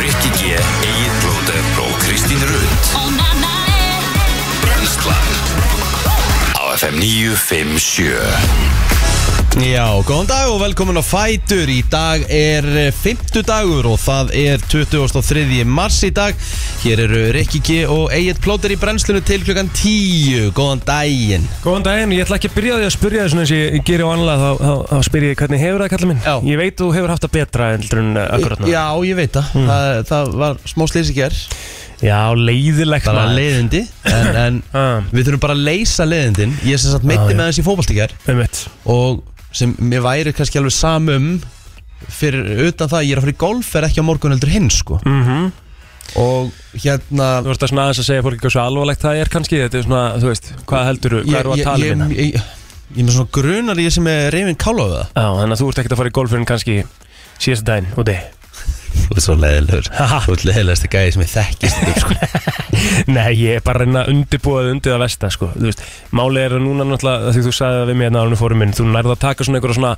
Rikki G, Egil Blóter og Kristín Rund Brenslan Á FM 957 Já, góðan dag og velkomin á Fætur Í dag er fymtu dagur og það er 23. mars í dag Hér eru Rikki G og Egil Plóter í brennslunni til klukkan 10 Góðan daginn Góðan daginn, ég ætla ekki að byrja á því að spyrja þessum eins og ég geri vanlega þá, þá, þá spyrja ég hvernig hefur það kallið minn Já. Ég veit þú hefur haft það betra heldur en uh, akkurat nú Já, ég veit það það, það var smá slýs í ger Já, leiðilegt Það var maður. leiðindi En, en Ah, við þurfum bara að leysa leiðindin Ég sem sagt Já, mitti já. með þessi fótballt í ger einmitt. Og sem mér væri kannski alveg samum Fyrir utan það að ég er að fara í golf Er ekki á morgun heldur hinn sko Mhm. Og hérna Þú ert að svona aðeins að segja fólki hversu alvarlegt það er kannski Þetta er svona, þú veist, hvað heldur þú, hvað eru að tala um hérna? ég, ég, ég er með svona grunar í þessi með reyfin kálaðu Já, þannig að þú ert ekkert að fara í golfurinn kannski síðast daginn úti Þú ert svo leiðilegur Haha. Þú ert leiðilegast að gæði sem ég þekkist sko. Nei, ég er bara að reyna að undirbúa þig undir það versta, sko Þú veist, málið er að núna náttúrulega af Því þú sagði það við mig hérna árunni fórum minn Þú nærði að taka svona einhverja svona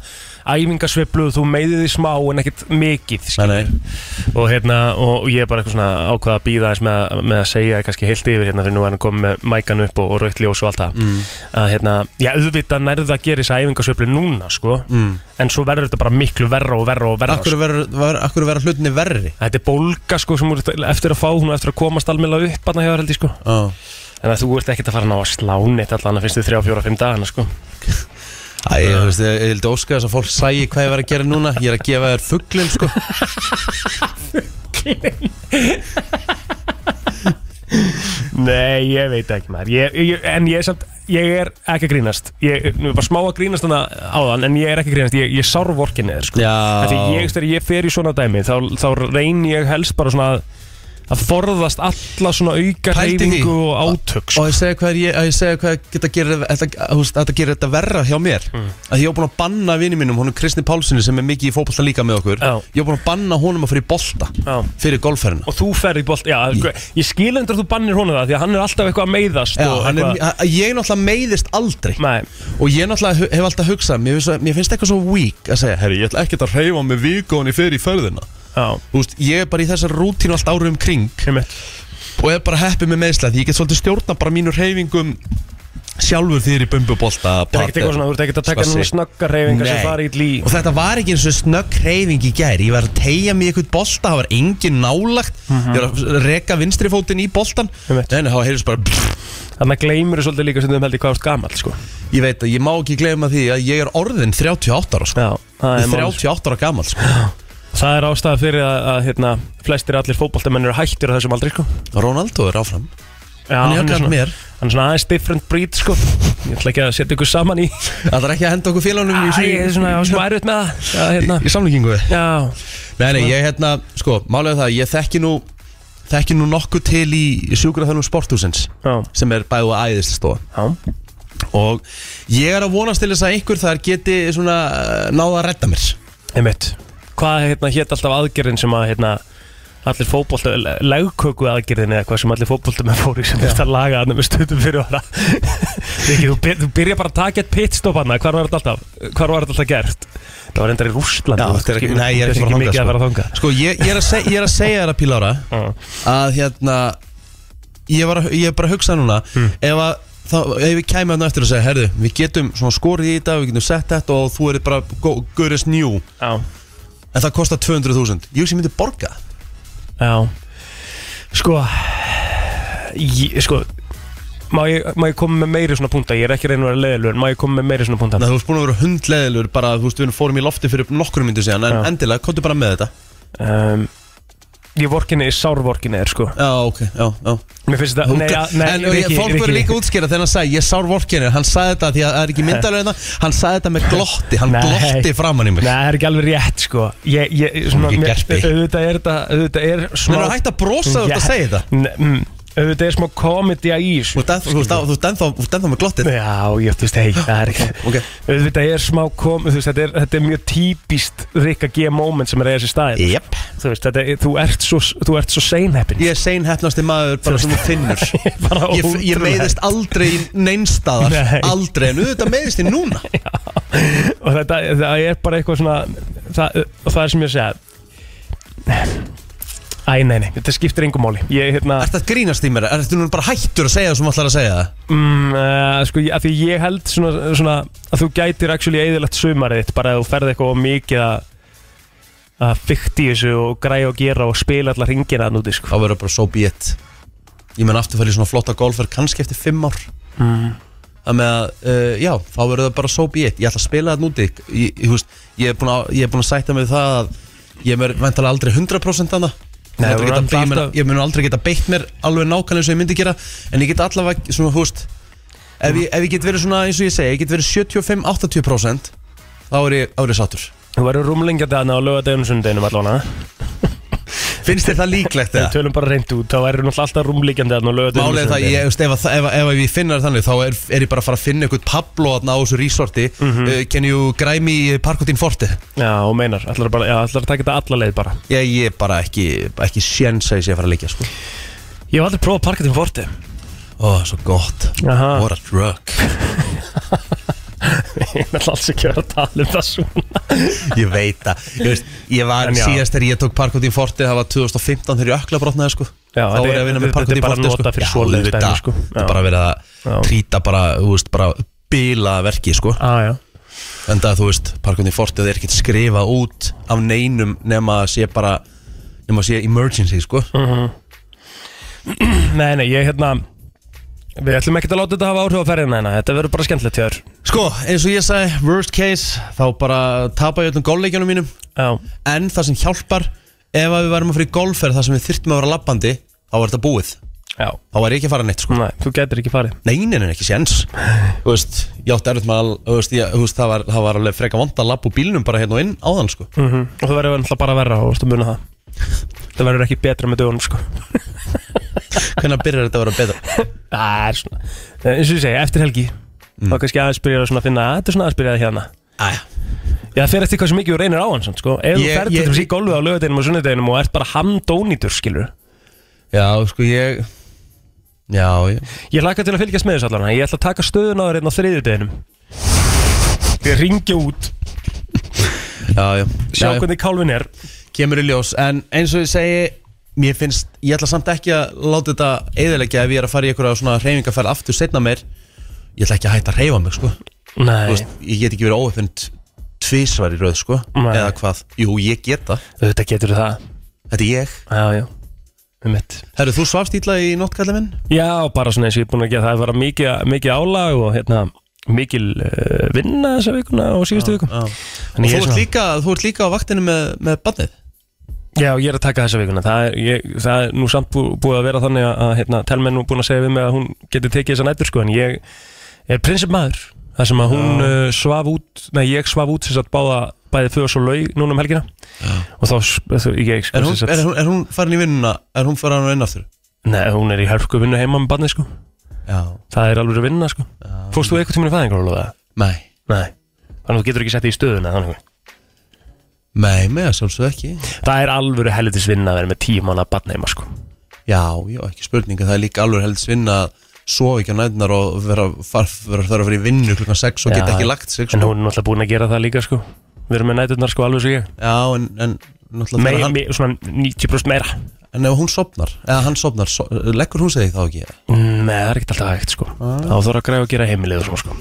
æfingasveiflu Þú meiði því smá en ekkert mikið skilur. Nei, nei. og, hérna, og, og ég er bara eitthvað svona ákvað að býða þess með, að- með að segja kannski heilt yfir hérna Fyrir nú er hann komið með mækan upp og, og rautt ljós og allt það Mm. að hérna, já, auðvitað nærði að gera þessi æfingasveiflu núna, sko Mm. En svo verður þetta bara miklu verra og verra og verra sko. Akkur verður ver, ver, hlutinni verri Þetta er bólga sko sem þú ert eftir að fá hún og eftir að komast almennilega upp að það hefur held ég sko oh. En að þú ert ekkert að fara að ná að slá neitt allan að finnst þið 3, 4, 5 dagana sko Æ, ég, þú veist, ég, ég vildi óska þess að fólk sæi hvað ég var að gera núna Ég er að gefa þér fugglin sko. Nei, ég veit ekki maður ég, ég, En ég er samt, ég er ekki að grínast Ég nú er bara smá að grínast þannig áðan En ég er ekki að grínast, ég, ég sár vorkinni þér sko Já. Af Því ég, þegar ég fer í svona dæmi þá, þá reyn ég helst bara svona að, að forðast alla svona auka Pældu í því. reyningu og átök sko. Og ég segja hvað, er ég, að ég segja hvað geta að gera þetta, þú veist, að þetta gera þetta verra hjá mér Mm. Að ég er búin að banna vini mínum, honum Kristni Pálssoni sem er mikið í fótbolta líka með okkur Já. Ég er búin að banna honum að fyrir bolta Já. Fyrir golfferðina Og þú ferð í bolt, já, ég, ég skil endur að þú bannir honum það Því að hann er alltaf eitthvað að meiðast Já, og hann er, Sko, eitthvað, að- ég náttúrulega meiðist aldrei Nei, Og ég náttúrulega hu- hef alltaf hugsað Mér finnst, mér finnst eitthvað svo weak að segja Herri, ég ætla ekkert að reyfa með vikóni fyrir í ferðina já, Þú veist, ég er bara í þessar rútínu allt árum kring einmitt Og er bara heppið með meðsla Því ég get svolítið stjórna bara mínu reyfingum Sjálfur fyrir bumbubolta Það er ekkert eitthvað svona, þú ert ekkert að taka Spassi. núna snögga reyfingar sem Nei. fara í lí Og þetta var ekki eins og snögg reyfing í gær Ég var að tegja mig í eitthvað bolta Það var engin nálagt Ég var að reka vinstri fótinn í boltan Einmitt. Þannig að það heyrðist bara Þannig að gleymur þú svolítið líka sem þú held í hvað ást gamall, sko Ég veit að ég má ekki gleyma því að ég er orðin 38 ára sko. Já, það Ég er er mál 38 ára gammal sko. Það er ástæða fyrir að, að hérna, flestir allir fótboltamenn eru hættir á þessum aldrei, sko Ronaldo er áfram Já, hann, Hann er er okkar svona, mér hann er svona aðeins different breed, sko Ég ætla ekki að setja ykkur saman í Æ, Það er ekki að henda okkur félagunum í, ég er svona, ég var smá erfitt með það Já, hérna, í samlingingu já, Nei, nei, ég hérna, sko, málega það Ég þekki nú, þekki nú nokkuð til í sjúkraþjónum sporthúsins já, sem er bæðu að æðist stóða já og ég er að vonast til þess að einhver þar geti svona eh, náð að redda mér Einmitt Hvað hérna, hét alltaf aðgerðin sem að hérna, allir fótbolta, legköku aðgerðin eða hvað sem allir fótbolta með fóri sem þurft að laga hann með stundum fyrir ára Riki, þú, byr, þú byrja bara að taka eitt pitstop hann hvar var þetta alltaf, hvar var þetta alltaf gert það var endar í Rústlandi Já, þetta er ekki- nei, ég er ekki ekki fara mikið að vera þangað, þanga Sko, ég, ég, er að seg, ég er að segja þér að píla ára að hérna ég var að, ég er bara að hugsa núna Hmm. ef að Þá, ef við kæmum hérna eftir að segja, herðu, við getum svona skorið í þetta, við getum sett þetta og þú erir bara go- good as new Já, en það kostar 200.000 ég sem myndi borga já Sko ég, Sko Má ég, má ég koma með meiri svona púnta Ég er ekki reynur að leiðilur Má ég koma með meiri svona púnta þannig að þú ert búin að vera hundleðilur bara, þú veist, við fórum í lofti fyrir nokkrum myndu síðan en Já. endilega, komdu bara með þetta um, Ég vorkinni, sárvorkinni er sko já, ok, já, já Mér finnst þetta, nei, ja, nei, en Riki, fólk verður líka að útskýra þegar hann sagði ég sár vorkinir, hann sagði þetta því að það er ekki myndalegna hann sagði þetta með glotti, hann Nei. glotti framan Nei, í um mig það er ekki alveg rétt sko ég, ég, svona, mikið mér, gerpi. Auðvitað er þetta Auðvitað er smá Nei, nú, hættu að brosa þú ert að Já, segja þetta. ne- mm, Auðvitað er smá komedja í þessu. þú ert ennþá- þú ert ennþá- þú ert ennþá þú ert ennþá með glottið Já, ég þú veist, hei, það er ekki ok. Auðvitað er smá kom, þú veist, þetta er, þetta er mjög típist Rikka G moment sem er að eiga sér staðin Jep. Þú veist, þetta, er- þú ert svo, þú ert svo seinheppin ég er seinhefnasti maður bara sem þú finnur Bara ég, ég ótrúlegt. meiðist aldrei í neinstaðar Nei. aldrei, en auðvitað meiðist ég núna og þetta, það er bara eitthvað svona það, og það er sem ég að segja Æ, nei, nei, þetta skiptir engum máli Ég, hérna, Ert það grínast í mér? Ert það nú bara hættur að segja það sem ætlar að segja það? mm, uh, sko, ég- að því ég held svona, svona að þú gætir actually eðilegt sumarið þitt, bara að þú ferð eitthvað of mikið að að fykta í þessu og græja og gera og spila allar ringina núti, sko Þá verður bara so be it Ég menn aftur fyrir svona flotta golfer kannski eftir fimm ár Mm. Það með að, uh, já, þá verður það bara so be it Ég ætla að spila það núti Ég, ég, húst, ég, er búinn að- ég er búin að sætta mig við það að Ég er vantalega aldrei 100% annað Nei, Ég þú mun verður aldrei geta- ég mun- alltaf- ég mun aldrei geta beitt mér alveg nákvæmlega eins og ég myndi gera En ég get allavega, svona, húst Ef ég, ef ég get verið svona, eins og ég segi, ég get verið 75-80% Þá er ég, þá er ég sattur Þú verður rúmlengjandi aðna á lögadeginu sundeginum allavega Finnst þér það líklegt Við eða? tölum bara reynd út, þá verður náttúrulega alltaf rúmlengjandi aðna á lögadeginu Málið er það, ég, ef, ef, ef, ef ég finna það þannig þá er, er ég bara að fara að finna einhvern Pablo þarna á þessu resorti mm Mhm. uh, Can you eh, græmi í parkotín forti? Já, og meinar, ætlar bara, já, ætlar að taka þetta alla leið bara Ég, ég er bara ekki, ekki sjens að ég sé að fara að leikja sko Ég hef aldrei prófað parketin forti Ó, svo gott Aha. What a drug Ég ætla alls ekki að vera að tala um það svona Ég veit það Ég, veist, ég var En já. síðast þegar ég tók parkotín forti það var 2015 þegar ég ökla brotnaði sko Já, Þá þetta var ég að er- vinna þetta- með þetta er parkotín bara forti notað fyrir Já, svoleiðis auðvitað. dæmi, sko. Þetta er Já. bara verið að Já. trýta bara, þú veist, bara bila verki sko ah, en það þú veist, parkourinn í fortið er ekkert skrifað út af neinum nema að sé bara nema að sé emergency sko Nei, nei, ég hérna Við ætlum ekkert að láta þetta hafa áhrif á ferðina hérna Þetta verður bara skemmtilegt hjá þér sko, eins og ég sagði, worst case þá bara tapa ég öllum golfleikjunum mínum Já, en það sem hjálpar ef að við værum að fyrir golfferð þar sem við þyrftum að vera labbandi þá var þetta búið, já, þá var ég ekki að fara neitt sko nei, þú gætir ekki farið neinin er ekki séns þú veist, ég átti erfitt með að þú veist, ég, þú veist, það, var, það var alveg freka vond að labba úr bílnum bara hérna og inn áðan sko mm Og það verður náttúrulega bara verra, þú veist að muna það Það verður ekki betra með dögunum, sko hvernig byrjar þetta að vera betra Það er svona, en Eh, eins og ég segi, eftir helgi Mm. Þá kannski aðeins byrjar að svona finna að Þetta er svona aðeins byrjaði hérna Æja, Já, það fer eftir hvað sem mikið þú reynir á hann, samt, sko Ef þú Ég- ferð ég- til þessi í golfið á lögadeginum og sunnudeginum og ert bara hamdónýtur, skilur já sko ég já, ég Ég hlakka til að fylgjast með þessu allan Ég ætla að taka stöðun á þér einn á þriðjudeginum Ég ringja út Já, já, Sjá já, já. hvernig kálfin er kemur í ljós En eins og ég segi, mér finnst Ég ætla samt ekki að láta þetta eðilegja Ef ég er að fara í einhverja svona reyfingarferð aftur setna mér Ég ætla ekki að hætta að reyfa mig, sko Þú Nei, veist, Ég get ekki verið óöfund tvisvar í röð, sko Nei. Eða hvað, jú, ég get það þetta getur það Þetta er ég Já, já, um mitt Herru, þú svafst ítla í nóttkallið minn? Já, bara svona eins og ég er búin að gera það Það var mikið, mikið álag og hérna mikil uh, vinna þessa vikuna og síðustu vikum Já Þannig ég Og þú er ert, svona- líka, þú ert líka á vaktinu með, með badnið Já, ég er að taka þessa vikuna Það er, ég, það er nú samt bú, búið að vera þannig að- að hérna, telma er nú búin að segja við mig að hún geti tekið þessa nættur sko en ég er prinsip maður þar sem að hún uh, svaf út nei, ég svaf út sem sagt báða bæði föðs og laug núna um helgina og þá, s- þú- ég sko er hún, sem sagt- er, hún, er hún farin í vinnuna? Er hún farin að vinna aftur? Nei, hún er í hörku vinnu heima með barnið sko Já Það er alveg að vinna sko Fórst þú eitthvað tímur í fæðingar alveg það? Nei Nei Þannig að þú getur ekki sett þig í stöðuna þannig. Nei, með að sjálfsög ekki Það er alveg helvitis vinna að vera með tíu manna barnið heima sko Já, já, ekki spurning en Það er líka alveg helst vinna að sofa ekki á nætnar og vera, far, vera þarf að vera í vinnu klukkan 6 og Já. geta ekki lagt sig En sko. hún er náttúrulega búin að gera það líka sko Við erum með næturnar sko alveg svo ég Já, en, en náttúrulega Meir, þegar hann, me, Svona 90% meira En ef hún sopnar, eða hann sopnar so, leggur hún segi þá ekki Nei, það er ekkert alltaf hægt sko Þá þarf að græða að gera heimilið og svona sko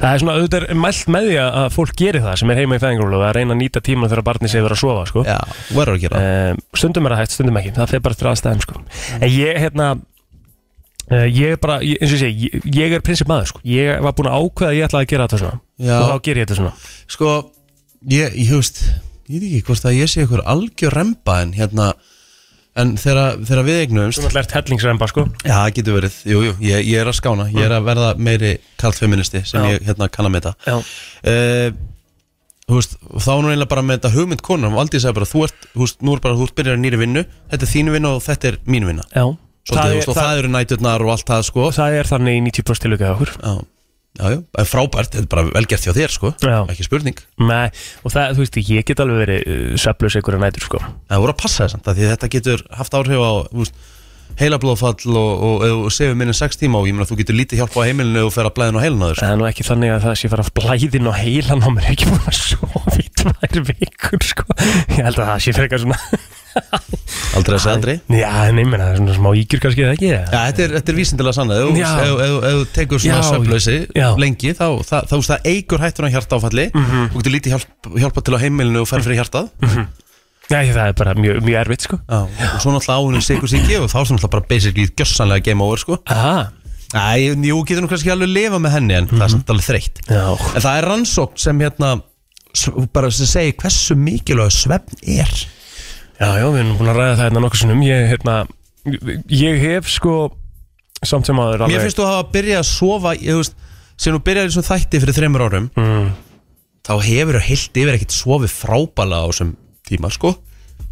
Það er svona auðvitað er mælt með því að að fólk geri það sem er heima í fæðingrúlu að reyna að nýta tíma þegar barnið sé verið að sofa sko Já, hún verður að gera það Eh, stundum er það hægt, stundum ekki það fer bara eftir aðstæðum sko. en Mm. ég hérna eh, ég er bara, ég, eins og ég segi ég, ég er prinsip maður, sko. ég var búin að ákveða að ég ætlaði að gera þetta svona Já. og þá ger ég þetta svona Sko, ég, ég veist ég veit ekki hvort að ég sé ykkur algjör remba en hérna en þegar, þegar við þú eignumst ætlaði ert hellingsremba sko. Já, það getur verið, jú, jú, ég, ég er að skána ég er að verða meiri kalt feministi sem Já. ég hérna kann að meta Já. Eh, Þú veist, þá er hún eiginlega bara með þetta hugmynd konar og aldrei sagði bara, þú ert, þú veist, nú er bara þú ert byrjar í nýri vinnu, þetta er þín vinna og þetta er mín vinna Já. það, Svolítið, þú veist, er, og það, það, eru næturnar og allt það, sko Já, það er þannig í 90% tilöku hjá okkur já, já, en frábært, þetta er bara velgert hjá þér, sko Já. Ekki spurning, Nei, og það, þú veist, ég get alveg verið uh, sveflus einhverja nætur sko. en það voru að passa þess því þetta getur haft áhrif á, þú veist heilablóðfall og, og, og, og sefum minni sex tíma og ég meina þú getur lítið hjálpa á heimilinu og fer að blæðin á heilinu á þér, sko. það er nú ekki þannig að það sé fara blæðin og heilan á mér er ekki búin að sofa í tvær vikur sko. ég held að það sé frekar svona Aldrei að segja aldrei Já, en ég meina, það er svona smá ígjur kannski eða ekki Já, þetta er, þetta er vísindilega sannað Ef þú- Já. ef- ef- ef þú tekur svona Já. söflösi Já. Mhm. lengi þá, það, þá, það eigur hættuna hjarta áfalli og getur lítið hjálp, hjálpa til á heimilinu og ferð fyrir hjartað Já, ég- það er bara mjög, mjög erfitt, sko Já. og svo náttúrulega áhunum sigur sigi og þá sem náttúrulega bara basically gjössanlega game over sko Aha, Æ, jú, getur nú kannski alveg lifa með henni en það er Mhm. samt alveg þreytt já En það er rannsókn sem hérna s- bara sem segir hversu mikilvæg svefn er Já, já, við erum búin að ræða það hérna nokkuð sinnum Ég, hérna, ég hef, sko Samt sem áður Mér finnst þú hafa byrjað að sofa ég, þú veist, sem þú byrjaði þessum þætti fyrir þreymur árum mm, þá hefur þú heilt yfir ekkert sofið frábæla á þessum tíma sko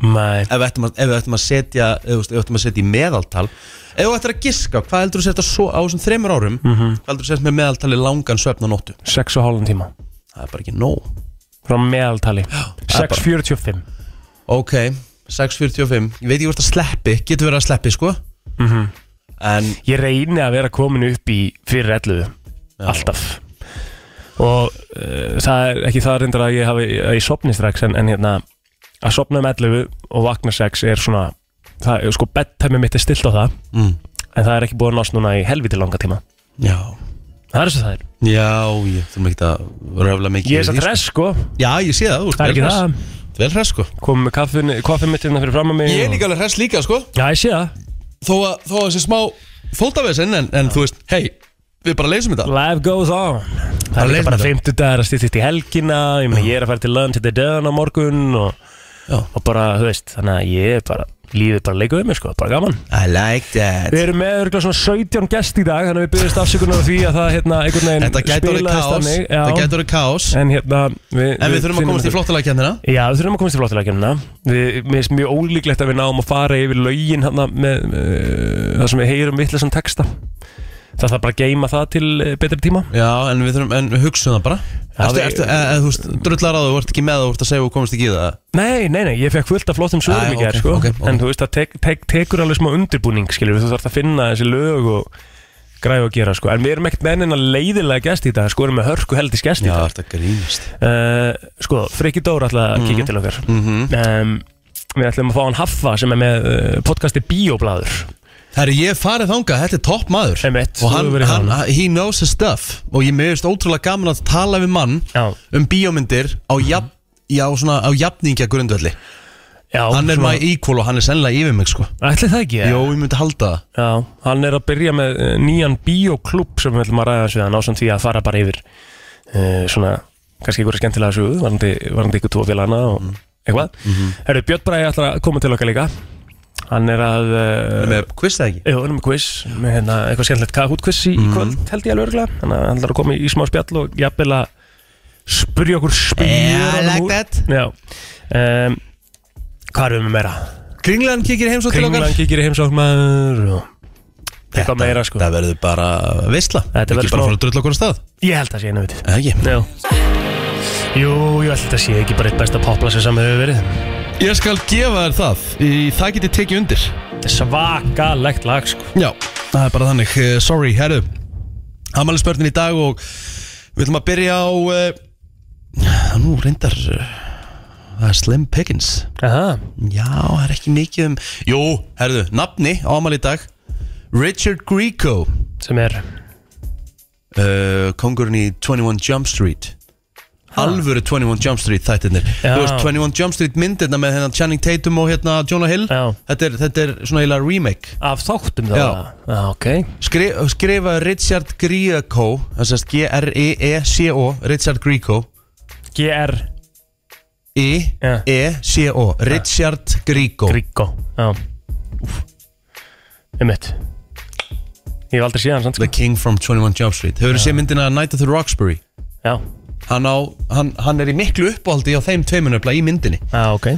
Nei, ef við ættum að, ef við ættum að setja ef þú veist, ef við ættum að setja í meðaltal ef þú ættir að giska, hvað heldur þú sért að setja á þessum þreymur árum Mhm. hvað heldur þú sért með meðaltali langan svefn á nóttu sex og hálfum tíma það er bara ekki nóg Frá meðaltali það er bara- 6.45 ok, 6.45, ég veit ekki hvort að sleppi getur verið að sleppi sko Mhm. en Ég reyni að vera komin upp í fyrir 11 Alltaf Og uh, það er ekki það reyndar að ég hafi að ég sopni strax en, en hérna að sopna um 11 og vakna 6 er svona það er sko bedtæmi mitt er stilt á það mm, en það er ekki búið að nást núna í helviti langa tíma já, Það er þess að það er já ég þurfum ekki að röfla mikið Ég er yfir satt því, sko. res sko, já, ég sé það, þú ert það er vel ekki hress. það Þú ert vel hress sko komum með kaffin, kaffin mitt hérna fyrir fram að mig ég er og- líka alveg hress líka sko Já, ég sé það þó að, þó að þessi smá fóldavesen en, en þú veist, hei, við bara leysum þetta Life goes on Það Bara er leið líka bara með það. 50 dagar að stýttist í helgina Ég, meina, ég er að fara til lunch þetta er döðan á morgun og, Já. og bara, þú veist, þannig að ég er bara Lífið bara leikur við mér, sko, bara gaman I like that Við erum með örgulega svona 17 gest í dag Þannig að við byggjumst afsökunar á því að það, hérna, einhvern veginn Þetta gæti orðið spilaðist kaos þannig, Þetta já. gæti orðið kaos En hérna við, En við þurfum að finnum komast í þetta. flottalagkjöndina Já, við þurfum að komast í flottilegkjumna Mér finnst mjög ólíklegt að við náum að fara yfir lögin hana, með, uh, það sem við heyrum vittlesan texta Það þarf bara að geima það til eh, betri tíma Já, en við þurfum, en við hugsaum það bara Já, Ertu, við- ertu, e, e, þú veist, drullar að þú ert ekki með þú ert að segja og komast ekki í það Nei, nei, nei, ég fekk fullt af flottum Æ, sögum í gerð ok, sko. ok, ok. En þú veist, það tek, tek, tekur alveg smá undirbúning skilur, við, Þú þarf að finna þessi lög og græða að gera sko. En við erum ekkert með enn leiðilega gest í dag Sko, erum með hörku heldis gest í dag þetta grínast uh, Sko, Friki Dór ætla að kíkja til okkar Mhm. um, Við ætlum að fá hann Haffa sem er með uh, podcasti Bíóblaður Herri, ég hef farið þanga, þetta er topp maður Einmitt, Og þú hann, hefur verið hann, þarna. he knows his stuff Og ég meðist ótrúlega gaman að tala við mann Já, Um bíómyndir á, Mhm. jafn, já, svona, á jafningja grundvelli já Hann er my equal og hann er sennilega yfir mig sko Ætli það ekki? Jó, ég myndi halda það Já, hann er að byrja með eh, nýjan bíóklub sem við ætlum að ræða hans við hann ásamt því að fara bara yfir uh, svona, kannski einhverja skemmtilega sögu varandi, varandi ykkur tvo félagana og Mhm. eitthvað. Mm Herru, Björn Bræði ætlar að koma til okkar líka hann er að uh, Með quiz það ekki Jú, hann er með quiz, með hérna, eitthvað skemmtilegt Kahoot quiz í, í Mhm. kvöld, held ég alveg örgulega þannig að hann ætlar að koma í, í smá spjall og jafnvel að spyrja okkur Yeah, I spyrja like that Já, um, hvað erum við með meira? Kringlan kikir heimsótt til okkar Kringlan kikir í heimsóknar og eitthvað meira sko Þetta verður bara veistla Þetta verður Ekki bara smá- fara að drulla okkur á stað Ég held að sé einu vitið Eða ekki Já Jú, ég held að sé ekki bara eitt besta poplasa sem hefur verið Ég skal gefa þér það í, Það geti tekið undir Svakalegt lag sko Já, það er bara þannig Eh, Sorry, herru Amali spörnin í dag og Við ætlum að byrja á uh, Nú reyndar eh, Það er Slim Pickens Aha, Já, það er ekki mikið um Jú, herru, nafni á Amali í dag Richard Grieco sem er uh, kongurinn í 21 Jump Street alvöru 21 Jump Street þættirnir Já. Þú veist, 21 Jump Street myndirna með hérna Channing Tatum og hérna Jonah Hill Já. þetta er, þetta er svona eiginlega remake af þáttum þá Já. Já, ok Skri, skrifa Richard Grieco það sést E G-R-E-E-C-O Richard Grieco E GR Já. I-E-C-O Richard Grieco Gríko Já Ummitt Ég hef aldrei séð hann samt The sko King from 21 Jump Street Hefur þú séð myndina Night at the Roxbury Já, hann, á, hann, hann er í miklu uppáhaldi á þeim tveimur nefnilega í myndinni já, Ah, ok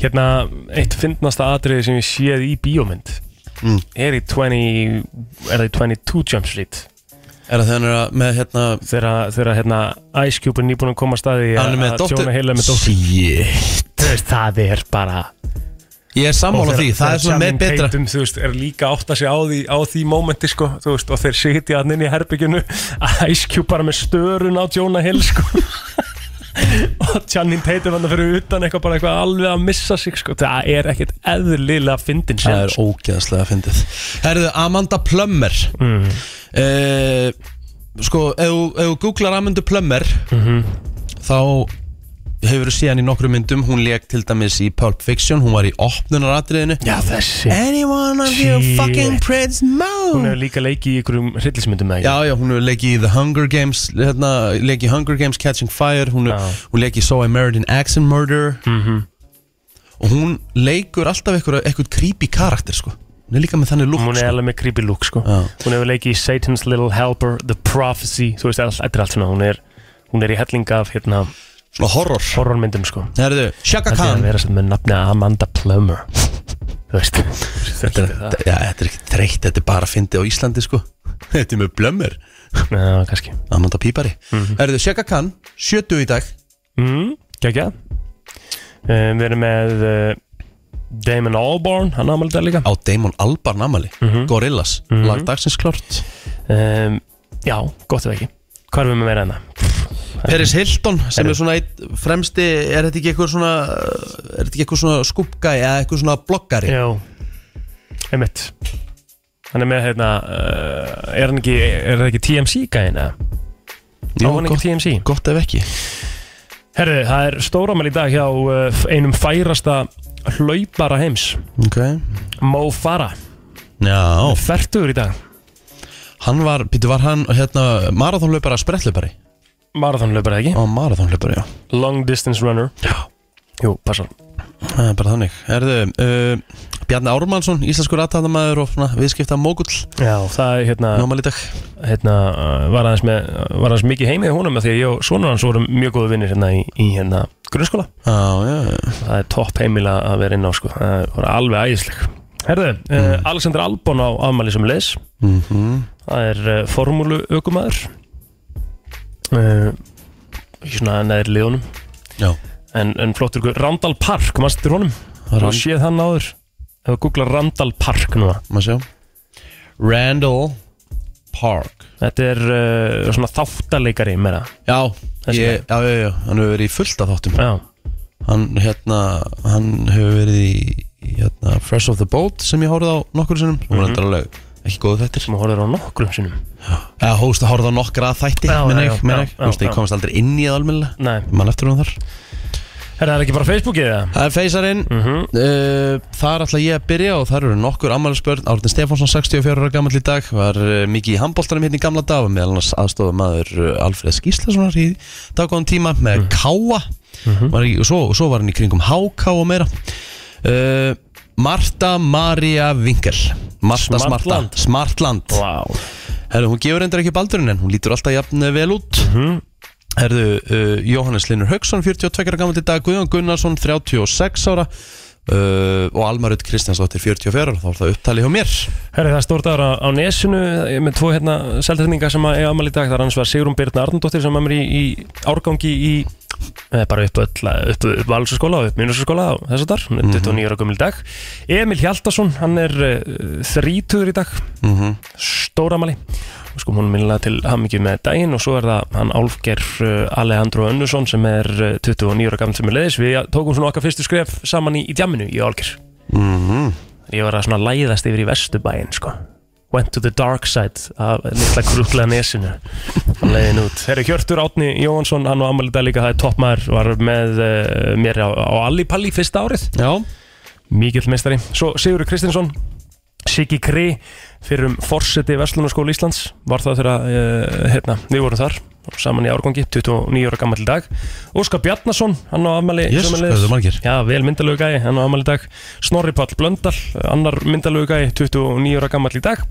Hérna, eitt fyndnasta atriði sem ég séð í bíómynd Mm. Er í 20 Er það í 22 Jump Street er það þegar hann er að- með hérna þegar, þegar hérna Ice Cube er nýbúin að koma að staði hann er með dóttur Jonah Hill er með dóttur Shit. Þú veist, það er bara Ég er sammála því, það er svona með Channing betra Tatum, þú veist, er líka að átta sig á því, á því mómenti sko, þú veist, og þeir sitja hann inn í herbyggjunu Ice Cube bara með störun á Jonah Hill sko og Channing Tatum hann fyrir utan eitthvað bara eitthvað alveg að missa sig sko. það er ekkert eðlilega fyndin sko. sem Það er ógeðslega fyndið Herðu, Amanda Plummer mm. Mhm. Sko, ef þú- ef þú googlar Amanda Plummer Mhm. Þá hefur þú síðan í nokkrum myndum Hún leik til dæmis í Pulp Fiction Hún var í opnunaratriðinu Já þessi Anyone of you Shit. fucking Prince Hún Mo hefur líka leikið í ykkurum hryllismyndum eða ekki? Já, já, hún hefur leikið í The Hunger Games hérna, Leikið í Hunger Games, Catching Fire Hún, Já. Mhm. hefur- hún leikið í So I Married an Axe and Murder Og hún leikur alltaf eitthvað, eitthvað creepy karakter, sko Hún er líka með þannig lúk Hún er alveg með creepy look sko. Já. Hún hefur leikið í Satan's Little Helper The Prophecy, þú veist, all- þetta er allt svona Hún er, hún er í helling af hérna, Svona horror horrormyndum sko. Herðu, Shaka Þetta er að Khan vera sem með nafni Amanda Plummer Þú veist, þetta er það Já, þetta er ekki þreytt, þetta er bara að fyndi á Íslandi sko Þetta er með blömmur Já, kannski Amanda Pípari Mhm. Herðu, Shaka Khan, 70 í dag mm, Kjækja um, Við erum með uh, Damon Albarn, hann ámæli þetta líka Á Damon Albarn amali Mhm. Gorillas, lag dagsins klart um, Já, gott ef ekki Hvað erum við með meira hérna? en það? Peris Hilton, sem er svona eitt fremsti Er þetta ekki eitthvað svona Er þetta ekki eitthvað svona skúpgæ Eða eitthvað svona bloggari Já, einmitt Hann er með, hérna, uh, er hann ekki, er það ekki TMC gæðin eða? Ná, hann ekki gott, TMC? gott ef ekki Herðu, það er stóramæl í dag hjá uh, einum færasta hlaupara heims Ok Mo Farah, Já, færtugur í dag hann var, býttu var hann hérna, Marathonlaupari, spretlaupari Marathonlaupar eða ekki? Á marathonlaupari, já Long distance runner Já Jú, passar Það er bara þannig Erðu, uh, Bjarni Ármannsson, íslenskur aðtæðamæður og svona viðskipta mógull Já, það er hérna, Nómal í dag hérna uh, var, aðeins með, var aðeins mikið heimið húnum af því að ég og sonur hans vorum mjög góðu vinnir hérna í, í hérna grunnskóla Já, já, já. Það er topp heimil að að vera inn á sko Það voru alveg æðisleg Herðu, uh, Alexander Albon á afmæli sem leis Mhm. Það er uh, formúlu aukumæður uh, Ekki svona neðri liðunum já. En, en flottur ykkur, Randall Park, maður styrir honum Rand- Rand... Séð hann áður Ef þú googlar Randall Park núna Má sjá Randall Park Þetta er uh, svona þáttaleikari meira Já, Þessi ég, já, já, já, hann hefur verið í fullt af þáttum Já, Hann, hérna, hann hefur verið í í, hérna, Fresh of the Boat sem ég horfði á nokkur sinnum Mhm. Hún var endur alveg ekki góð þettir sem horfður á nokkrum sinnum Eða hóst að horfði á nokkra þætti, Já, minn já, ég, já, minn já, ég já, Þú veist, já. ég komast aldrei inn í það almennilega Nei, Man eftir hún þar er það ekki bara Facebookið eða? Það er feysarinn mm Mhm. Þar ætla ég að byrja og þar eru nokkur ammælisbörn Árni Stefánsson, 64 ára gammal í dag Var uh, mikið í handbóltanum hérna í gamla dag og Meðal annars aðstofum maður uh, Alfred Skíslasonar í daggóðan tíma Með Mhm. mm. Káa var, í- og, svo, og svo var hann í kringum Háká og meira uh, Marta Maria Vingel Marta Smarta Smartland. Smartland Vá Herðu, hún gefur reyndar ekki baldurinn en hún lítur alltaf jafn eh, vel út Herðu, uh, Jóhannes Linur Hauksson 42 ára gammal í dag, Guðjón Gunnarsson 36 ára uh, og Almarud Kristjánsdóttir 44 ára þá er það upptalið hjá mér Herri, það er stórt ára á nesinu ég er með tvo hérna seldarninga sem að eiga amal í dag það er annars var Sigrun Birna Arnóttir sem er mér í, í árgangi í eh, bara upp öll, upp, upp valsaskóla og upp minnusaskóla og þess að þar, hún er 29 ára gömul í dag Emil Hjaldason, hann er uh, 30 í dag mm stóramali og sko hún minnilega til hammingju með daginn og svo er það hann Álfger uh, Alejandro Önnusson sem er uh, 29 ára gammal sem er leiðis við tókum svona okkar fyrstu skref saman í, í djamminu í Álger Mhm. ég var að svona læðast yfir í vesturbæinn sko went to the dark side af litla krútla nesinu hann leiðin út þeir eru Hjörtur Átni Jóhansson hann og Amalita líka það er toppmaður var með uh, mér á, á Allipalli fyrsta árið Já, mikill meistari Svo Sigurður Kristinsson Siggi Kri fyrir um forseti Vestlunarskóla Íslands var það þegar uh, hérna, við vorum þar saman í árgangi, 29 ára gammal dag Óskar Bjarnason, hann á afmæli Jesus, hvað sömuleiðis. eru þau margir? Já, vel myndalögu gæi, hann á afmæli í dag Snorri Pall Blöndal, annar myndalögu gæi 29 ára gammal í dag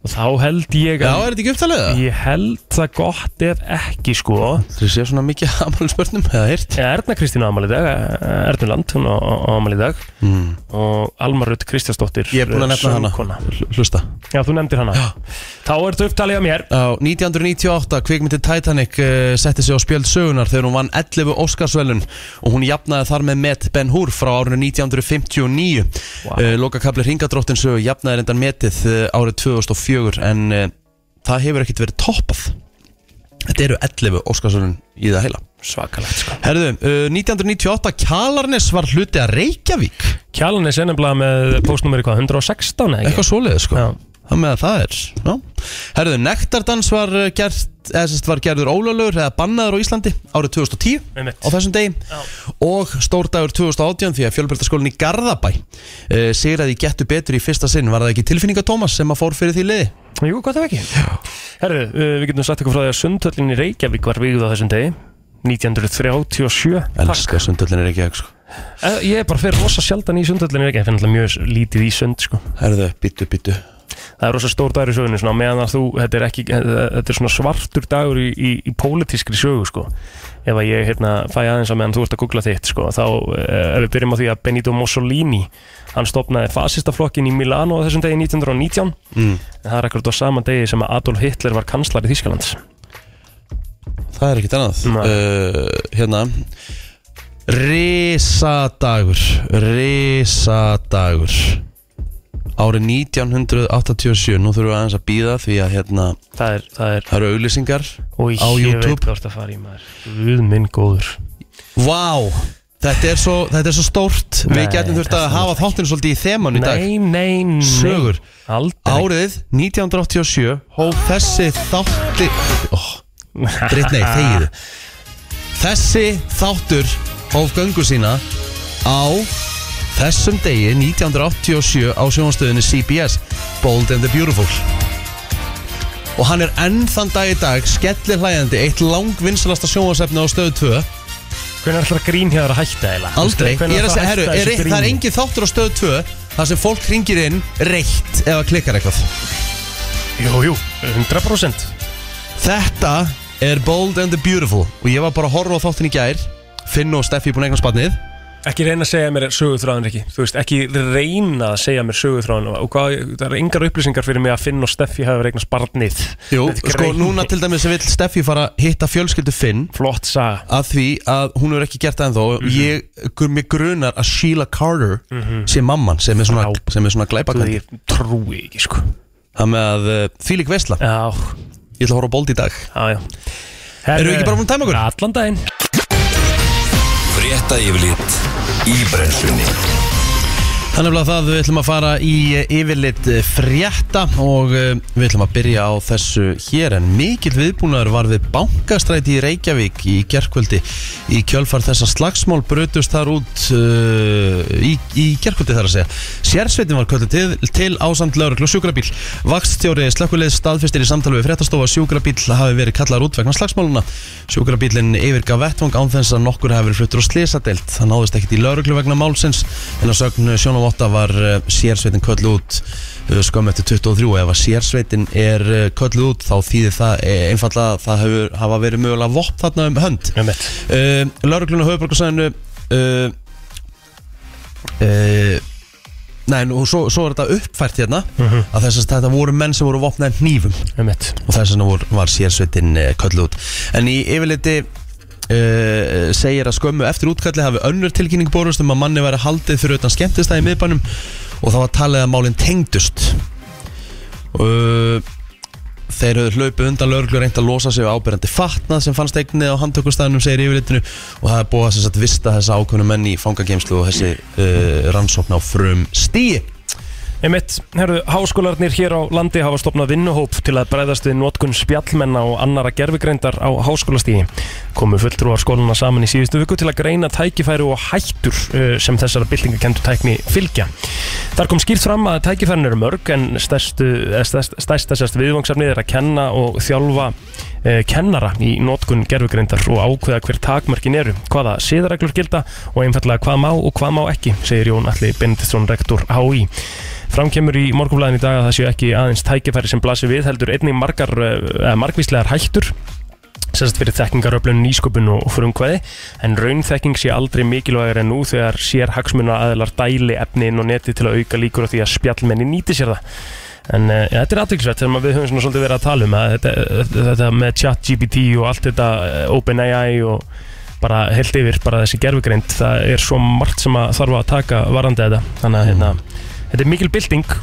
og þá held ég að Já er þetta Mm. ekki upptalið það? ég held það gott ef ekki sko Þú séu svona mikið ammælisbörnum eða heyrt Já, Erna Kristín á afmæli í dag eh, Ernuland, hún á á afmæli í dag mm. og Alma Rutt Kristjánsdóttir Ég er búin að nefna hana. söngkona. Hl- Hlusta Já, þú nefndir hana Þá ertu upptalið á mér Á 1998, kvikmyndi Titanic uh, setti sig á spjöld sögunar þegar hún vann 11 Óskarsvelun og hún jafnaði þar með met Ben Hur frá árinu 1959 wow. Vá. uh, Lokakabli Ringadróttin sögu jafnaði reyndan metið uh, árið 2004 en eh, uh, það hefur ekkert verið toppað Þetta eru 11 Óskarsvelun í það heila svakalegt sko Herðu, uh, 1998 Kjalarnes var hluti að Reykjavík Kjalan er sennabla með postnúmeri hvað, 116 eða ekki? Eitthvað svoleiðið sko Já. Það með að það er já. Herðu, Nektardans var, uh, gert, eða, sem sagt var gerður ólöglegur eða bannaður á Íslandi árið 2010 Einmitt. á þessum degi Já. og stórdagur 2018 því að fjölbjörntaskólinni Garðabæ uh, sigraði gettu betur í fyrsta sinn var það ekki tilfinninga Tómas sem að fór fyrir því liði Jú, gott ef ekki Herru, uh, við getum sagt eitthvað frá því að sundhöllin í Reykjavík var byggð á þessum degi 1937 Takk. Elskar sundhöllinir ekki ekki sko Eh, Ég er bara fyrir rosa sjaldan í sundhöllin í Reykjavík Ég finn alltaf mjög lítið í sund sko Herðu, býttu, býttu Það er rosa stór dagur í sögunni svona, á meðan að þú, þetta er, ekki, eh, þetta er svona svartur dagur í, í, í pólitískri sögu sko. ef að ég hérna, fæ aðeins að meðan þú ert að googla þitt sko, þá eh, ef við byrjum á því að Benito Mussolini hann stopnaði fasistaflokkin í Milano á þessum degi 1919 Mm. En það er akkurat á sama degi sem að Adolf Hitler var kanslar í Þýskalands Það er ekkert annað Nei. uh, Hérna Risadagur Risadagur Árið 1987 Nú þurfum við aðeins að býða því að hérna það er, það er, Það eru auglýsingar og Á ég YouTube? veit hvort að fara í maður Guð minn góður Vá Þetta er svo, þetta er svo stórt Við Nei, getum þurft þetta að er hafa þáttinu svolítið í þeman í dag Nei, nei, nei Sögur. Aldrei Árið 1987 Hóf þessi þátti oh, Dritt nei, þegiðu Þessi þáttur Hóf göngu sína Á þessum degi 1987 á sjónastöðinni CBS Bold and the Beautiful Og hann er enn þann dag í dag Skellir hlæjandi Eitt langvinsalasta sjónasefni á stöðu 2 Hvernig ætlar grínhjáður að hætta eða? Aldrei, ég er að segja, herru, er, það er engin þáttur á stöðu 2 þar sem fólk ringir inn reitt eða klikkar eitthvað Jú, jú, 100% Þetta er Bold and the Beautiful og ég var bara að horfa á þáttin í gær Finn og Steffi búin að eigna spatnið Ekki reyna að segja mér söguþráðan, Rikki Þú veist, ekki reyna að segja mér söguþráðan og hvað, það eru engar upplýsingar fyrir mig að Finn og Steffi hafa regnast barnið Jú, Þetta er sko grein. núna til dæmis vill Steffi fara að hitta fjölskyldu Finn Flott saga að því að hún hefur ekki gert það ennþá og ég, gr- mér grunar að Sheila Carter sé mamman sem er svona, Já. sem er svona Þú glæpakandi veist, ég trúi ekki, sko Það með að uh, þýlik vesla, Já, ég ætla að horfa á Bold í dag já, já Erum við ekki bara búin að tæma okkur? Allan daginn Frétta yfirlit í brennslunni Þannig að það við ætlum að fara í eh, yfirlit eh, frétta og eh, við ætlum að byrja á þessu hér en mikill viðbúnaður var við bankastræti í Reykjavík í gerkvöldi í kjölfar þessa slagsmál brutust þar út uh, í, í gerkvöldi þar að segja. Sérsveitin var kvöldu til, til ásamt lauruglu og sjúkrabíl. Vakststjóri slökkuleið staðfistir í samtali við fréttastofa að sjúkrabíl hafi verið kallar út vegna slagsmáluna. Sjúkrabílinn yfirgaf vettvang án þess að nokkur hafi verið fluttur á slisadelt. Það náðist ekkit í lauruglu vegna málsins en að sögn sjónum 8 var eh, sérsveitin köllu út eh, skömmu eftir 23 ef að sérsveitin er eh, kölluð út þá þýðir það eh, einfaldlega að það hefur, hafa verið mögulega vopn þarna um hönd Með mitt uh, Lörglun og höfuborgarsæðinu uh, uh, Nei, nú, svo, svo er þetta uppfært hérna að þess að þetta voru menn sem voru vopnaði hnífum Með mitt og þess vegna voru, var sérsveitin uh, köllu út En í yfirleiti Uh, segir að skömmu eftir útkalli hafi önnur tilkynning borust um að manni væri haldið fyrir utan skemmtistæði í miðbænum og það var talið að málin tengdust uh, Þeir höfðu hlaupið undan lögreglu og reynt að losa sig við ábyrjandi fatnað sem fannst eignið á handtökustæðinum segir í yfirlitinu og það er búið að sem sagt vista þessa ákveðnu menn í fangageimslu og þessi uh, rannsókn á frum stíi Einmitt, herðu, háskólarnir hér á landi hafa stopnað vinnuhóp til að bregðast við notkun spjallmenna og annara gerfugreindar á háskólastígi. Komu fulltrúar skóluna saman í síðustu viku til að greina tækifæri og hættur eh, sem þessara byltingakendu tækni fylgja. Þar kom skýrt fram að tækifærin eru mörg en stærstu, eh, stærst, stærst þessast viðvangsefnið er að kenna og þjálfa eh, kennara í notkun gerfugreindar og ákveða hver takmörkin eru, hvaða siðareglur gilda og einfallega hvað má og hvað má ekki, segir Jón Alli Benediktsson rektor HÍ. Fram kemur í morgunblæðin í dag að það séu ekki aðeins tækifæri sem blasir við heldur einnig margar, eh, margvíslegar hættur sérst fyrir þekkingaröflun, nýsköpun og frumkvæði en raunþekking sé aldrei mikilvægur en nú þegar sér hagsmuna aðilar dæli efnin og neti til að auka líkur á því að spjallmenni nýti sér það en uh, ja, þetta er aðtryggsvægt þegar maður- við höfum svona svolítið verið að tala um að þetta, þetta með chat GPT og allt þetta eh, OpenAI og bara heilt yfir bara þessi gerfugreind það er svo margt sem að þarf að taka varandi þetta þannig að hérna, þetta er mikil bylting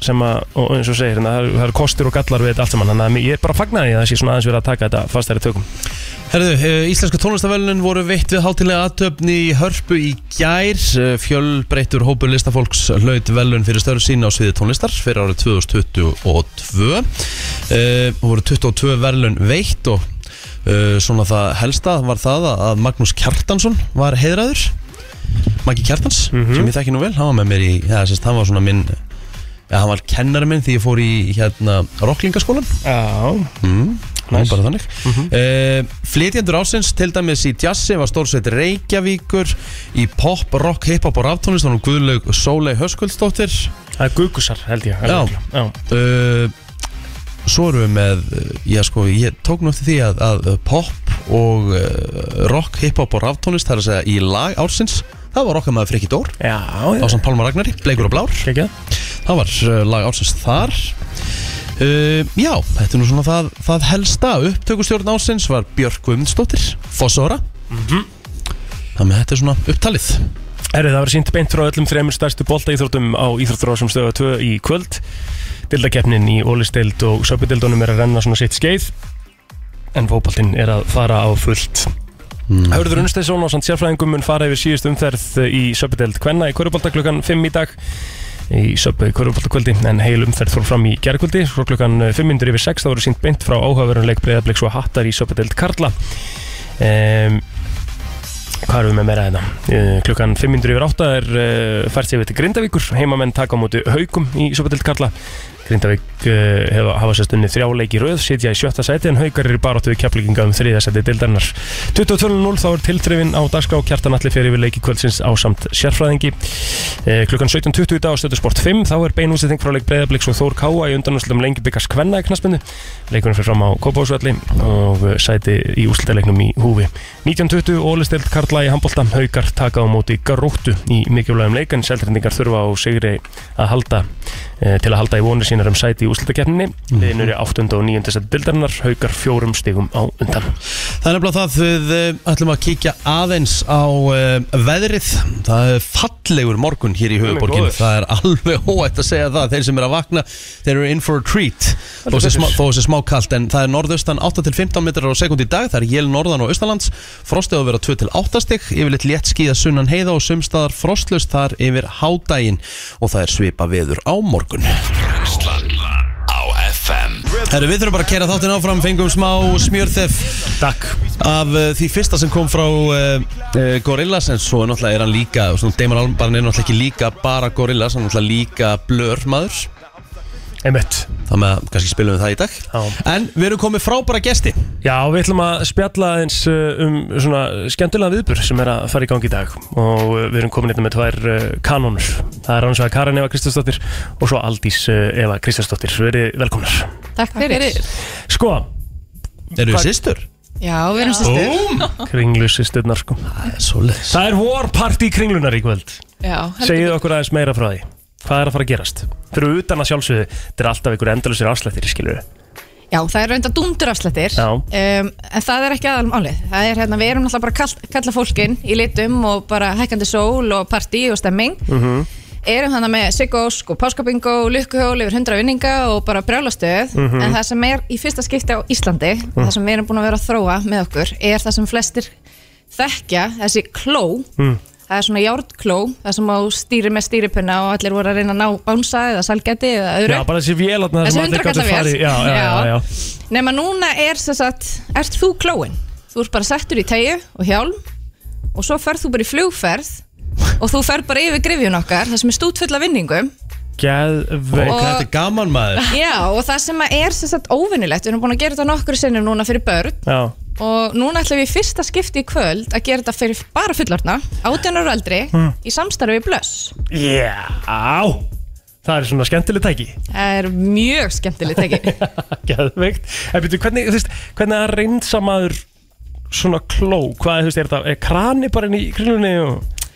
sem að, og eins og segir, hérna, það eru- það eru kostur og gallar við þetta allt saman þannig að ég er bara að fagna því að það sé svona aðeins verið að taka þetta fastari tökum Herðu, eh, Íslenska tónlistavælunin voru veitt við hátilega aðtöfni í Hörpu í gær. Eh, Fjölbreyttur hópur listafólks hlaut velun fyrir störf sín á sviði tónlistar fyrir árið 2022. Eh, Voru 22 velun veitt og eh, svona það helsta var það að- að Magnús Kjartansson var heiðraður. Maggi Kjartans, sem ég þekki nú vel, hann var með mér í, ja, sérst, hann var svona minn, ja, hann var kennari minn því ég fór í hérna rocklingaskólan. Já Mm, nice. Nice. bara þannig mm Flytjendur ásins til dæmis í jazzi var stórsveit Reykjavíkur í pop, rock, hiphop og ráftónlist hann og Guðlaug Sólei Höskuldsdóttir Það er gugusar held ég Já. alveg. Já. uh, Svo erum við með uh, já sko, ég tók nú eftir því að, að uh, pop og uh, rock, hiphop og ráftónlist það er að segja í lag ársins það var okkar maður Frikki Dór Já, já. á samt Pálmar Ragnari, Bleikur og Blár Kekja. það var uh, lag ársins þar uh, Já, þetta er nú svona það, það helsta upptökustjórn ársins var Björk Guðmundsdóttir, Fossóra mm Þannig að þetta er svona upptalið Herri, það var sínt beint frá öllum þremur stærstu boltaíþróttum á Íþróttarásum stöða 2 í kvöld. Dildakeppnin í Ólisteild og Söpudildunum er að renna svona sitt skeið en fókbaltinn er að fara á fullt. Mm. Hörður Unnsteinsson og samt sérfræðingum mun fara yfir síðust umferð í Söpudeld Kvenna í Körubolta klukkan 5 í dag í Söpudeld Körubolta kvöldi en heil umferð fór fram í gerðkvöldi svo klukkan 5 yfir 6 það voru sínt beint frá áhugaverunleik breyðabliks og hattar í Söpudeld Karla. Um, Hvað erum við með meira þetta? Uh, klukkan 500 yfir 8 er uh, fært yfir til Grindavíkur Heimamenn taka á móti haugum í Sopatild Karla Grindavík uh, hefa, hafa sérst unni þrjá leiki í röð Sitja í sjötta sæti en haugar eru baráttu við keflinga um þriða sæti dildarinnar 22.00 þá er tiltrefin á dagskrá Kjartan allir fyrir yfir leiki kvöldsins á samt sérfræðingi uh, Klukkan 17.20 í dag á Stöðusport 5 Þá er beinúsetting frá leik Breiðabliks og Þór Káa í undanúslutum lengi byggast kvenna í knaspinu Leikunum fyrir fram á Kópásvalli og eh, sæti í úslitaleiknum í húfi 1920 Ólistild Karla í handbólta Haukar taka á móti Garóttu í mikilvægum leik en Seldrendingar þurfa á sigri að halda eh, til að halda í vonir sínar um sæti í úslitakeppninni mm. Liðin eru í 8. og 9. seti bildarinnar Haukar fjórum stigum á undan Það er nefnilega það við uh, ætlum að kíkja aðeins á uh, veðrið Það er fallegur morgun hér í höfuborgin góður. Það er alveg óætt að segja það Þeir sem eru að vakna, þeir eru in for a treat Þó Heldur sé betur. smá- þó sé smá kalt En það er norðaustan 8-15 metrar á sekund í dag Það er jél norðan og austalands Frostið á að vera 2-8 stig Yfirleitt létt skíða sunnan heiða og sumstaðar frostlust þar yfir hádægin Og það er svipa veður á morgun Brennslan á FM Herru, við þurfum bara að kera þáttin áfram Fengum smá smjörþef Takk af uh, því fyrsta sem kom frá uh, uh, Gorillaz en svo náttúrulega er hann líka svona Damon Albarn er náttúrulega ekki líka bara Gorillaz, hann er náttúrulega líka blör maður Einmitt þannig að kannski spilum við það í dag Já. en við erum komið frábæra gesti Já, við ætlum að spjalla eins um svona skemmtilega viðbur sem er að fara í gangi í dag og uh, við erum komin hérna með tvær uh, kanónur. Það er annars vegar Karin Eva Kristjánsdóttir og svo Aldís uh, Eva Kristjánsdóttir. Verið velkomnar. Takk fyrir. Sko, eru við Hvað- sýstur? Já, við erum sýstur. kringlu sýsturnar sko. Svoleiðis Það er vorparti kringlunar í kvöld. Já, Segið okkur aðeins meira frá því. Hvað er að fara að gerast? Fyrir utan að sjálfsögðu, þetta er alltaf einhver endalusir afslættir, skilur við. Já, það er reynda dúndur afslættir. Já. Um, en það er ekki aðalum álið. Það er hérna, við erum náttúrulega bara að kall, kalla fólkin í litum og bara hækkandi sól og partí og stemming. Mhm. Erum þannig með Sigósk og Páskabingo, Lukkuhjól yfir 100 vinninga og bara brjálastöð. Mhm. En það sem er í fyrsta skipti á Íslandi, það sem við erum búin að vera að þróa með okkur, er það sem flestir þekkja, þessi kló. Mhm. Það er svona járnkló, það sem á stýri með stýripunna og allir voru að reyna að ná bánsa eða salgæti eða öðru. Já, bara þessi vél þarna Þessi sem allir gátu hundrakallavél. farið- Já, já, já, já. Nefna núna er þess að, ert þú klóin? Þú ert bara settur í tegju og hjálm og svo ferð þú bara í flugferð og þú ferð bara yfir grifjun okkar, það sem er stútfull af vinningum. Geðveik. og þetta er gaman maður Já, og það sem að er þess að óvinnilegt, við erum búin að gera þetta nokkru sinnum núna fyrir börn Já. og núna ætlum við í fyrsta skipti í kvöld að gera þetta fyrir bara fullorna, 18 ára aldri, Hmm. í samstarfi við Blöss. Já, það er svona skemmtileg tæki Það er mjög skemmtilegt, ekki? Geðveikt En byrju, hvernig, þú veist, hvernig að reynsa maður svona kló Hvað, þú veist, er þetta, er krani bara inn í kringlunni og...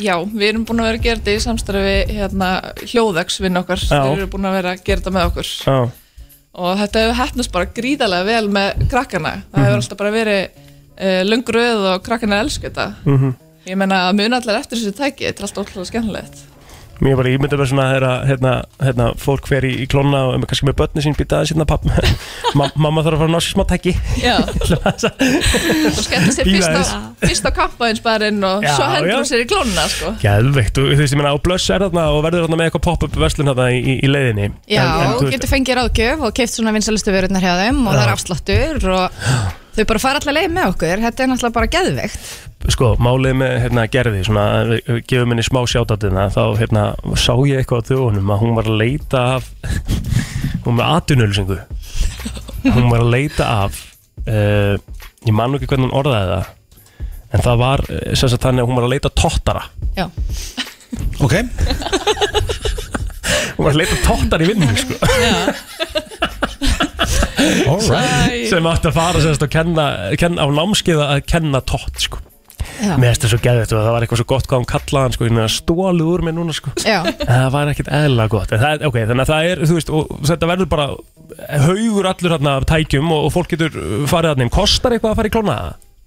Já, við erum búin að vera að gera þetta í samstarfi hérna, hljóðvegs vinn okkar Já. þeir eru búin að vera að gera þetta með okkur Já, og þetta hefur heppnast bara gríðarlega vel með krakkana Mhm. það hefur alltaf bara verið uh, löngur öð Mhm. og krakkana elsku þetta ég meina að muna allar eftir þessu tæki þetta er alltaf ótrúlega skemmtilegt Mér bara ímynda mér svona þegar að hérna, hérna, fólk fer í, í klónna og um, kannski með börni sín býta aðeins hérna papp Ma Mamma þarf að fara að ná sér smá tæki Já, og skella sér Bíða fyrst á, fyrst á kampaðinsbarinn og Já, svo hendur já. hún sér í klónna sko. Gæðveikt, þú þú veist, ég meina á blöss er þarna og verður þarna með eitthvað pop-up verslun þarna í, í- í leiðinni Já, En- en og þú veist- getur fengið ráðgjöf og keift svona vinsalistu vörurnar hjá þeim og það er Já. afsláttur og þau bara fara allar leið með okkur, þetta er náttúrulega bara geðveikt. sko, málið með hérna, gerði svona, við við gefum henni smá sjátatina þá hérna, sá ég eitthvað á þjóðunum að hún var að leita af hún var aðdunulsingu hún var að leita af uh, ég man nú ekki hvernig hún orðaði það en það var eh, sem sagt þannig að hún var að leita tóttara Já. Ok, hún var að leita tóttara í vinnunni sko, alright Æ, sem átti að fara sem sagt, að kenna, kenna, á námskeiða að kenna tótt sko. Já. mér finnst það svo geðvægt og það var eitthvað svo gott hvað hún kallaði hann sko, ég meina, stólið úr mér núna sko. Já, En Það var ekkert eðla gott En það er, ok, þannig að það er, þú veist, og þetta verður bara haugur allur hérna af tækjum og, og fólk getur uh, farið þarna inn Kostar eitthvað að fara í klóna?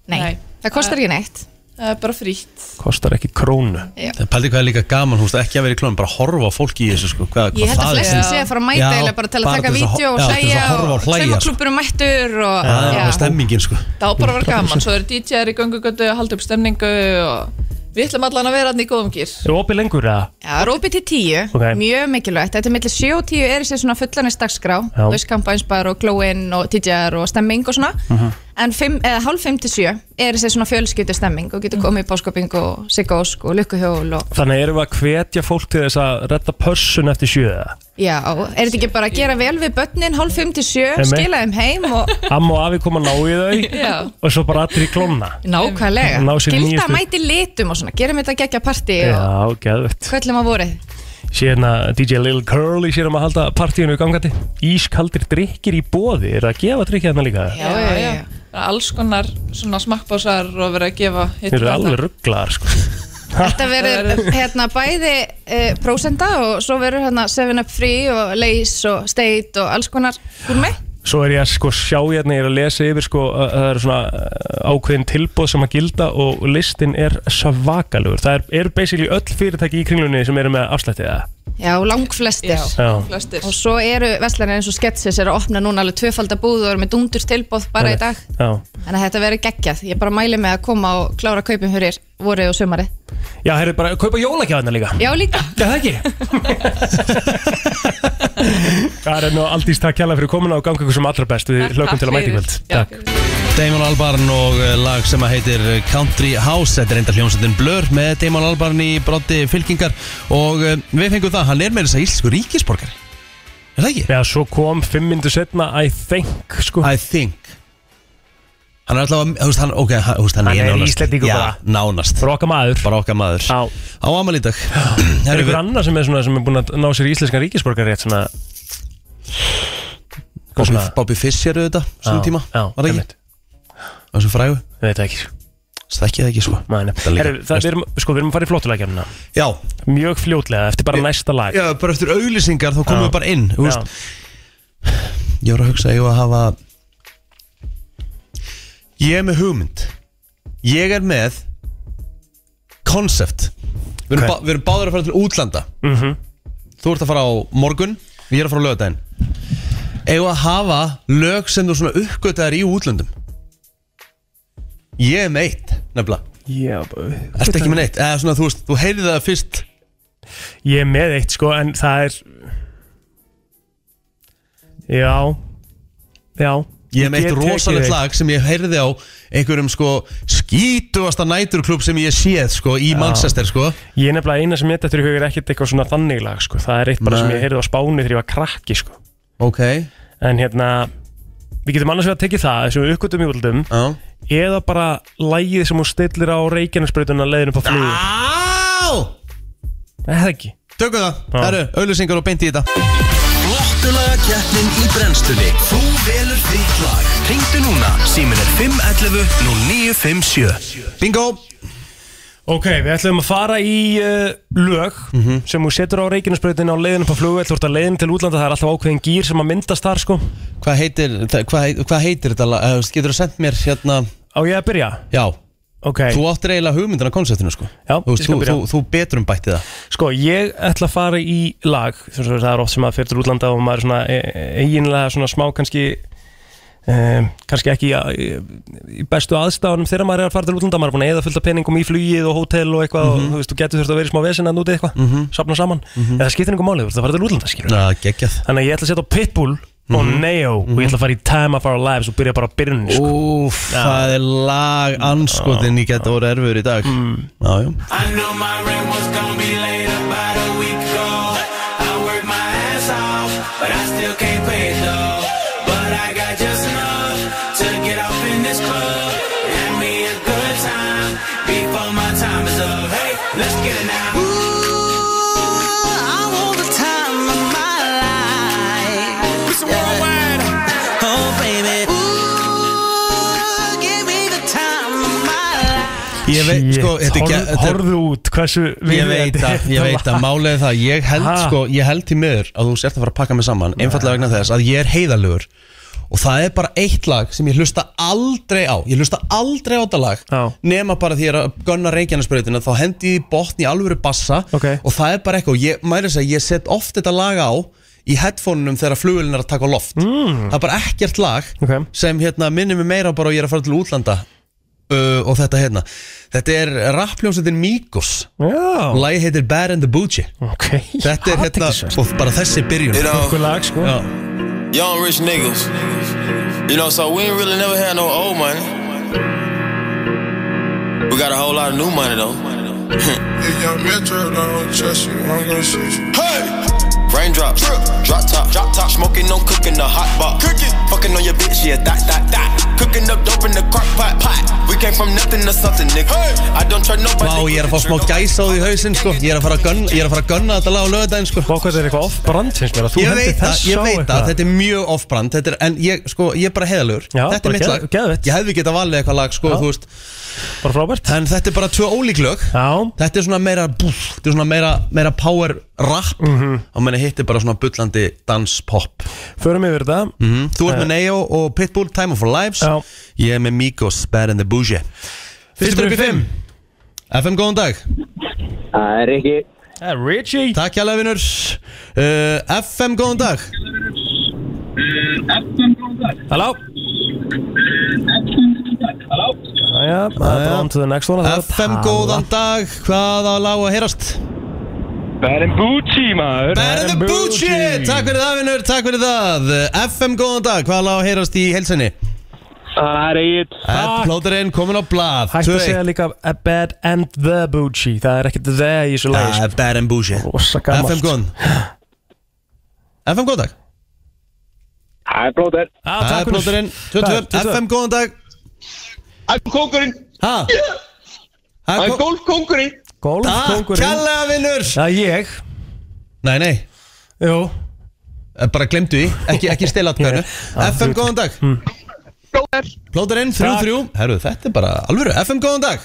nei, Nei. það kostar ekki neitt. það er bara frítt Kostar ekki krónu Það pældi hvað er líka gaman, hún veist ekki að vera í klónum bara horfa á fólki í þessu sko hvað, Ég held að hvað það er flestin sem- sé að fara að mæta Já, eiginlega bara til að bara taka til þess að vídeo ho- og já, til þess hlæja að horfa og og hlæja, sko. saumaklúbburum mættur og Það er bara stemmingin sko Það á bara að vera gaman, svo eru DJ-ar í göngugötu að halda upp stemningu og við ætlum allan að vera hann í góðum gýr Er opið lengur eða? Já, rópið til tíu, Ok. mjög mikilvægt Þetta er millir 7 og 10 er þessi svona fullanist dagskrá Já. Þú veist kampænsbar og glóin og tíjar og stemming og svona Mhm. En fimm, eða, hálf 5 til 7 er þessi svona fjölskyldu stemming og getur komið í báskoping og siggósk og lukkuhjól og Þannig erum við að hvetja fólk til þess að retta pössun eftir sjöða já, er þetta ekki bara að gera vel við börnin hálf 5 til 7, Einmitt. skila þeim heim og Amma og afi koma að ná í þau Já. og svo bara allir í klóna nákvæmlega, Ná sér gilda nýjustu- að mæti litum og svona, gerum þetta geggja partí og Já, geðvett kvöllum á vorið Sérna DJ Lil Curly sér um að halda partíinu í gangandi Ískaldir drikkir í bóði, er það að gefa drikkir þarna líka? Já, já, já. Það er Alls konar svona smakkbásar og verið að gefa hitt Þeir eru og alveg rugglaðar sko Þetta verður hérna bæði e, prósenda og svo verður hérna 7up free og lace og state og alls konar gúrmi. Svo er ég að sko sjá hérna, ég er að lesa yfir sko, að það eru svona uh, ákveðin tilbóð sem að gilda og listin er svakalugur. Það er, er basically öll fyrirtæki í kringlunni sem eru með afslættið það. Já, langflestir. Já. Já. flestir Og svo eru veslanir eins og sketsis er að opna núna alveg tvöfaldabúð og eru með dundur tilbóð bara í dag. Já. Þannig að þetta verður geggjað. Ég bara mæli með að koma og klára kaupin fyrir vorið og sömarið. Já, það eru bara að kaupa jólagjáðina líka. Já, líka. Já, það ekki. það er nú aldís takk kjalla fyrir komuna og ganga ykkur sem allra best. Við hlökum til að mæti kvöld. Takk. Damon Albarn og eh, lag sem að heitir Country House, þetta er enda hljómsveitin Blur með Damon Albarn í brotti fylkingar og eh, við fengum það, hann er með þess að íslensku ríkisborgar Er það ekki? Já, svo kom fimm myndu setna, I think, sko. I think Hann er allavega, þú veist, hann, ok, hann, þú veist, hann, Hann er nánast- Íslendingur Já, bara. nánast Broka maður. Bara okkar maður Já. Á amal í dag Er Herru, ykkur við- annað sem er svona sem er búin að ná sér í íslenskan ríkisborgarétt svona Hvað Bobby, svona? Bobby Fischer auðvitað, svona tíma Já, Var það ekki? einmitt. Það er svo frægu Ég veit það ekki sko. Stekki það ekki svo Mæna. Það líka. Herru, það við erum, sko, við erum að fara í flottulegjörnuna Já, Mjög fljótlega, eftir bara næsta lag já, bara eftir auglýsingar þá komum Já. við bara inn Þú veist, Já. Ég var að hugsa að ég var að hafa Ég er með hugmynd Ég er með Concept Við erum, Ok. bá, við erum báður að fara til útlanda -hmm. Þú ert að fara á morgun Ég er að fara á lögadaginn Eða að hafa lög sem þú svona uppgötaðar í útlöndum Ég er með eitt nefnilega Já, Ertu ekki með neitt? Eða svona þú veist, þú heyrði það fyrst Ég er með eitt sko, en það er Já Já Ég hef meitt get tekið rosalegt eitt. lag sem ég heyrði á einhverjum sko skítugasta næturklub sem ég séð sko í Manchester sko Ég er nefnilega eina sem ég þetta í hug er ekkert eitthvað svona þannig lag sko. Það er eitt bara sem Nei. ég heyrði á spáni þegar ég var krakki sko. Ok En hérna Við getum annars vegar tekið það sem við uppgötum í útlutum Já Eða bara lagið sem hún stillir á reikjarnarsbreytuna leiðin upp á flug ah. Á! Eða ekki Tökum það, það eru auðlýsingar og beint í þetta Flottulaga keppnin í brennstunni Þú velur þitt lag Ringdu núna, símin er 511 0957 Bingo Ok, við ætlum að fara í uh, lög Mhm. sem þú setur á reikinarsprautin á leiðin upp á flugveld, þú ert að leiðin til útlanda, það er alltaf ákveðin gýr sem að myndast þar sko. Hvað heitir, það- hvað heit- hvað heitir þetta lag? Eh, Getur þú sendt mér hérna Á ég að byrja? Já ok Þú áttir eiginlega hugmyndin af konseptinu sko Já, Þú, ég veist, skal þú, þú, byrja. þú betrum bætti það Sko, ég ætla að fara í lag þú veist, það er oft sem að fyrir til útlanda og maður er svona e- e- eiginlega svona smá kannski um, kannski ekki ja, í í bestu aðstáðunum þegar maður er að fara til útlanda, maður er búin að eða fullta peningum í flugið og hótel og eitthvað Mhm. og þú veist, þú getur þurft að vera í smá vesinn að núti eitthvað, safna saman en það skiptir einhver máli, þú veist, það fara til útlanda skilur Na, geggjað þannig að ég ætla að setja á Pitbull og Mhm. Neo og ég ætla að fara í Time of Our Lives og byrja bara að byrjun sko. Úf, það er lag anskotin ég geta voru erfiður í dag mm. Já, já I know my rent was gonna be late about a week ago. I worked my ass off, but I still can't pay it though. But I got just enough to get off in this club. Have me a good time before my time is up. Hey, let's get it now. Ég veit, sko, þetta er Shit, ge- þetta er- horfðu út hversu Ég veit að, ég veit að, málið er það Ég held, Ha? sko, ég held til miður að þú sért að fara að pakka mig saman Einfallega vegna þess að ég er heiðalugur Og það er bara eitt lag sem ég hlusta aldrei á Ég hlusta aldrei á þetta lag Já. Nema bara því ég er að gönna reikjarnasbreytina Þá hendi ég í botn í alvöru bassa Ok. Og það er bara eitthvað Og ég, mæri þess að ég set oft þetta lag á Í headphoneunum þegar flugulinn er að taka á loft mm. Það er bara ekkert lag Ok. Sem hérna minnir mig meira bara og ég er að fara til útlanda uh, Og þetta hérna Þetta er rappljómsveitin Migos Já, Lægi heitir Bad and the Boochie ok Þetta er hérna, Athyglisvert. og bara þessi byrjun You know, Okkur lag sko Já, young rich niggas. You know, so we ain't really never had no old money. We got a whole lot of new money though. If young Metro don't trust you, I'm gonna shoot you. Raindrops, drop top, drop top, smoking on cooking the hot pot, cooking, fucking on your bitch, yeah, dot dot dot, cooking up dope in the crock pot, pot. We came from nothing to something, nigga. I don't try nobody. Vá, ég er að fá smá gæsa á því hausinn sko Ég er að fara að gunna, ég er að fara að gunna þetta lag á lögadaginn sko Bá hvað þetta er eitthvað off-brand finnst mér að þú Ég hendir veit það, þess ég á veit það, eitthvað. þetta er mjög off-brand Þetta er, en ég, sko, ég er bara heiðalögur Já, Þetta bara er mitt geð- lag geðveikt. Ég hefði getað valið eitthvað lag, sko, Já. þú veist Bara frábært En þetta er bara tvö ólík lög Já, Þetta er svona meira, búf, þetta er svona meira, meira power rap Mhm. Og meni hitt er bara svona bullandi dans-pop förum yfir þetta Mhm. Þú ert með Neo og Pitbull, Time of Our Lives Já. Ég er með Migos, Bad and the Bougie Fyrstur upp í fimm FM, góðan dag Það er ekki Eh, Richie Takk hjá vinur uh, FM, góðan dag Halló Jæja, það er on to the next one það er að FM, tala. góðan dag Hvaða lág að heyrast? Bad and the Bougie Takk fyrir það, vinur, takk fyrir það Uh, FM, góðan dag Hvaða lág að heyrast í helsinni? Það er ekki Takk. Plóterinn komin á blað Hættu að 2-1. segja líka a bad and the bougie Það er ekkert the í þessu lagi Það sko. er Bad and Bougie Rosa gamalt. FM, góðan FM, góðan dag Það er blóður Ah, Það takk er fyrir. plóterinn Það er 22 22. FM, góðan dag I'm kókurinn, Ha? I'm Það er góð golfkókurinn Ah, Takk, Golfkóngurinn kjallega vinnur Já, ég Nei, nei, Jú eh, bara glemdu því Ekki, ekki stela atkvæðinu Já, Hmm. FM, þú- góðan dag Blóður Plóterinn, 3-3 Herru, þetta er bara alvöru FM, góðan dag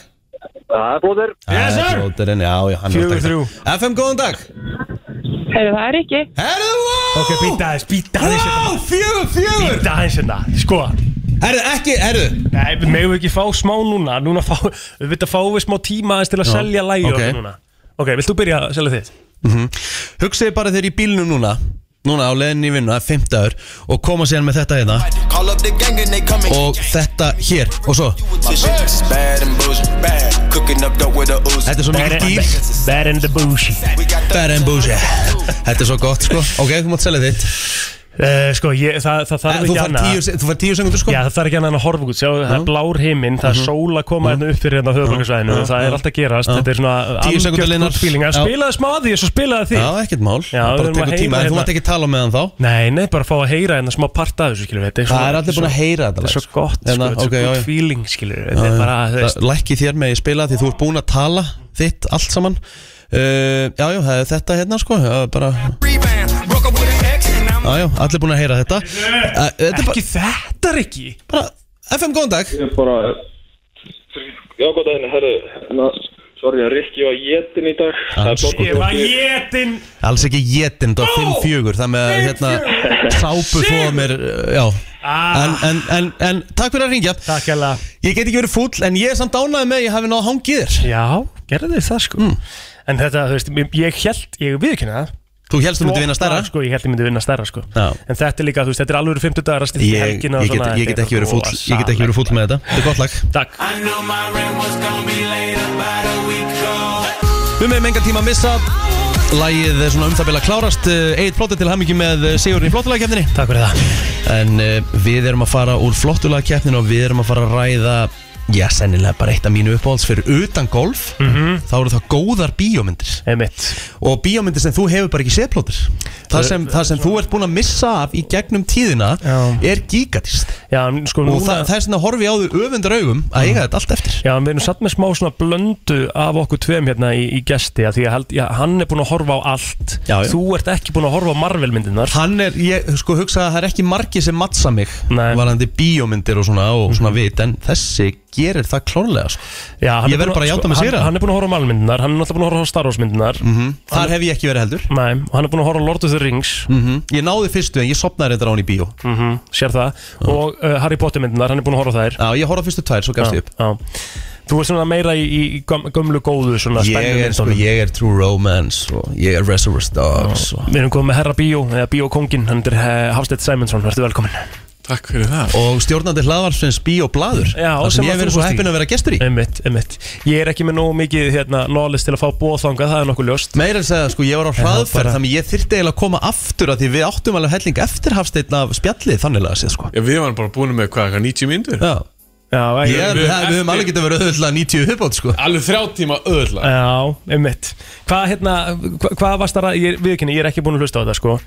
Það er blóður Yes, sir. Plóterinn, já, já, hann er að taka 4-3. þetta. FM, góðan dag Heyrðu, það er ekki. Herru, wow Ok, býta aðeins, býta aðeins hérna. Wow, fjögur, fjögur Býta aðeins hérna Sko Herru, ekki, herru Nei, við megum ekki fá smá núna Núna fá Við veit að fá við smá tíma aðeins til að selja lagi ok. okay. núna Ok, vilt þú byrja að selja þitt? Hugsaði Mhm. bara þeir í bílnum núna Núna á leðinni í vinnu, það er 50 ár Og koma síðan með þetta hérna Call up the gang and they come and Og þetta hér, og svo My bitch is bad and bougie, bad, cooking up dope with a ooze. Þetta er svo mikið dýr Bad and the bougie We got the Bad and bougie Þetta er svo gott, sko Ok, þú mátt selja þitt uh, Sko, ég, það, það þarf Eh, Þú ekki fær annað tíu, þú fær tíu sekundur, sko Já, það þarf ekki annað en að horfa út, sjá, það er blár heiminn, það Mhm. er sól að koma hérna upp fyrir hérna á höfuborgarsvæðinu og það er allt að gerast, þetta er svona Tíu sekúndur algjört linar. gott feeling, að Já. spilaði smá að því og svo spilaði því. Já, ekkert mál Já, við Það bara erum að tekur heyra tíma En þú hérna. mátt ekki tala með hann þá Nei, nei, bara fá að heyra hérna smá part af þessu, skilur við, þetta er Það er allir búin að heyra þetta þetta er lag, svo sko. gott, sko, Hérna, þetta er svo ok, já, gott já. feeling, skilur við, þetta er bara, þú veist, Það- Lækki þér með ég spila því þú ert búin að tala þitt allt saman uh, Já, já, það er þetta hérna sko já, bara, rebound, broke up with an ex and I'm já, já, allir búin að heyra þetta uh, Þetta er bara, ekki þetta er ekki. bara FM, góðan dag Ég er bara Já, gott að henni, herru hérna, Sorry, að Rikki var jetin í dag Ah, Það er Hans. blokkur Ég var jétin, Alls ekki jetin, þetta var 5-4 Það með að hérna sápu þóða mér uh, Já, en, en, en, en takk fyrir að ringja Takk hella Ég get ekki verið fúll en ég er samt ánaði með að ég hafi náð hangiðir Já, gerði þið það sko En þetta, þú veist, ég- ég held, ég viðkynna það Hmm. Þú helst þú myndi vinna stærra? Sko, ég held ég myndi vinna stærra sko Já. En þetta er líka, þú veist, þetta er alveg 50 dagar að Ég, stilla ég, helgina og get, svona, ég get þetta er ekki verið fúll Ég get ekki verið fúll með þetta Þetta er gott lag Takk Við meðum enga tíma að missa Lægið er svona um það bila klárast Eitt plóti til hamingi með eh, Sigurinn í flottulagkeppninni Takk fyrir það En eh, við erum að fara úr flottulagkeppninni Og við erum að fara að ræða Já, sennilega bara eitt af mínu uppáhalds Fyrir utan golf Mhm. Þá eru það góðar bíómyndir Einmitt. Og bíómyndir sem þú hefur bara ekki séð plótir Það sem, það sem þú ert búin að missa af Í gegnum tíðina er gigatist Já, en sko Og núna- það, það er svona horfi á þau öfundar augum Að eiga þetta allt eftir Já, en við erum satt með smá svona blöndu af okkur tveim hérna í, í gesti að því að held, já, hann er búin að horfa á allt já, já. þú ert ekki búin að horfa á Marvel myndinar Hann er, ég sko hugsa að það er ekki margi sem mattsa mig Nei. varandi bíómyndir og svona og Mhm. svona vit en þessi gerir það klárlega sko. já, hann Ég er búinn verð bara að játa mig Mhm. hann- sigra. Hann er búin að horfa á Marvel myndinar, hann er náttúrulega búin að horfa á Star Wars myndinar -hmm. Þar hef ég ekki verið heldur Nei, og hann er búin að horfa á Lord of the Rings mm Ég náði fyrstu en ég sopnaði reyndar á hann í bíó mm Sér það Og uh, Harry Potter myndinar, hann er búin að horfa á þær Já, ég horfa á fyrstu tvær, svo gafst ég upp já. Þú er svona meira í, í göm- gömlu góðu svona Ég er, sko, spennumyndunum. ég er True Romance og ég er Reservoir Dogs og... Við erum komið með Herra Bíó, eða Bíókongin, hann er eh, Hafsteinn Sæmundsson, verður velkominn Takk fyrir það Og stjórnandi hlaðvarsfinns bíóblaður Já, Það sem ég hef verið svo heppin að vera gestur í einmitt, einmitt. Ég er ekki með nógu mikið hérna, knowledge til að fá bóðþangað, það er nokkuð ljóst Meira að segja, sko, ég var á hraðferð þannig ég þyrfti eiginlega að koma aftur að því við áttum alveg helling eftir hafsteinn af spjallið þannig að segja sko. Já, við varum bara búin með hvað, eitthvað 90 myndur Já, já Ég er, við, við höfum alveg getið að vera auðvitað 90 uppátt sko Alveg þrjá tíma öðla Já, einmitt Hvað hérna, hva, hvað varst að ræða, viðkynni, ég er ekki búin að hlusta á þetta sko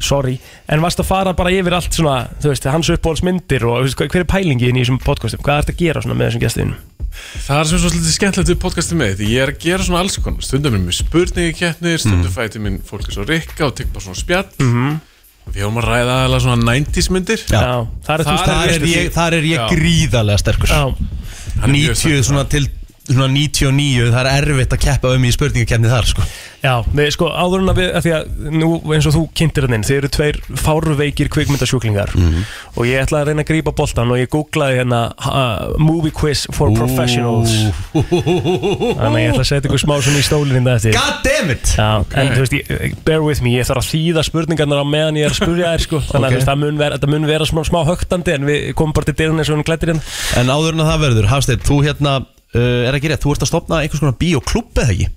Sorry, en varst að fara bara yfir allt svona, þú veist, hans uppbólsmyndir og þú veist, hver er pælingin í þessum podcastum, hvað ert að gera svona með þessum gestinum? Það er sem svo svolítið skemmtilegt við podcastið með því ég er að gera svona alls konar, stundum er mér spurningakeppnir stundum mm. fæti minn fólk er svo rikka og tek bara svona spjall Mhm. Við höfum að ræða aðalega svona 90s myndir Já. Já, þar er þú sterkur. Þar er ég- þar er ég gríðarlega sterkur Já. 90 svona til svona 99 það er erfitt að keppa um í spurningakefni þar sko Já, við, sko, áður en að við, að því að nú eins og þú kynntir hann inn, þið eru tveir fárveikir kvikmyndasjúklingar Mhm. og ég ætlaði að reyna að grípa boltan og ég googlaði hérna uh, Movie Quiz for Professionals Þannig að ég ætla að setja ykkur smá svona í stólinn þetta eftir God damn it! Já, en þú veist, ég, bear with me, ég þarf að þýða spurningarnar á meðan ég er að spurja þær sko Þannig að Ok. þú veist, það mun vera, það mun vera smá, smá högtandi en við komum bara til dyrun eins og hún glættir hérna En áður en að það verður, Hafsteinn, þú hérna uh, er ekki rétt, þú ert að stopna einhvers konar bíóklubb eða ekki?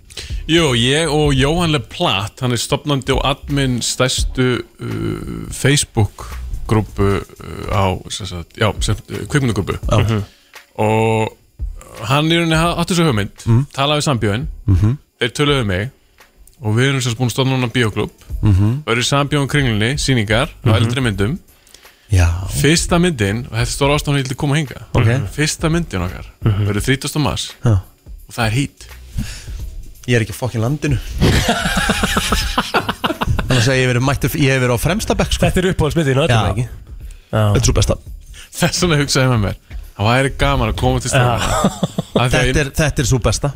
Jú, ég og Jóhann Le Platt, hann er stopnandi og admin stærstu uh, Facebook grúpu uh, á, sem sagt, já, sem, uh, kvikmyndagrúpu Já. og hann í rauninni ha- átti svo hugmynd Mhm. talaði við sambjóðin, Mhm. þeir töluðu mig og við erum sem sagt búin að stopna hann á bíoklub Mhm. verið sambjóðin kringlunni, síningar Mhm. á eldri myndum Já. fyrsta myndin, og þetta er stóra ástæðan ég til að koma hinga Ok. fyrsta myndin okkar Mhm. verið 30. mars Já. og það er hít Ég er ekki fokkin landinu Þannig að ég hef verið mættur, ég hef verið á fremsta bekk sko Þetta er uppáhaldsmyndin, þetta er ekki Þetta er svo besta Þess vegna hugsaði ég með mér Það væri gaman að koma til stofan Þetta er, þetta er svo besta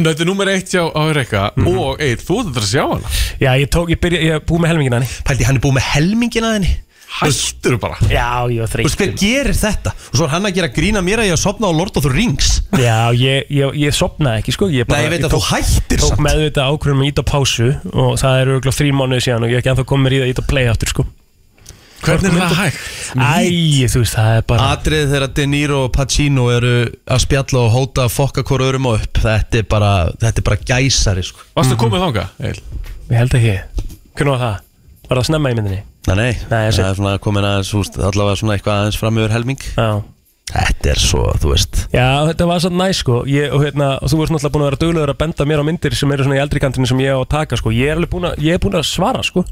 Þetta er nummer eitt hjá á Rekka Og eitt, þú ætlar að sjá hana Já, ég tók, ég byrja, ég er búið með helmingina henni Pældi, hann er búið með helmingina henni Hættur bara Já, ég var Þú veist þreytt hver gerir þetta? Og svo er hann að gera grína mér að ég að sopna á Lord of the Rings Já, ég, ég, ég sopnaði ekki sko ég bara, Nei, ég veit að þú hættir Tók samt. meðvitað ákvörðum að íta á pásu og það er örgulega þrý mánuði síðan og ég er ekki ennþá komið mér í það íta á play aftur sko Hvernig er það hægt? Æ, þú veist, það er bara Atrið þegar De Niro og Pacino eru að spjalla og hóta að fokka hvora örum og upp Þetta er bara, þetta er bara gæsari sko Varstu að koma í þanga? Ég held ekki Hvernig var það? Var það snemma í myndinni? Nei, nei, Nei, ég sé. það er svona komin aðeins, húst, allavega svona eitthvað aðeins fram yfir helming Já Þetta er svo, þú veist Já, þetta var satt næ sko ég, og, hérna, og þú ert náttúrulega búin að vera duglegur að benda mér á myndir sem eru svona í eldri kantinu sem ég á að taka sko Ég er alveg búin að, ég er búin að svara sko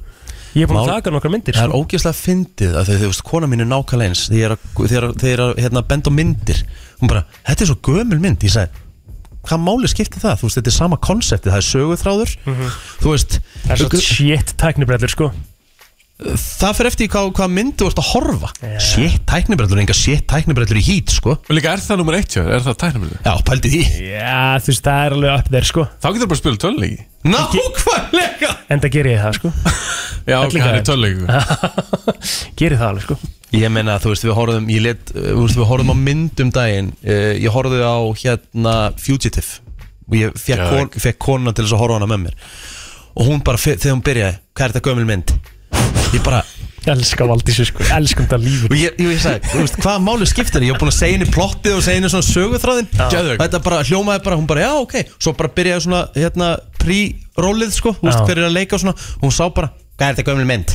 Ég er búin að Mál- taka nokkra myndir Það er sko ógeðslega fyndið að þau, þau veist, kona mín er nákvæmlega eins þegar þeir eru þeir eru, hérna, að benda á myndir hún bara, þetta er svo gömul mynd ég sagði, hvað máli skipti það þú veist, þetta er sama konseptið, það er söguþráður þú veist Mhm. Það er svo shit tæknibrellir sko það fer eftir í hvað, hvað mynd þú ert að horfa shit tæknibrellur, enga shit tæknibrellur í hít sko. og líka er það nummer eitt hjá þér? Er það tæknabröðu? Já, pældi því Já, þú veist, það er alveg upp þér sko Þá getur bara að spila tölleiki Nákvæmlega En það gerir ég það sko Já, ok, Hellingar hann er eins. tölleiki Gerir það alveg sko Ég meina, þú veist, við horfðum ég let, uh, þú veist, við horfðum á myndum daginn uh, ég horfði á hérna Fugitive og ég fekk, kon, fekk konuna til þess að horfa á hana með mér og hún bara, fe- þegar hún byrjaði hvað er þetta gömul mynd? Ég bara Elskar Valdísu sko, elskum þetta lífur Og ég, ég, ég sagði, þú veist, hvaða máli skiptir Ég var búin að segja henni plottið og segja henni svona söguþráðin Geðveik. Þetta bara hljómaði bara, hún bara, já, ok Svo bara byrjaði svona, hérna, pre-rollið, sko Þú veist, Já. fyrir að leika og svona Hún sá bara, hvað er þetta gömul mynd?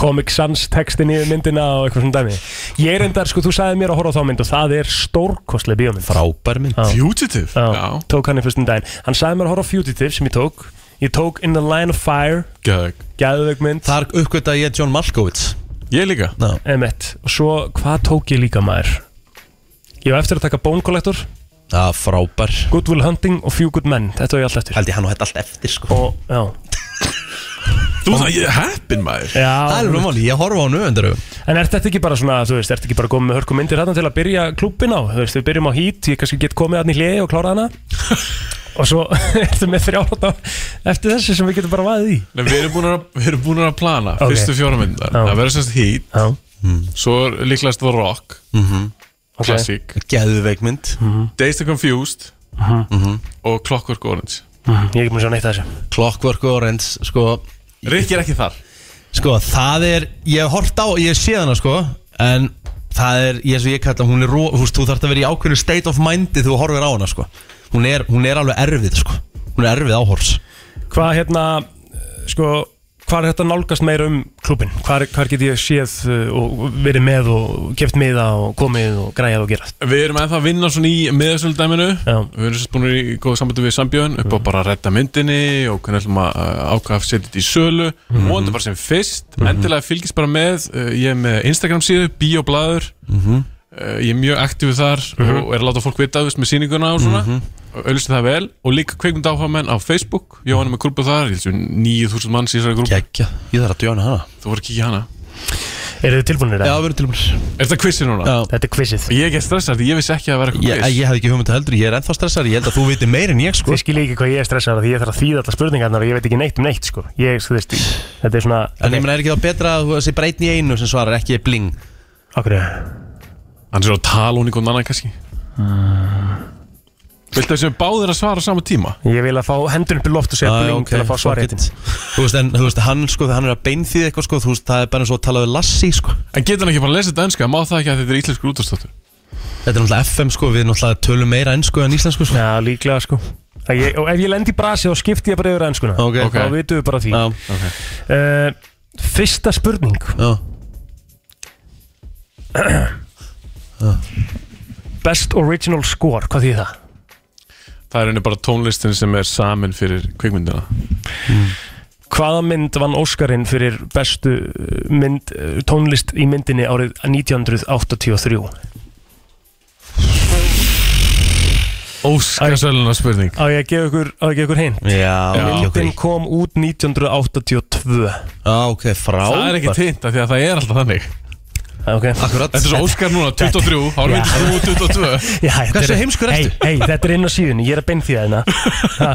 Comic Sans textin í myndina og eitthvað svona dæmi Ég er endar, sko, þú sagði mér að horfa á þá mynd og það er stórkostlega bíómynd Frábær mynd, Fugitive Já, tók hann í fyrstum daginn Hann sagði mér að horfa á Fugitive sem ég tók Ég tók In the Line of Fire Gæðveg Gæðveg mynd Þar uppgötaði ég John Malkovich Ég líka no. Emmett, og svo hvað tók ég líka maður? Ég var eftir að taka Bone Collector Já, frábær Good Will Hunting og Few Good Men, þetta var ég alltaf eftir Held ég hann og þetta alltaf eftir, sko Og, já Þú það, ég er heppin maður Já, Það er alveg máli, ég horfa á nöfendur En ert þetta ekki bara svona, þú veist, ert ekki bara komið með hörku myndir hérna til að byrja klúbin á? Þú veist, við byrjum á hít, ég kannski get komið hann í hliði og klárað hana Og svo ertu með þrjárat á eftir þessu sem við getum bara vaðið í Nei, við erum búin að, við erum búin að plana Ok. fyrstu fjórmyndar Já. Það verður semst Heat Svo er líklegast The Rock mm -hmm. okay. Classic Geðveikmynd Days to Confused Mhm. Og Clockwork Orange Ég er ekki mér svo neitt að þessu Clockwork Orange, sko Rikki er ekki þar Sko, það er, ég hef hort á, ég sé hana sko En það er, ég, eins og ég kalla, hún er ró, þú veist, þú þarf að vera í ákveðinu state of mindi Þú horfir á hana sko Hún er, hún er alveg erfið sko Hún er erfið áhors Hvað hérna, sko, hvað er þetta nálgast meira um klúbin? Hvað, hvað get ég séð uh, og verið með og keft miða og komið og græjað og gerað? Við erum ennþá að vinna svona í miðasöldæminu Við erum sérst búin í góð sambandi við sambjöðun upp á Mhm. bara að redda myndinni og hvernig ætlum að uh, ákvaða að setja þetta í sölu mm Mhm. -hmm. bara sem fyrst, endilega fylgist bara með uh, ég er með Instagram síðu, bioblaður Mhm. uh, ég er mjög aktífið þar Mhm. og er að láta fólk vita þú veist, með sýninguna og svona Mhm. og auðvitað það vel og líka kveikmynd áhugamenn á Facebook Jóhann er Mhm. með grúpu þar, ég held sem 9000 manns í þessari grúpu Kekja, ég þarf að djóna hana Þú voru að kíkja í hana Eru þið tilbúinir? Já, við erum tilbúinir Er þetta quizið núna? Já. Þetta er quizið Ég er ekki stressað, því ég vissi ekki að vera eitthvað Ég, quiz ég hef ekki hugmynda heldur, ég er ennþá stressar Ég held að þú veitir meir en ég sko Þið skiljið ekki hvað ég er stressað því ég þarf að þýða allar spurningarnar og ég veit ekki neitt um neitt sko. ég, þú veist, þetta er svona En ég meina, er ekki þá betra að þú sé bara einn í einu sem svarar ekki bling Akkur Hann er að tala hún í einhvern annan kannski Ah. Viltu þessum báðir að svara á sama tíma? Ég vil að fá hendur upp í loft og segja Ah, bling ok, til að fá fuck svarið it. Þú veist, en þú veist, hann sko, þegar hann er að beinþýða eitthvað sko, þú veist, það er bara eins og að tala við Lassi sko En getur hann ekki bara að lesa þetta enska? Má það ekki að þetta er íslensku útastóttur? Þetta er náttúrulega FM sko, við náttúrulega tölum meira ennsku en íslensku sko Já, líklega sko Það Ég, og ef ég lend í brasi þá skipti ég bara yfir ennskuna Ok. Ok. Þá vitum við bara því Já. uh, Fyrsta spurning Já. Best original score, hvað þýð það? Það er henni bara tónlistin sem er samin fyrir kvikmyndina Hvaða mynd vann Óskarinn fyrir bestu uh, mynd, uh, tónlist í myndinni árið 1983? Óskarsöluna spurning Á ég að gefa ykkur, á ég að gefa ykkur hint Já, Já. Myndin kom út 1982 Já, ok, frá Það er ekki tint af því að það er alltaf þannig Ok Þetta er svo Óskar núna, 23, ára mynd 22 Já, þetta Hversu er- heimskur Hey, ertu? hey, þetta er inn á síðun, ég er að bein því að hérna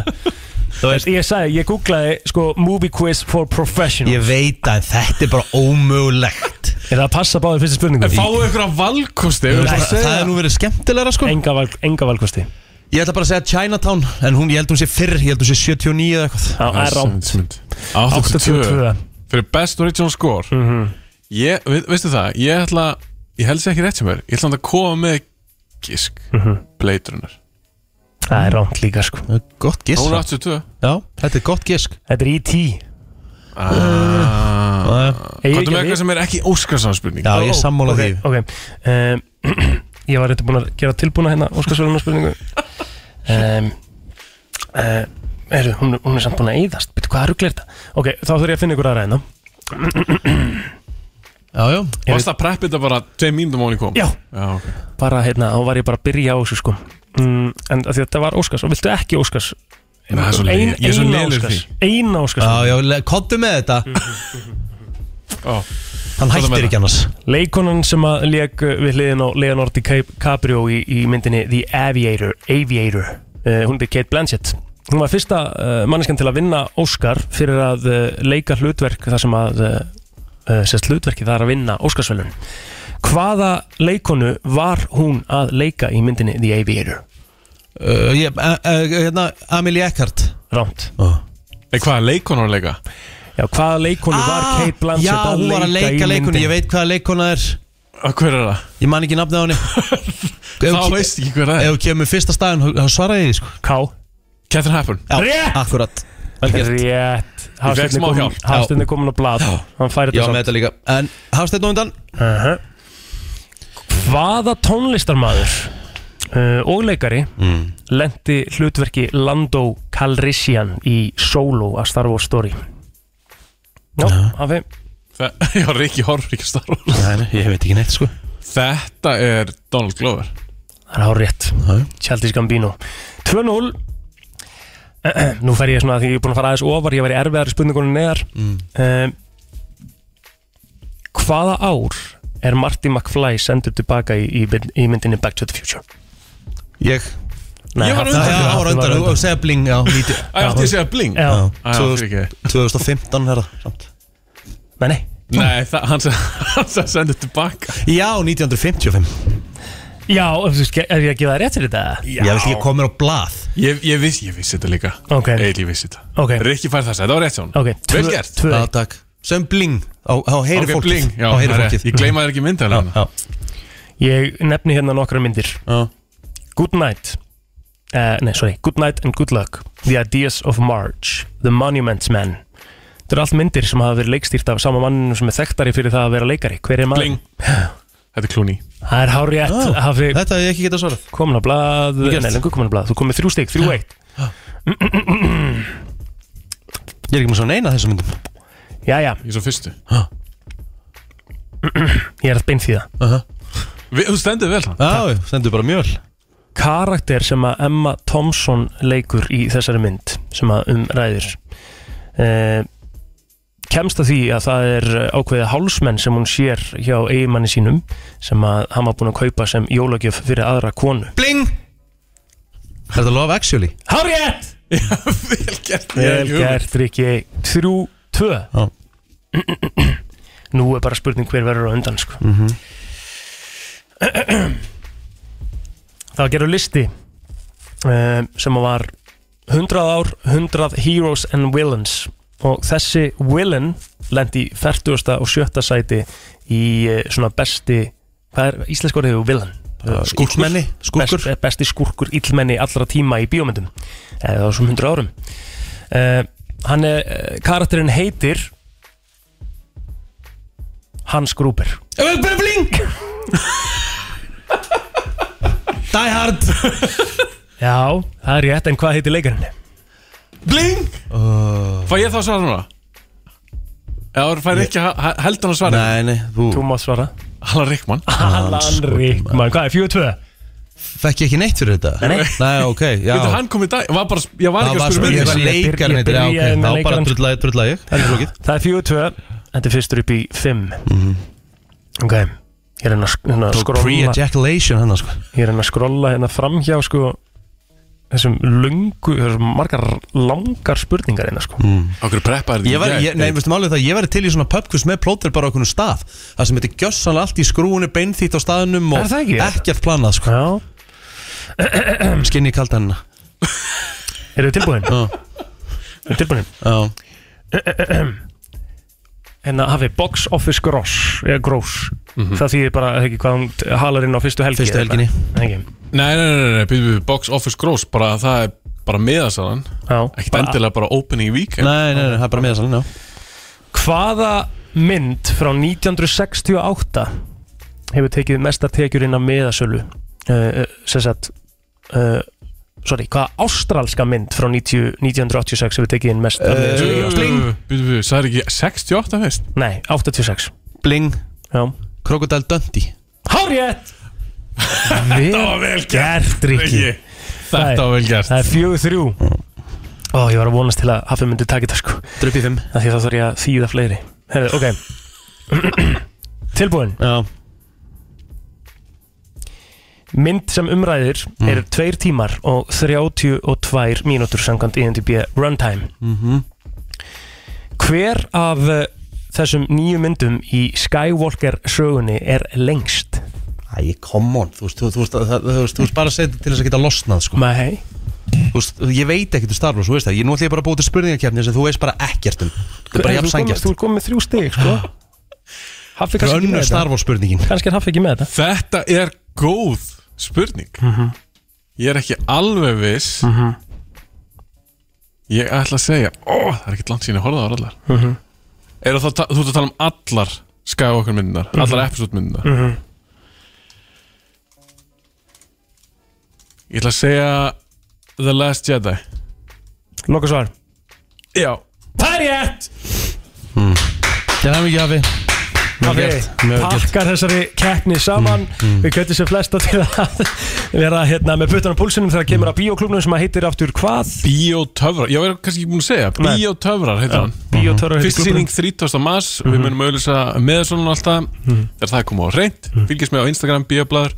Ég sagði, ég googlaði sko, Movie quiz for professionals Ég veit að þetta er bara ómögulegt Er það að passa báðið fyrstu spurningu? En fáu ykkur að valkosti Nei, við erum bara að það, er segja. nú verið skemmtilegra sko Enga, val, enga valkosti Ég ætla bara að segja Chinatown En hún, ég held hún sé fyrr, ég held hún sé 79 eða eitthvað Það er rámt 82. 82 Fyrir best original score Mhm. Ég, ve veistu það, ég ætla Ég held sér ekki rétt sem er Ég ætla samt að koma með gísk Mhm. Blade Runner Það er rámt líka sko Gott gisk. Hún er 82. Já, þetta er gott gisk Þetta er E í tí Hvað er með eitthvað sem er ekki Óskarsanspurning? Já, ég er sammála því. okay. um, Ég var eitthvað búin að gera tilbúna hérna Óskarsvölunar spurningu um, uh, er, hún, hún er samt búin að eyðast Býttu, hvað rugl er þetta? Ok, þá þurf ég að finna ykkur aðra hérna Já, já Varst það preppið þetta bara tveim mínútum án í kom? Já. Já, ok bara hérna, þá var ég bara að byrja á þessu sko mm, en af því að þetta var Óskars og viltu ekki Óskars Nei, það er svo leið- Ein- ég er svo eina lélegur í Óskars. því. Ah. eina Óskars Já, já, le- komdu með Mm. þetta Ó, Hann hættir ekki annars leikonan sem að leik við hliðin á Leonardo DiCaprio í, í myndinni The Aviator, Aviator. Uh, hún byrði Kate Blanchett hún var fyrsta uh, manneskan til að vinna Óskar fyrir að uh, leika hlutverk þar sem að uh, uh, sérst hlutverki það er að vinna Óskarsvelun Hvaða leikonu var hún að leika í myndinni The Aviator? Uh, ég, uh, uh, hérna, Amelie Eckhart Rámt oh. Hvaða leikonu var að leika? Já, hvaða leikonu var Kate Blanchett Ah, Já, að hún var að leika í leika leikonu, myndinni? ég veit hvaða leikona er Hver er það? Ég man ekki nafnið á henni Þá veist ekki hver það er Ef þú kemur fyrsta staðin, þá- þá svaraði ég því sko K Catherine Hepburn Já, ah, Rétt! akkurat Rétt Hafsteinn er komin- Hafsteinn er komin á blad Hann færi Já, þetta með þetta líka En Hafsteinn og undan -huh. Hvaða tónlistarmaður uh, og leikari Mm. lendi hlutverki Lando Calrissian í Solo að Star Wars Story Já, hafi Þe- Já, Rikki horfur ekki að starfa Nei, nei, ég veit ekki neitt sko Þetta er Donald Glover Það er hár rétt Childish Gambino 2-0 Nú fer ég svona að því ég er búin að fara aðeins ofar Ég var í erfiðari spurningunum neðar Mm. um, Hvaða ár er Marty McFly sendur tilbaka í, í, mynd- í myndinni Back to the Future? Ég Nei, Ég var hann- undan Já, hann- hann var hann var undan undan. Og segja bling, já nítján- Æ, átti ég að segja bling? Já. Æ, Já, já, 2000 fyrir 2015 herra samt. Nei, nei Nei, það, hann sem- hann sem sendur tilbaka Já, 1955 Já, ef þú veist, er ég að gefa það rétt fyrir þetta? Ég vil ekki koma mér á blað Ég, ég, viss, ég vissi þetta líka Ok. Eil, ég vissi þetta Ok. Rikki fær þess, þetta var rétt hjá hann Ok, tvö- Vel gert tvö- Já, takk Sem bling Á, á heyri Ok, fólkið bling, já, Á heyri það er fólkið rétt. Ég gleyma þér ekki mynda Já, hérna. já. Ég nefni hérna nokkra myndir Já. Good night uh, Nei, sorry, good night and good luck The ideas of March The Monuments Men Þetta eru allt myndir sem hafa verið leikstýrt af sama manninu sem er þekktari fyrir það að vera leikari Hver er maður? Bling. Þetta er klúni Það er hár rétt Já, hafi Þetta hef ég ekki getað svarað komin á blað Vel Ah, gert. Nei, lengur komin á blað, þú komið þrjú stygg, þrjú eitt Ég er ekki með svona neina af þessum myndum Jæja, Ég er svo fyrstu ég er að beint því það Vi- Þú stendur vel hann Já, já, sendu bara mjöl Karakter sem að Emma Thompson leikur í þessari mynd sem að um umræðir uh, kemst að því að það er eh, ákveðið hálsmenn sem hún sér hjá eigimanni sínum sem að hann var búin að kaupa sem jólagjöf fyrir aðra konu Bling Er þetta Love Actually? Hárjætt! Vel gert Vel gert, Rikki 3-2 Já. Nú er bara spurning hver verður á undan sko. Það gerur listi uh, sem var 100 ár, 100 heroes and villains og þessi villain lendi í 40. og 7. sæti í eh, svona besti hvað er íslensk orðið við villain? Eh, Skúrkmenni, ill- skúrkur. best, eh, Besti skúrkur, illmenni allra tíma í bíómyndum eða á þessum 100 árum uh, Hann er, eh, karakterinn heitir Hans Gruber Vel, bara Bling Die Hard Já, það er rétt, en hvað heitir leikarinn? Bling Oh. Fæ ég þá að svara núna? Eða fær ekki heldan að svara? Nei, nei, þú Þú mátt svara Hallar Rickman Alan Rickman, hvað er 4-2? Fekk ég ekki neitt fyrir þetta? Nei. Nei, ok, já Þetta hann kom í dag var bara, Ég var Það ekki var að svo, spyrja mynd ég var Ég byrja- leikarinn ég Þetta er byrjaði ok, með þá bara leikarann. sko. drulla ég, drulla ég Það er flókið Það er 4-2 Þetta er fyrstur upp í 5 Mhm. Ok, ég er henni að sk- hérna að Tók skrolla Pre-ejaculation hann, sko Ég er henni að skrolla hérna framhjá sko Þessum lungu, þessum margar langar spurningar hérna sko Mm. Okkur preppa er Ég var, ég, nei, veistu málið það, ég væri til í svona pubquiz með plóter bara á okkur stað Það sem þetta er gjössanlega allt í skrúinu, beinþýtt á staðnum Er og það ekki? ekkert planað, sko Já, Skinni kalda hennar eru þið tilbúin? Já. Eru þið tilbúin? Já, Hérna hafi box office gross, eða gross. Það þýðir bara eða ekki hvað hún t- halar inn á fyrstu helgi Mhm. Fyrstu eða helginni. eitthvað. Ekki. Nei, nei, nei, nei, nei, býtum við Box Office Gross, bara það er bara miðasalan Já, Ekkert bara- endilega bara opening week nei, nei, nei, það er bara miðasalinn, já Hvaða mynd frá 1968 hefur tekið mestar tekjur inn á meðasölu? Uh, sem sagt, uh, sorry, hvaða ástralska mynd frá 90, 1986 hefur tekið inn mest Eh. af meðasölu? Býtum við, það er ekki 68 fyrst Nei, 86. Bling, Já. Crocodile Dundee Hárjætt! Þetta var vel gert, Rikki. Þetta var vel gert Það er fjögur þrjú. Ó, ég var að vonast til að hafi myndi takið það sko. Drupp í fimm Af Því þá þarf ég að þýða fleiri. Herðu, ok. Tilbúin. Já, Mynd sem umræðir mm. er tveir tímar og 32 Mhm. mínútur samkvæmt IMDb runtime. -hmm. Hver af eh, þessum nýju myndum í Skywalker sögunni er lengst? Æ, come on, þú veist, þú, þú, veist, það- það- þú, veist, þú veist bara að segja þetta til þess að geta losnað sko. Nei Þú veist, ég veit ekkert um Star Wars, þú veist það Ég nú ætlum ég bara að búið til spurningarkefni sem þú veist bara ekkert um Þetta er bara Þú ert jafn komin- sangjart Þú er komið með þrjú stig, sko Haffi kannski ekki Rönnu með Star Wars spurningin Kannski er Haffi ekki með þetta Þetta er góð spurning Mhm. Ég er ekki alveg viss Mhm. Ég ætla að segja ó, Það er ekki langt síðan ég horfði á þær allar Mhm. Eru það, Þú ert að tala um allar Skywalker myndunar, Mhm. allar episode myndunar Mhm. Ég ætla að segja The Last Jedi Loka svar Já Það er rétt Til það mikið Hafi Mjög Hafi gert, mjög Mm, gert pakkar þessari keppni saman Við kjöndum sér flesta til að vera hérna, með puttan á púlsunum þegar kemur að bíóklubnum sem að heitir aftur hvað? Bíótöfrar, já, ég er kannski ekki búin að segja Nei. Bíótöfrar heitir Já, hann Bíótöfrar heitir Fyrst klúbburinn. sýning 30. mars, við munum auðvitað með svona alltaf Mhm. Þegar það er komið á reynd Fylgjast með á Instagram, bíóblaður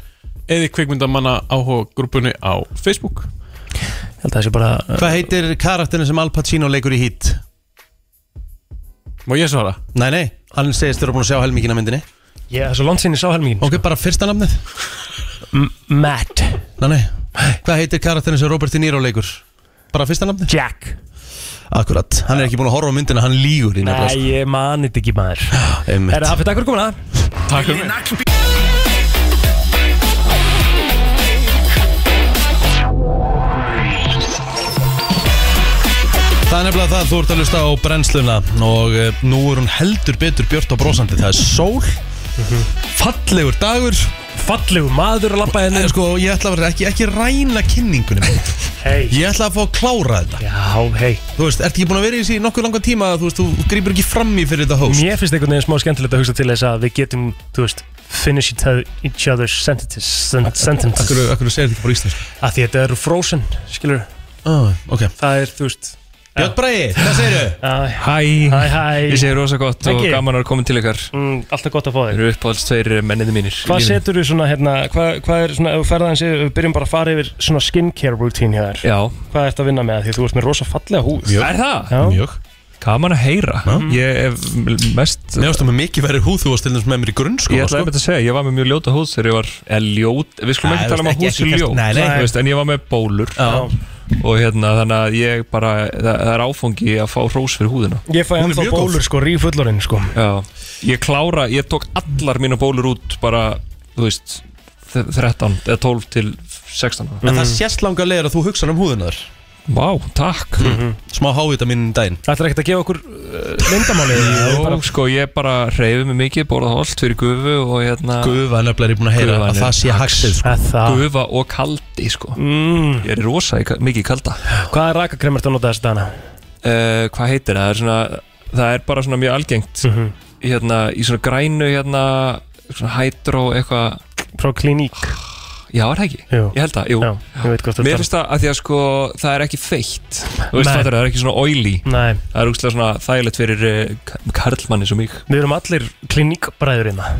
Eða í kvikmyndamanna áhuga grúpunni á Facebook Ég held að það sé bara uh, Hvað heitir karakterin sem Al Pacino leikur í hít? Má ég svara? Nei, nei, hann segist þér að búin að sjá helmingina myndinni Ég er svo langt sinni sá helmingin Ok, bara fyrsta namnið Matt Nei, nei, hvað heitir karakterin sem Robert De Niro leikur? Bara fyrsta namnið? Jack Akkurat, hann er ekki búin að horfa á myndina, hann lígur í Nei, nefnilega, ég manið ekki maður sko. Einmitt. Er það Haffi, takk fyrir komuna Takk fyrir mig Það er nefnilega það, þú ert að lusta á brennsluna og eh, nú er hún heldur betur björt og brósandi, það er sól fallegur dagur fallegur maður að hérna. lappa henni sko, ég ætla að vera ekki, ekki ræna kynningunum hey. ég ætla að fá að klára þetta Já, hei Þú veist, ertu ekki búin að vera í þessi í nokkuð langa tíma að þú veist, þú grýpur ekki fram í fyrir þetta hóst Mér finnst einhvern veginn smá skemmtilegt að hugsa til þess að við getum, þú veist, finish each other- each other's sentences sen- sentences. Akkur, akkur segir þetta ekki bara íslensk Að því þetta eru frozen, skilur ah, Ok Það er, þú veist Björn Bragi, hvað segirðu? Hæ Hæ, hæ Ég segi rosa gott og Ekki? gaman að koma til ykkar mm, Alltaf gott að fá þig Þeir eru uppáhalds tveir menninni mínir Hvað setur þú svona, hérna, hvað, hvað er svona, ef við ferðaðins, við byrjum bara að fara yfir svona skincare routine hjá þér Já Hvað ertu að vinna með því þú ert með rosa fallega húð Mjög. Er það? Já. Mjög Gaman að heyra Mm. Ég hef mest Mér ástum að mikið verið húð þú varst til þess með mér í sko, grunnskóla Ég ætlaði einmitt að segja, ég var með mjög ljóta húð þegar ég var, eða ljót, við skulum Nei, ekki þú tala um að veist, ekki- húð sem ekki- ljót, nei, nei. þú veist, en ég var með bólur og hérna þannig að ég bara, það, það er áfangi að fá rós fyrir húðina. Ég fæ ennþá bólur sko, rífullorinn sko Já, ég klára, ég tók allar mína bólur út bara, þú veist, þ- 13 eða 12 til 16. En Mm. það sést langa leir að þú hugsa um húðunar Vá, takk Smá hávita mín daginn Það er ekkert að gefa okkur uh, lindamálið Jó, sko, ég bara reyfi mig mikið, borða holt fyrir gufu og Ah. hérna Gufa er nefnilega ég búin að heyra Gufan að er það sé haxið sko. Að það- Ah. Gufa og kaldi, sko mm. Ég er rosa í ka- mikið í kalda Hvaða rakakrem ertu að nota þessi dana? uh, Hvað heitir það? Það er, svona, það er bara svona mjög algengt hérna, Í svona grænu, hérna, svona hydro eitthvað Frá kliník Já, er það ekki? Jú. Ég held það, jú Já, ég veit hvað þú ert að tala Mér um. finnst það að því að sko, það er ekki feitt Þú veist Nei. fattar, það er ekki svona oily Nei. Það er úkslega svona þægilegt fyrir uh, karlmanni sem mig Við erum allir kliníkbræður hérna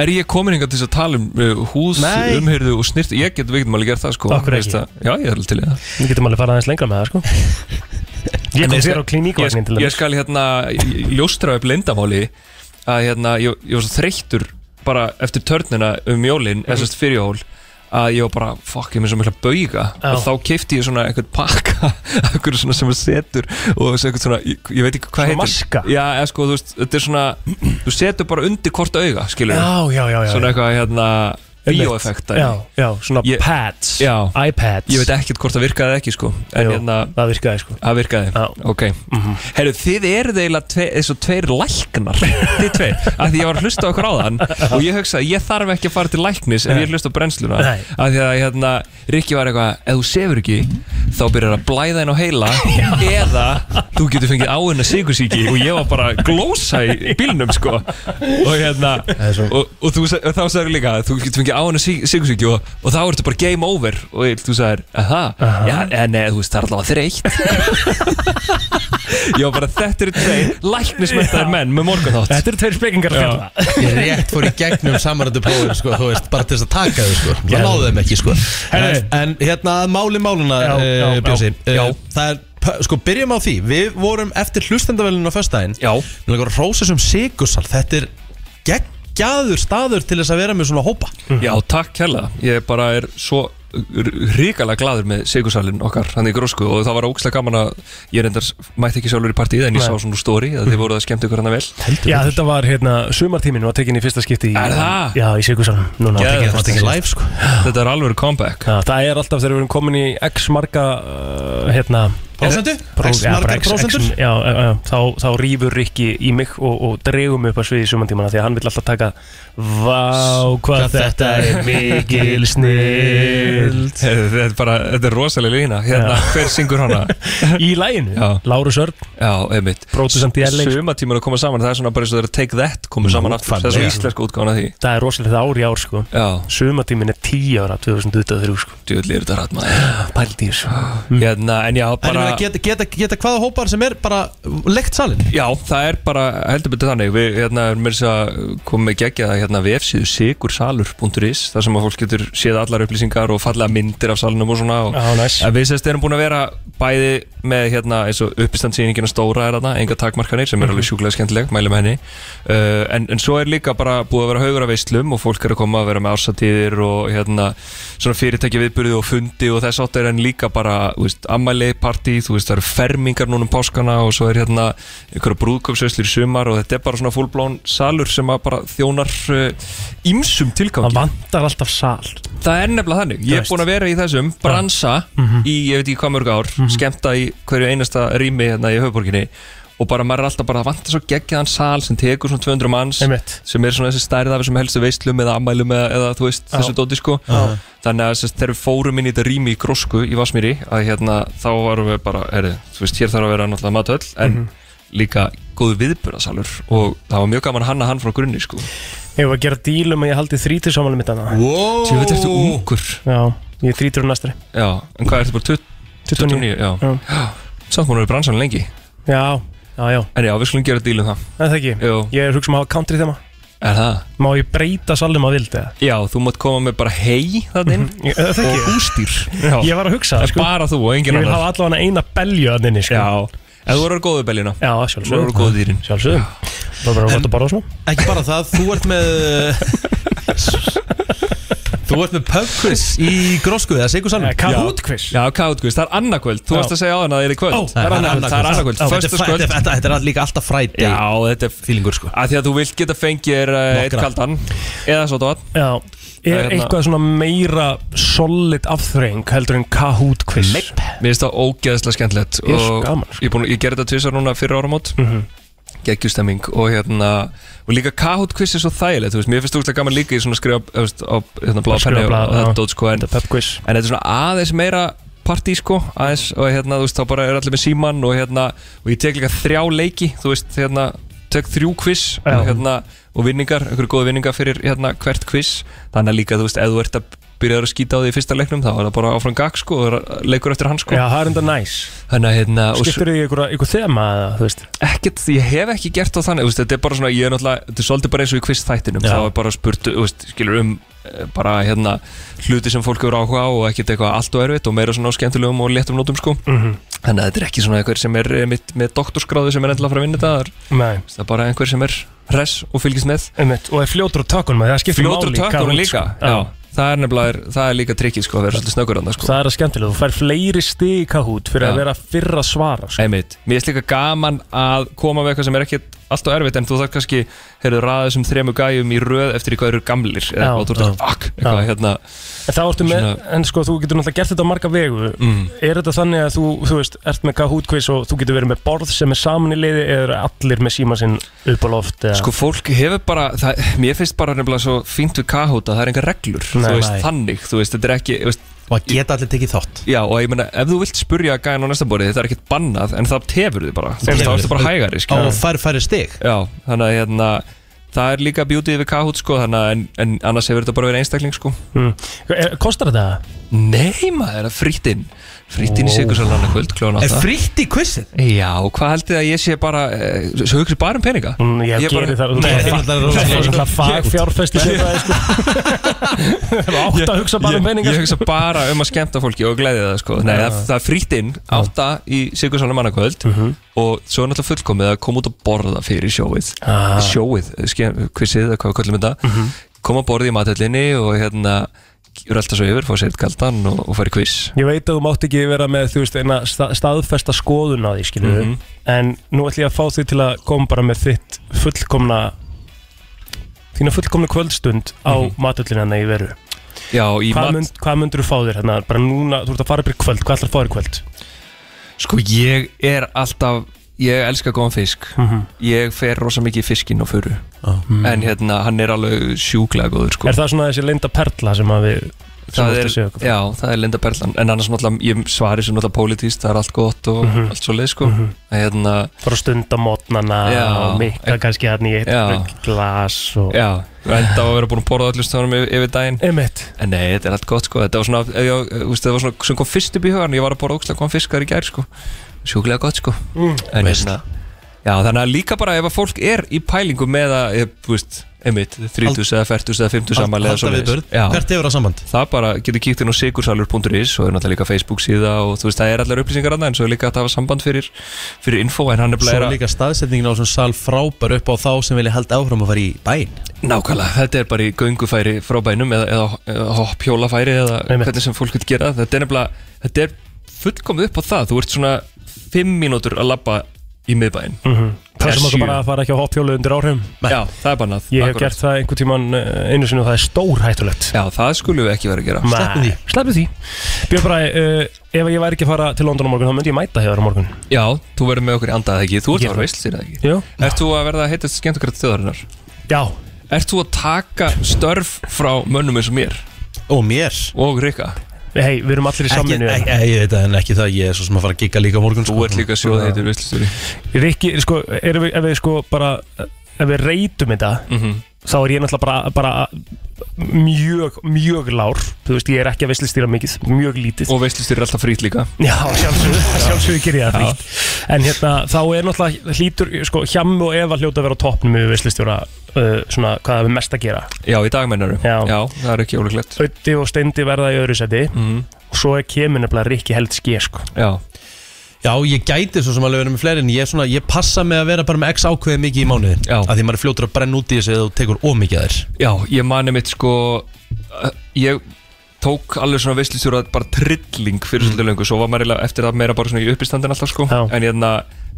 Er ég komin hingað til þess að tala um uh, húð, Nei. umhyrðu og snirtu? Ég get veitum alveg að gera það sko Af hverju Veist ekki? það- Já, ég er alveg til í það Við getum alveg farað aðeins lengra með það sko Ég kom þér á kliníkvagnin til Ég, ég þess skal hérna ég- ljóstra upp lindamáli að hérna, ég, ég var svo þreyttur bara eftir törnina um Mhm. jólin eða sérst fyrir jól að ég var bara, fuck, ég er með svo mikla bauga Já. og þá kefti ég svona einhvern pakka einhvern svona sem að setur og þessi einhvern svona, ég, ég veit ekki hvað Svona heitir maska? Já, eða sko, þú veist, þetta er svona þú setur bara undir hvort auga, skilur Já, já, já, já, Svona já. eitthvað, hérna, Einmitt. bíóeffekt Já, já, svona pads, já. iPads Ég veit ekkert hvort það virkaði eða ekki, sko En Jú, hérna, það virkaði, sko Mhm. Það virkaði, ok Herru, þið eruð eiginlega tve, eins og tveir læknar Þið tveir, af því ég var að hlusta á okkur áðan Og ég hugsaði, ég þarf ekki að fara til læknis Ef Nei. ég hlusta á brennsluna Nei. Af því að hérna, Rikki var eitthvað Ef þú sefur ekki, þá byrjar að blæða inn á heila Eða þú getur fengið áinna sigursíki Og ég var bara að glósa í bílnum, sko Og hérna Og, og, þú, sa- og þá sagði líka, þú getur fengið áinna sigursíki Og, og þá ertu bara game over Og ég- þú sagðir, aha, já, en nei, þú veist, það er allavega þreytt Já, bara þetta eru tveir læknismættar menn með morgunþátt Þetta eru tveir spekingar að fjalla Ég rétt fór í gegnum samaröndu prófin sko, þú veist, bara til þess að taka þau sko. það náðu þeim ekki sko. en, en hérna að máli máluna Já, já, uh, Bjössi já. uh, það er p- sko byrjum á því Við vorum eftir hlustendavælinu á föstudaginn Já Við langar að rósa sem sigursal Þetta er geggjaður staður til þess að vera með svona hópa Já, takk kærlega Ég bara er svo ríkala gladur með sigursalinn okkar hann í grósku og það var ógslag gaman að ég reyndar mætti ekki sjálfur í partíð en ég Nei. sá svona úr story að þið voruð að skemmt ykkur hann vel Já, þetta var hérna, sumartíminn var tekin í fyrsta skipti í, Er það? Já, í Sigurðsson Núna Geðvegt. var tekin Live, sko. Þetta er alveg comeback Já, það er alltaf þegar við erum komin í x marga uh, hérna Prósentu? Pró, X já, bara margar x, x, prósentur? já, já, já, þá, þá rýfur Rikki í mig og, og dregum upp að sviði sumantímana því að hann vill alltaf taka Vá, hvað þetta er mikil snild Þetta er bara, þetta er rosalega lína Hérna, Já. hver syngur hana? Í læginu? Já, Lárus Örn Já, einmitt Pródusent í LA. Suma tímar að koma saman, það er svona bara eins og þeir að take that koma saman aftur Það er svo fannlega. íslenska útgána því Það er rosalega ár í ár sko Sumartíminn er 10 ára 2023 sko Djúðli er þetta rætt maður Pældi í þessu Hérna, en já, En ég bara meina, geta, geta, geta hvaða hópar sem er bara lekt salin Já, það er bara heldur betur þannig Við hérna, erum mér að koma með geggja það hérna vefsíðu sigursalur.is þar sem að fólk getur séð allar upplýsingar og fallega myndir af salunum og svona og Já, næs. að Við sérst erum búin að vera bæði með hérna, eins og uppistandsýningina stóra er þarna enga takmarkanir sem er alveg sjúklega skemmtileg mælum henni uh, en, en svo er líka bara búið að vera haugur af veislum og fólk er að koma að vera með ársatíðir og hérna svona fyrirtækja viðbyrði og fundi og þess áttur en líka bara þú veist, ammæli partí, þú veist það eru fermingar núna um páskana og svo er hérna einhverja brúðköpsveislir í sumar og þetta er bara svona fullblón salur sem að bara þjónar uh, ímsum tilgangi Það vantar alltaf sal Það er nefnilega þannig, ég er búin að vera í þessum bransa Mhm. í ég veit ekki hvað mörg ár skemmta í hverju einasta rými hérna í höfuborginni og bara maður er alltaf bara að vanta svo geggjaðan sal sem tekur svona 200 manns Einmitt. sem er svona þessi stærð af þessum helstu veislum eða ammælum eða, eða þú veist Já. þessu dóti sko Já. þannig að sérst, þegar við fórum inn í þetta rými í grósku í Vasmýri að hérna þá varum við bara herri, þú veist hér þarf að vera náttúrulega matöll en Mhm. líka góðu viðbjörðasalur og það var mjög gaman að hanna hann frá grunni sko Ég var að gera díl um að ég haldi þrítur samanlega mitt hana Wow. Djöfull ertu ungur. Já, ég er þrítur um á næstari Já, en hvað ertu bara 20, 29? Já. Já. já Samt múin að vera í bransan lengi Já, já, já En já, við skulum gera díl um það Það er það ekki Jú. Ég er hugsa um að hafa country þema Er það? Má ég breyta salnum að vildi það? Já, þú mátt koma með bara hei það inn Mhm. Það þekki Og ég. hústýr Já. Ég var að hugsa það, En sko. Bara þú og engin Ég vil annar hafa allavega eina belju að nynni sko. Já, en þú verður góðu beljuna Já, Þú sjálfsögðu verður góðu dýrin Sjálfsögðu Það var bara gott að borða svona Ekki bara það, þú ert með Þú ert með pub quiz í grósku eða sigursalum Kátkviss Já, kátkviss, það er annarkvöld Þú Já. varst að segja á hana að það er í kvöld Ó, það er annað kvöld. Það er annarkvöld, Já, þetta er fri- föstaskvöld þetta- þetta- Þetta er líka alltaf fræti Já, þetta er fílingur sko Að því að þú vilt geta fengið þér eh, eitt Nokkra. kaldan Eða svo tótt Já Það Er er hérna- eitthvað svona meira solid afþreying heldur en Kahoot quiz Mér finnst það ógeðslega skemmtilegt Ég er svo og gaman, Ég, er búinn- ég gerði þetta tvisar núna fyrir áramót mm Mhm. Geggjustemming og hérna Og líka Kahoot quiz er svo þægilegt þú veist, Mér finnst þú gaman líka í svona skrifa þú veist, á, hérna, blá Skrifa penni og, blað, og þetta já. dót sko, en, en þetta er svona aðeins meira partí sko aðeins, og hérna þú veist þá bara er allir með síman og hérna og ég tek líka þrjá leiki þú veist hérna tek þrjú quiz og, hérna, og vinningar, einhverju góða vinningar fyrir hérna hvert quiz þannig að líka þú veist ef þú ert að byrjaður að skýta á því í fyrsta leiknum þá er það bara áfram gag sko og er að- leikur eftir hann sko Já, það er enda næs Þannig að hérna og svo- Skiptir þig í einhverja- einhver þema eða, þú veist ekkert, ég hef ekki gert á þannig þú veist, þetta er bara svona, ég er náttúrulega, þetta er svolítið bara eins og í quiz þættinum, Já. þá er bara spurt þú veist, skilur um eh, bara hérna hluti sem fólk hefur áhuga á og ekkert eitthvað allt og erfitt og meira svona á skemmtilegum og léttum nótum sko, Mhm. þannig að þetta er ekki svona einhver sem er eh, mitt, með doktorsgráðu sem er endilega að fara að vinna þetta, það er- Nei það er bara einhver sem er hress og fylgist með Einmitt, og er fljótur á tökunum það skiptir fljótur máli í tökkunum Kahoot, líka, sko. já, það er nefnilega er- það er líka trikkið sko, að vera svolítið snöggur annars sko Það er að skemmtilega, þú fær fleiri stig í Kahoot fyrir Já. að vera fyrr að svara sko. Einmitt. Mér finnst líka gaman að koma með eitthvað sem er ekkert alltaf erfitt en þú þarf kannski, heyrðu, raða þessum þremu gæjum í röð eftir í hvað eru gamlir eða Já, eitthvað, þú ert að, já. fuck, eitthvað, Já. hérna En þá ertu með, Svona- en sko þú getur náttúrulega gert þetta á marga vegu Mm. Er þetta þannig að þú, þú veist, ert með Kahoot quiz og þú getur verið með borð sem er saman í liði eða eru allir með síma sinn upp á loft eða... Sko fólk hefur bara, það, mér finnst bara nefnilega svo fínt við Kahoot að það er engar reglur Nei. þú veist, Nei. þannig, þú veist, þetta er ekki þú veist, Og að geta allir tekið þátt Já, og ég meina, ef þú vilt spurja gæjan á næsta borið, þetta er ekkert bannað en það tefur þið bara, þú veist, þá ertu bara hægari skilur. Og fær, færi stig Já, þannig að hérna, það er líka beauty við Kahoot sko, þannig að en, en annars hefur þetta bara verið einstakling sko mm. Er- Kostar þetta? Nei maður, það er að frýtt inn Fritt inn í sigursalun annað kvöld klóðan Er frítt í quizin? Já, hvað heldur þið að ég sé bara eh, Svo hugsið bara um peninga Mm, ég geri það- Nei, það er rosalega- rosalega fagfjárfesti sem það er, sko átt að hugsa bara um peninga, Ég sko. hugsa bara um að skemmta fólki og gleðja það sko Nei, Já. það, það er frítt inn Átta í Sigurðsson mannakvöld Og svo er náttúrulega fullkomið að koma út að borða fyrir sjóið Ah. Sjóið, skemm- quizið eða hvað við kallum þetta Koma að borða í mathöllinni og hérna Eru alltaf svo yfir, fá sér eitt kaldan og, og fara í quiz Ég veit að þú mátt ekki vera með þú veist, eina sta- staðfesta skoðun á því skilur Mhm. en nú ætlum ég að fá því til að koma bara með þitt fullkomna þína fullkomna kvöldstund á mm Mhm. -hmm. matullinu hennar í veru Já, í hvað, mat- mynd, hvað myndur þú fá þér hérna bara núna, þú ert að fara upp í kvöld, hvað ætlar að fá þér í kvöld Sko ég er alltaf Ég elska góðan fisk Mhm. Ég fer rosa mikið í fiskinn og furu Mhm. En hérna, hann er alveg sjúklega góður sko er það svona þessi linda perla sem að við sem það oft er, að segja okkur frá? já, það er Linda Berlan en annars náttúrulega, ég svari sem náttúrulega pólitíst það er allt gott og Mhm. allt svo leið sko mm Mhm. hérna, fara stundamotnana Já. og mikla kannski hérna í Já. eitt glas og já, enda á að vera búin að borða allir stöðunum yfir, yfir daginn Einmitt. en nei, þetta er allt gott sko þetta var svona, ég, ég, veist, það var svona sem kom fyrst upp í hugan, ég var að borða ókslega kom fiskar í gær sko, sjúklega gott sko Mm. en hérna Já, þannig að líka bara ef að fólk er í pælingu með að, eh, þú veist, einmitt, 30 eða 40 eða 50 Hald- samanlega halda við börn. Hvert hefur það samband? Það bara getur kíkt inn á sigursalur.is og er náttúrulega líka Facebook síða og þú veist, það er allar upplýsingar annað en svo er líka að hafa samband fyrir, fyrir info en hann er Svo bara er líka staðsetningin á svona sal frábær upp á þá sem vilja halda áfram að fara í bæn Nákvæmlega, þetta er bara í göngufæri frá bænum eða, eða, eða hopphjólafæri eða hvernig sem fólk vil gera þetta er nefnilega, þetta er fullkomið upp á það þú ert svona 5 mínútur að labba í miðbæin mm Mhm. Passum okkur bara að fara ekki á hoppjólu undir áhrifum Já, það er bannað Ég hef Akkurat. gert það einhvern tíman einu sinni og það er stórhættulegt Já, það skulum við ekki vera að gera Sleppum því Sleppum því Björn Bræ, uh, ef ég væri ekki að fara til London á morgun þá myndi ég mæta hefur á morgun Já, þú verður með okkur í andað eða ekki Þú ert að vera veist þér eða ekki Jú. Ert þú að verða að heitast skemmtakrætt þjóðarinnar? Já Ert þú að taka störf frá mönnum eins og mér? Og mér Og Rikka Hei, við erum allir í samvinnu ekki, ekki, Ég veit það en ekki það, ég er svo sem að fara að gigga líka á morgun sko. Þú ert líka sjóðheitur veistlustjóri Rikki, sko, er, við, ef við sko bara ef við reytum þetta þá er ég náttúrulega bara, bara mjög, mjög lár þú veist, ég er ekki að veislistýra mikið, mjög lítið Og veislustjóri er alltaf frýtt líka Já, sjálfsögðu, sjálfsögðu ger ég það frítt En hérna, þá er náttúrulega hlýtur, sko, hjammi og Eva hljóta að vera á toppnum við veslistjóra, uh, svona, hvað það er mest að gera Já, í dag mennarum Já. það er ekki ólíklegt Ötti og Steindi verða í öðru seti og svo er kemur nefnilega Rikki held sker sko. Já Já, ég gæti svo sem alveg verið með fleiri en ég, er svona, ég passa með að vera bara með x ákveði mikið í mánuðin Já. að því maður er fljótur að brenna út í þessu eða þú tekur ómikið að þér Já, ég mani mitt sko uh, Ég tók alveg svona veislustjóra bara trilling Mm. fyrir svolítið löngu svo var maður eiginlega eftir það meira bara svona í uppistandin alltaf sko en, ég,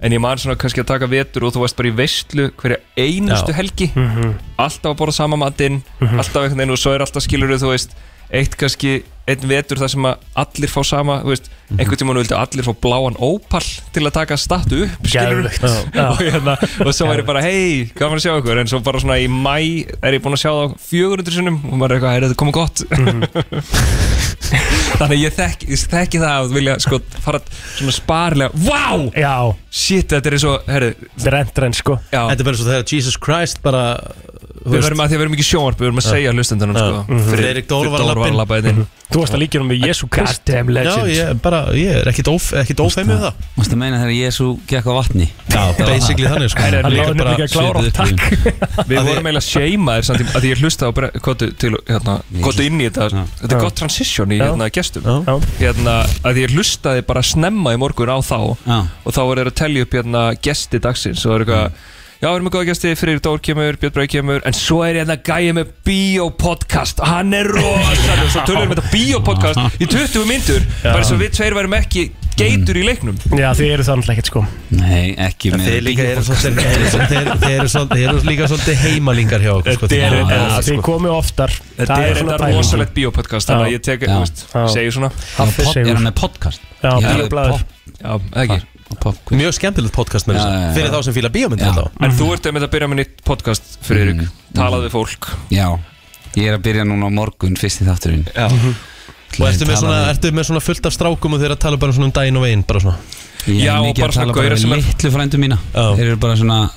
en ég man svona kannski að taka vetur og þú varst bara í veislu hverja einustu Já. helgi Mhm. alltaf að borða sama matinn Mhm. alltaf einhvern veginn og svo er alltaf skilur þú veist eitt kannski, einn vetur þar sem að allir fá sama, þú veist, Mhm. einhvern tímann vildi allir fá bláan ópall til að taka statu upp, skilur Geðveikt. Já. og, hérna, og svo er ég bara, hei, gaman að sjá ykkur en svo bara svona í mæ er ég búin að sjá þá 400 sinnum og maður er eitthvað, er þetta komið gott þannig að ég þekki, ég þekki það að vilja sko fara svona sparlega wow, Já. shit, þetta er svo herri, Drent, drent sko Já. Þetta er bara svo þegar Jesus Christ bara við verðum að því að við verðum ekki sjónvarp við verðum að segja hlustendunum sko Fredrik Dór var Dór labbinn. labbaðinn hérna inn. Þú varst að líka um við Jésu Krist Já, ég, er bara, ég er ekkit óf- ekkit ófeimið það Mástu meina þegar Jésu gekk á vatni Já, basically þannig, sko. Hann náði nefnilega ekki að klára, takk. Við vorum eiginlega seimaðir samt í- að því ég hlusta á kvotu til hérna, kvotu inn í þetta þetta Já. er gott transition í Já. hérna gestum Já. hérna að ég hlustaði bara snemma í morgun á þá og þá voru þeir að telja upp hérna gesti dagsins og það er eitthvað Já, við erum með góða gesti, Freyr Dór kemur, Björn Brau kemur En svo er hérna gæi með biopodcast Hann er rosalur Svo tölum við um þetta biopodcast í 20 myndur Já. Bara svo við tveir værum ekki geitur í leiknum Já, þið eru þannig ekkert sko Nei, ekki með Þeir líka eru svolítið- þeir eru svolítið- þeir eru svolítið- þeir eru líka svolítið heimalingar hjá okkur sko, Þetta er- því miður. þetta er- Þið komið oftar Þetta Það er svona um þetta pæling. rosalegt biopodcast Þannig að ég tek, Já. þú veist, Já. segir svona Haffi segir- Já, bíoblaður Já, ekki Mjög skemmtilegt podcast með Já, já, þessu já. Fyrir þá sem fíla bíómyndir Já. þá Mhm. En þú ert einmitt að byrja með nýtt podcast, Freyrik mm. Talað við fólk Já, ég er að byrja núna á morgun fyrst í þátturinn Já Og ertu með, svona, ertu með svona fullt af strákum og þeir að tala bara svona um daginn og veginn bara svona Ég er mikið að tala bara við litlu frændu mína Þeir eru bara svona,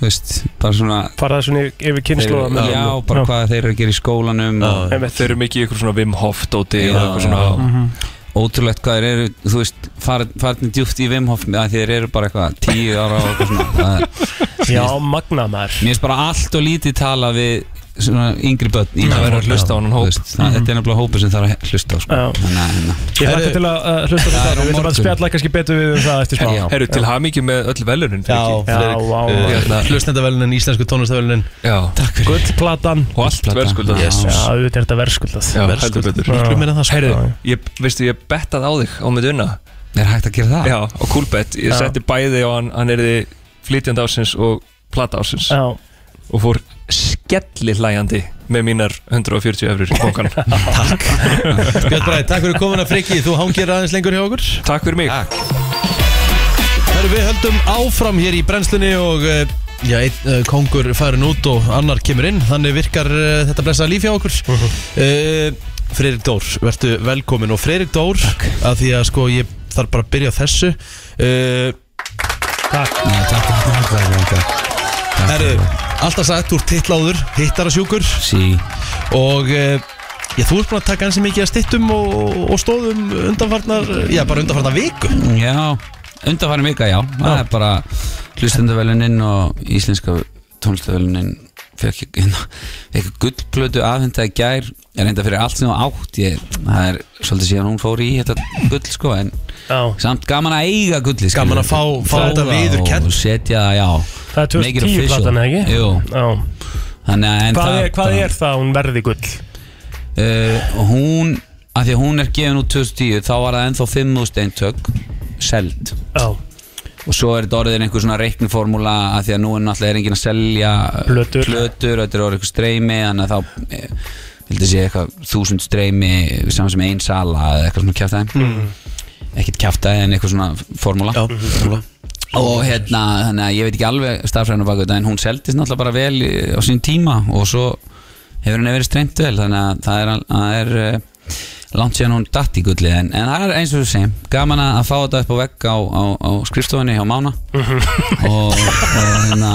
þú veist, bara svona Fara svona yfir kynnslóða Þeir- Já, bara hvað þeir eru að gera í skólanum og- Mhm. Þeir eru mikið í ykkur svona Wim Hof dóti og eitthvað svona Já. ótrúlegt hvað þeir eru þú veist, farin, farin djúft í Vimhoff að þeir eru bara eitthvað tíu ára og eitthvað svona það, Já, magna maður Mér finnst bara allt og lítið tala við svona yngri börn í Já, það verður að já. hlusta á hann hóp veist, það, Þetta er nefnilega hópur sem þarf að hlusta á sko. Þannig að hérna Ég hlætti til að uh, Það hlusta þetta er á Við þurfum að morgun. spjalla kannski betur við um það eftir smá Herru, til hamingi með öll velunin Já, Fredrik uh, Hlustendavölunin, íslensku tónlistavelunin Takk fyrir Gullplatan Og allt Platan. verðskuldað. Yes. Já, auðvitað er þetta verðskuldað Já, heldur Verðskuldað. betur Já. Herru, Já. ég, veistu, ég bettað á þig á með unna Er hægt að gera það? Já, á Coolbet Ég Ah. Já. setti bæði og hann, hann erði flytjandi ásins og plata ásins Já Og fór skelli hlæjandi með mínar 140 efrir í bókan Takk Björn Bræði, takk fyrir komin að frikið Þú hangir aðeins lengur hjá okkur Takk fyrir mig Takk Herru, við höldum áfram hér í brennslunni og eh, já, einn uh, kongur færin út og annar kemur inn þannig virkar uh, þetta blessaða líf hjá okkur uh Freyrik Dór, vertu velkomin og Freyrik Dór Takk að því að sko ég þarf bara að byrja á þessu uh, Takk Nei, takk, takk, takk, takk, takk. Herru, alltaf sagt, þú ert tittláður, hittarasjúkur Sí Og uh, já, þú ert búin að taka hansi mikið að stittum og, og stóðum undanfarnar, já bara undanfarnar viku Já, undanfærum vika, já. Það er bara hlustendavelunin og íslenska tónlistavelunin fekk ég hérna, fekk gullplötu afhenda í gær, ég reynda fyrir allt sem hún átt, ég, það er svolítið síðan hún fór í þetta gull, sko, en já. samt gaman að eiga gulli, sko. Gaman að fá- fá þetta viðurkennt. Og setja það, já. Það er Make it 2010 official. platan, eða ekki? Jú. Já. Þannig að, en Hvað það er- hvað er það hún verði gull? Uh, hún, af því að hún er gefin út 2010 þá var það ennþá 5.000 eintök seld Já. og svo er þetta orðin einhver svona reikniformúla af því að nú er náttúrulega er enginn að selja plötur, plötur þetta er orðin einhver streymi þannig að þá eh, vildi sé eitthvað þúsund streymi saman sem ein sala eða eitthvað svona kjæftæði Mm. ekkert kjæftæði en eitthvað svona formúla Já, formúla og hérna, þannig að ég veit ekki alveg starfræðinu baka þetta en hún seldist náttúrulega bara vel í- á sín tíma og svo hefur henni verið streymt vel þannig að það er, það er eh, langt síðan hún datt í gulli en, en það er eins og þú segjum, gaman að að fá þetta upp á vegg á, á, á skrifstofunni hjá Mána og, og hérna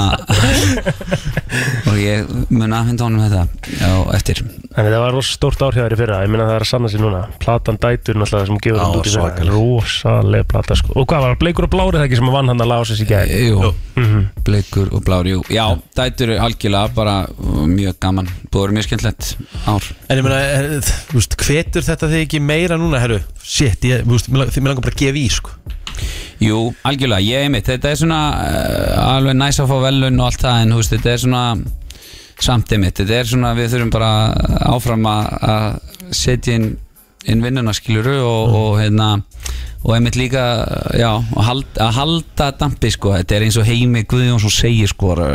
og ég mun aðfenda honum þetta á eftir En það var rosa stórt árhjáður í fyrra, ég minna það er að sanna sér núna Platan dætur náttúrulega sem hún gefur Já, hún út í fyrra Rosaleg plata sko Og hvað var bleikur og blárið það ekki sem að vann hann að lása sér í gæð Jú, bleikur og blár, jú Já, dætur er algjörlega bara uh, mjög gaman, búið að vera mjög skemmtilegt ár En ég meina, eh, þú veist, hvetur þetta þig ekki meira núna, herru? Shit, ég, þú veist, mér lang- mér langar bara að gefa í, sko Jú, algjörlega, ég einmitt Þetta er svona uh, alveg næs að fá velun og allt það en þú veist, þetta er svona samt einmitt, þetta er svona við þurfum bara áfram að að setja inn, inn vinnuna skiluru og, og hérna og einmitt líka, uh, já, að hald- að halda dampi sko, þetta er eins og heimi Guðjónsson segir sko uh,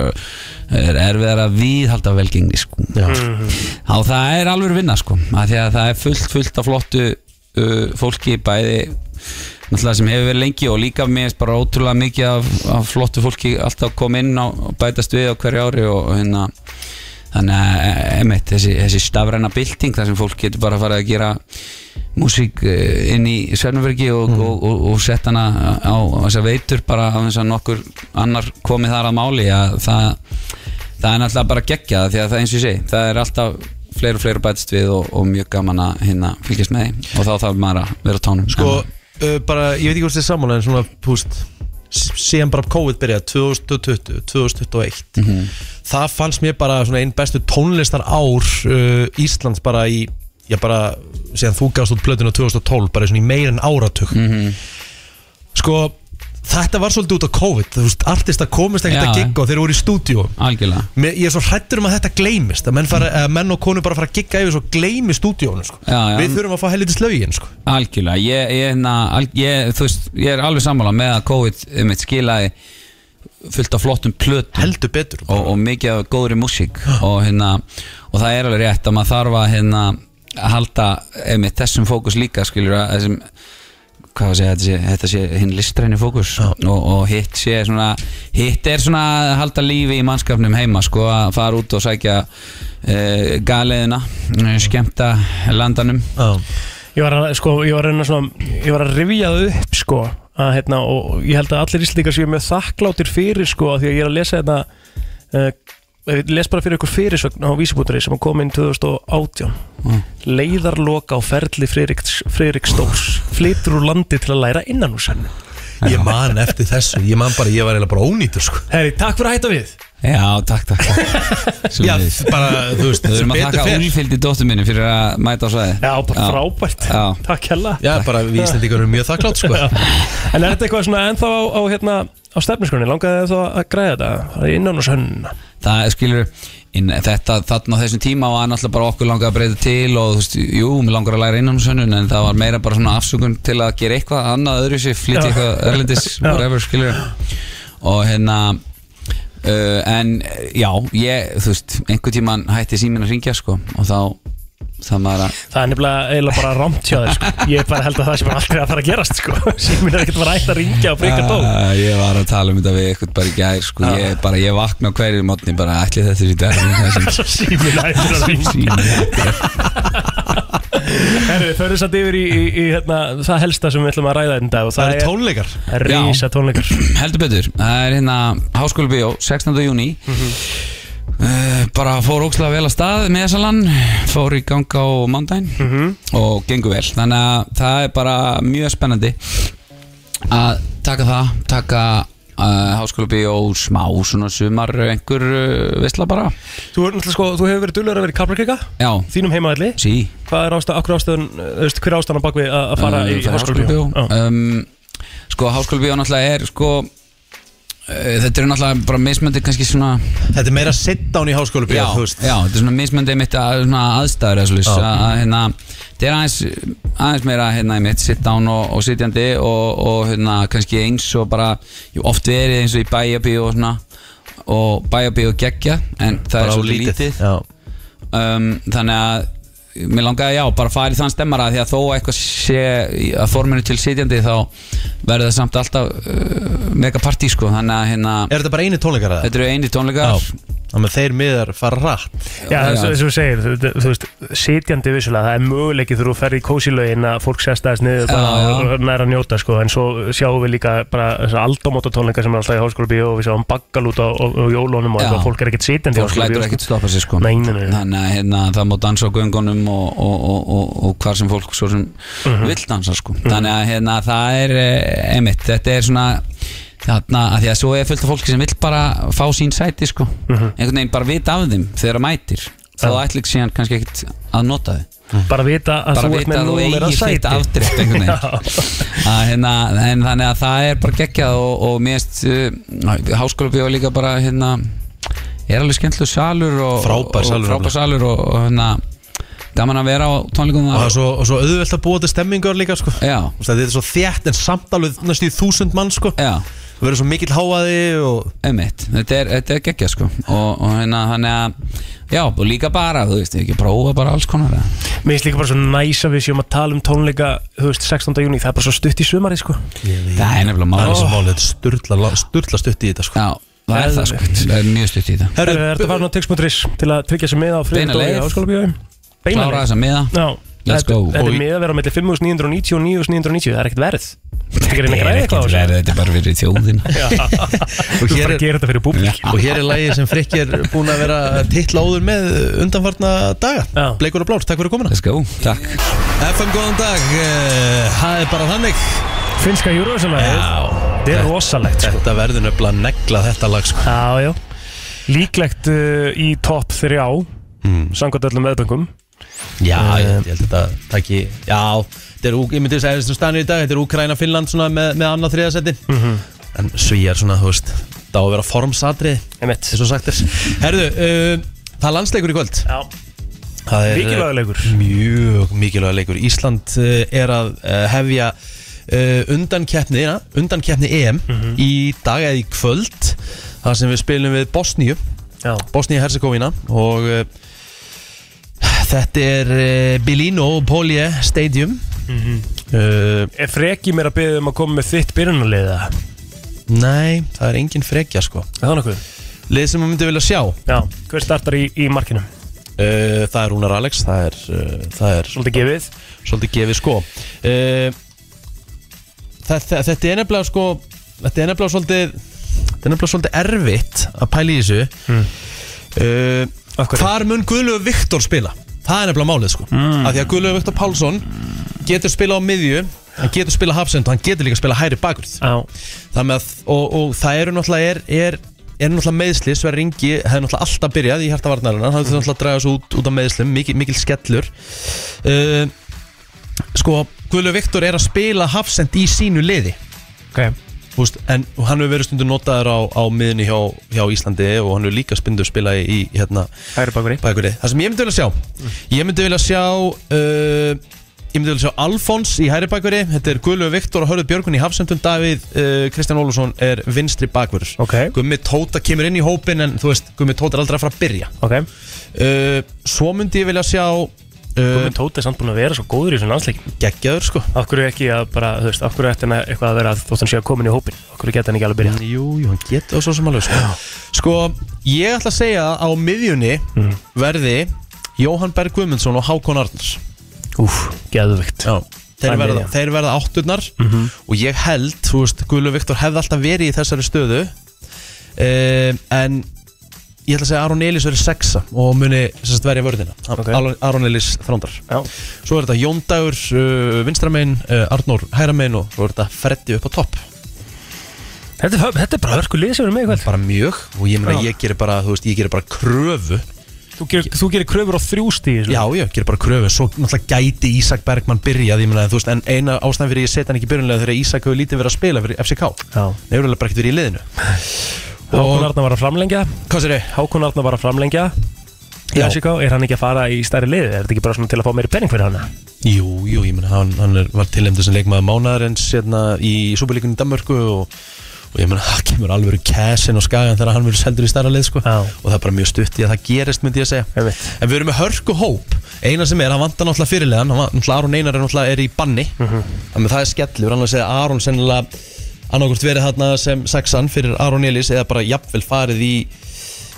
er erfiðar að viðhalda velgengni sko Já, það er alveg vinna sko, að því að það er fullt, fullt af flottu uh, fólki bæði náttúrulega sem hefur verið lengi og líka mér finnst bara ótrúlega mikið af, af flottu fólki alltaf koma inn á, og bætast við á hverju ári og hérna þannig að eh, einmitt, þessi, þessi stafræna bylting þar sem fólk getur bara að fara að gera músík eh, inn í Sörnverki og, og, og, og sett hana á, á þessar veitur bara á þess að nokkur annar komið þar að máli að það það er náttúrulega bara geggjað því að það eins og ég segi það er alltaf fleiri og fleiri bætist við og, og mjög gaman að hérna fylgjast með því og þá þarf maður að vera á tánum Sko, uh, bara, ég veit ekki hvort þið er sammála en svona, púst síðan bara COVID byrjaði 2020, 2021 Mhm. það fannst mér bara svona einn bestu tónlistar ár uh, Íslands bara í já bara, síðan þú gafst út plötinu 2012, bara svona í meira en áratug Mhm. sko þetta var svolítið út á COVID, þú veist artista komist ekkert Já. að gigga og þeir voru í stúdíu algjörlega Mhm. Mér, ég er svo hrættur um að þetta gleymist að menn, fara, að menn og konur bara fara að gigga yfir svo gleymi stúdíónu sko. Já, já. við þurfum að fá helviti slögin sko. Algjörlega, ég, ég, na, al, ég, þú veist, ég er alveg sammála með að COVID eh, mitt skilaði fullt af flottum plötum heldur betur og, og mikið af góðri músík og, hérna, og það er alveg rétt að maður þarf að hérna, að halda einmitt, þessum fókus líka skilur að þessum hvað að segja, þetta sé, þetta sé hinn listræni fókus og, og hitt sé svona hitt er svona að halda lífi í mannskapnum heima sko að fara út og sækja uh, galeðina eh, skemmta landanum Ég var að, sko, ég var að, reyna svona, ég var að rifja það upp sko að, hérna, og ég held að allir íslendingar séu mjög þakkláttir fyrir sko af því að ég er að lesa eh, þetta uh, ég les bara fyrir ykkur fyrirsögn á vísibútari sem kom inn 2018 Mm. leiðarloka á ferli Friðriks, Friðriks Stórs flytur úr landi til að læra innan úr sannu Ég man eftir þessu, ég man bara, ég var eiginlega bara ónýtur sko Herri, takk fyrir að hætta við Já, takk, takk, takk. Já, bara, þú veist, Við erum að sem betur taka fer. úlfildi dóttur minni fyrir að mæta á sæði Já, bara frábært, takk hella Já, bara við Íslandingar erum mjög þakklátt sko En er þetta eitthvað svona ennþá á, á, hérna, á stefniskunni, langaði þið þá að græða þetta Það er innan og sönn Það er, skilur, inn, þetta þarna á þessum tíma var náttúrulega bara okkur langar að breyta til og þú veist, jú, mér langar að læra innan um sönnun en það var meira bara svona afsökun til að gera eitthvað annað öðru sér, flytja Já. eitthvað örlendis, Já. whatever, skilur og hérna uh, en eh, já, ég, þú veist einhvern tíman hætti síminn að ringja sko og þá, það maður að Það er nefnilega eiginlega bara rámt hjá þér sko. Ég bara held að það sé bara aldrei að fara að gerast sko. Síminn er ekkert að fara að hætta að ringja og Ah. breyka dó Ah, Ég var að tala um þetta við eitthvað bara í gær sko. ég, bara, ég vakna á hverju mótni bara ætli þetta sér í dag Svo síminn hættir að ringja Herri, þau eru satt yfir í, í, í hérna, það helsta sem við ætlum að ræða einn dag og Það, eru tónleikar. Það er Rísa tónleikar Heldur betur, það er hérna Háskóli Bíó, 16. júni Mhm. Uh, bara fór ókslega vel að stað með Salan, fór í gang á mándaginn Mhm. og gengur vel þannig að það er bara mjög spennandi að taka það taka uh, háskóla bíó smá svona sumar einhver uh, veistla bara Þú, er, náttúrulega, sko, þú hefur verið dullur að vera í Kaplakrika Já. Þínum heimaðalli sí. Hvað er ástæðan, akkur ástæðan, þú veist, hver er ástæðan á bakvið að að fara Uh, í háskólabíó? um, Sko háskólabíó náttúrulega er sko uh, Þetta er náttúrulega bara mismöndi kannski svona Þetta er meira sit-down í háskólabíó, já, þú veist. Já, þetta er svona mismöndi mitt að, svona aðstæður að, Já. að, að, hérna, Þetta er aðeins, aðeins meira hérna, mitt sit-down og, og sitjandi og, og hérna, kannski eins og bara jú, oft verið eins og í bæjabíó og svona og bæjabíó geggja en það Bara er of svolítið lítið. lítið um, þannig að mér langaði já, bara fara í þann stemmara því að þó að eitthvað sé í- að forminu til sitjandi þá verður það samt alltaf uh, mega partí sko þannig að hérna Er þetta bara eini tónleikar eða? Þetta eru eini tónleikar Já, þannig að þeir miðar fara rætt Já, þess að þú segir, þú, þú- þú veist, sitjandi vissulega, það er möguleiki þegar þú ferði í kósilögin að fólk sérstæðist niður bara Já, já. og- og næra að njóta, sko, en svo sjáum við líka bara þessar aldamótatónleika sem er alltaf í háskólabíu og við sjáum baggalúta og, og jólónum og Já. eitthvað, fólk er ekkert sitjandi í fólk lætur háskólabíó, ekkert stoppa sig sko Nei, nei, nei. þannig að hérna, það má dansa á göngunum og, og, og, og, og hvar sem fólk svo sem Mhm. vill dansa sko þannig að hérna, það er eh, einmitt, þetta er svona þarna, að því að svo er fullt af fólki sem vill bara fá sín sæti sko einhvern veginn bara vita af þeim þegar það mætir þá Mhm. Já. ætlir síðan kannski ekkert að nota þau bara vita sko. að bara þú ert vita með að þú númer að eigir þitt sæti. afdrift einhvern Já. veginn að, hérna, en þannig að það er bara geggjað og, og mérst uh, háskóla bíó líka bara hérna, er alveg skemmtlu salur og, Frábær salur, og, frábær salur og, og hérna, gaman að vera á tónleikum Og það er svo, og svo auðvelt að búa til stemmingar líka sko Já Þetta er svo þétt en samt alveg næstu í þúsund mann sko Já Það verður svo mikill háaði og Einmitt, þetta er, þetta er geggjað sko og, og hérna, þannig að já, og líka bara, þú veist, ekki prófa bara alls konar eða? Mér finnst líka bara svo næs að við séum að tala um tónleika, þú veist, 16. júni, það er bara svo stutt í sumari, sko. það er nefnilega Það máli er svo málið, þetta er sturla, sturla stutt í þetta sko Já, það er það sko, það er mjög stutt í þetta Herru, er þetta farin á tix.ris til að tryggja sér miða á Beina friðardói leið. á skólabíðum? Klára þessa miða. Já Let's Þetta- go. Þetta Og- er miða að vera mellir 5.990 og 9.990 Það er ekkert verð Þetta er Þetta er ekkert sko. verið, þetta er bara fyrir þjóðina Og hér bara er- að gera þetta fyrir búblik Og hér er lægið sem Frikki er búin að vera titla áður með undanfarna daga Bleikur og Blár, takk fyrir komuna Let's go, takk FM, góðan dag, eh, það er bara þannig Finnska júruvísalæðið Þetta er rosalegt sko. Þetta verður nefnilega að negla þetta lag sko Já, já Líklegt uh, í topp 3 á Hmm. mm. Samkvæmt öllum meðböngum Já, ég, Eh, ég held að þetta takki Já, þetta er, Ú- ég myndi að segja þessum stanir í dag Þetta er Úkraina, Finnland svona með, með annað þriðasetti mm -hmm. En svíjar svona, þú veist Það á að vera formsatrið Einmitt Þess að sagt er Herðu, uh, það er landsleikur í kvöld Já Það er Mikilvægur leikur Mjög mikilvægur leikur Ísland uh, er að uh, hefja uh, undankeppni Undankeppni EM Í dag eða í kvöld Það sem við spilum við Bosníu Bosníu-Herzegovina Og uh, þetta er uh, Bilino Polje Stadium uh, Er freki mér að byggja um að koma með þitt byrjunarliða? Nei, það er engin frekja sko Það er nokkuð Lið sem maður myndi vilja sjá Já, hver startar í, í markinu? Uh, það er Rúnar Alex, það er, uh, það er Svolítið gefið Svolítið gefið sko uh, það, það, Þetta er nefnilega sko Þetta er nefnilega svolítið Þetta er nefnilega svolítið Eh, erfitt að pæla í þessu mm. uh, Hvar mun Guðlöf Viktor spila? Það Það er nefnilega málið sko Af því að Guðlaug Viktor Pálsson getur spila á miðju Hann getur spila hafsend og hann getur líka spila hæri bakvörð Þannig að, og, og það eru náttúrulega er, er, er náttúrulega meðsli Sverri Ingi hefði náttúrulega alltaf byrjað í hjartavarnarinnar Hann hefði náttúrulega að draga svo út, út af meðslum, mikil, mikil skellur uh, Sko, Guðlaug Viktor er að spila hafsend í sínu liði okay. Úst, En hann hefur verið stundu notaður á, á miðunni hjá, hjá Íslandi og hann hefur líka stundu spilað í, í hérna, Hægri bakvörði bakvörði Það sem ég myndi vilja sjá Ég myndi vilja sjá uh, Ég myndi vilja sjá Alfons í hægri bakvörði Þetta er Guðlöf Viktor og Hörður Björgun í hafsendum Davíð uh, Kristján Ólafsson er vinstri bakvörður okay. Gummi Tóta kemur inn í hópin En þú veist, Gummi Tóta er aldrei að fara að byrja okay. uh, Svo myndi ég vilja sjá uh, Gumi Tóti er samt búin að vera svo góður í þessum landsleikin Geggjaður sko Akkur er ekki að bara, þú veist, akkur er þetta eitthvað að vera að þótt hann sé að komin í hópin Akkur geta hann ekki alveg byrjað Jú, jú, hann geta og svo sem alveg sko Sko, ég ætla að segja að á miðjunni verði Jóhann Berg Guðmundsson og Hákon Arnars Mm. Úf, geðvikt Já, þeir Það er verða, miðjan. þeir verða átturnar og ég held, þú veist, Guðlu Viktor hefði alltaf verið í þessari stöðu um, en ég ætla að segja að Aron Elís verið sexa og muni sem sagt, verja vörðina okay. Aron Elís þrándar Já. svo er þetta Jón Dagur uh, vinstramein, uh, Arnór hæramein og svo er þetta Freddi upp á topp Þetta, er- þetta er bara hörku lið sem eru með Bara mjög og ég meina ég gerir bara, þú veist, ég gerir bara kröfu Þú gerir, þú gerir kröfur á þrjú stíð Já, já, gerir bara kröfu Svo náttúrulega gæti Ísak Bergmann byrjað ég meina, þú veist, En eina ástæðan fyrir ég setja hann ekki í byrjunlega Þegar Ísak hefur lítið verið að spila fyrir FCK Já Nefnilega bara ekkert verið í liðinu Hákon Arna var að framlengja Hvað sér Hákon Arna var að framlengja Já. Jessica, er hann ekki að fara í stærri lið? Er þetta ekki bara svona til að fá meiri penning fyrir hana? Jú, jú, ég meina Hann, hann er, var tilhemdu sem leikmaður mánaðarins hérna, Í Súbjörleikunni Danmörku og, og ég meina, það kemur alveg Kæsin og skagan þegar hann verður seldur í stærra lið sko. Og það er bara mjög stutt í að það gerist myndi ég að segja Einmitt. En við erum með hörku hóp Eina sem er, hann vantar náttúrulega fyrirlegan Hann var- náttúrulega Aron Einar er náttúrulega er í banni Þannig að það er skellur, annars er Aron sennilega annarkvort verið þarna sem sexan fyrir Aron Elís eða bara jafnvel farið í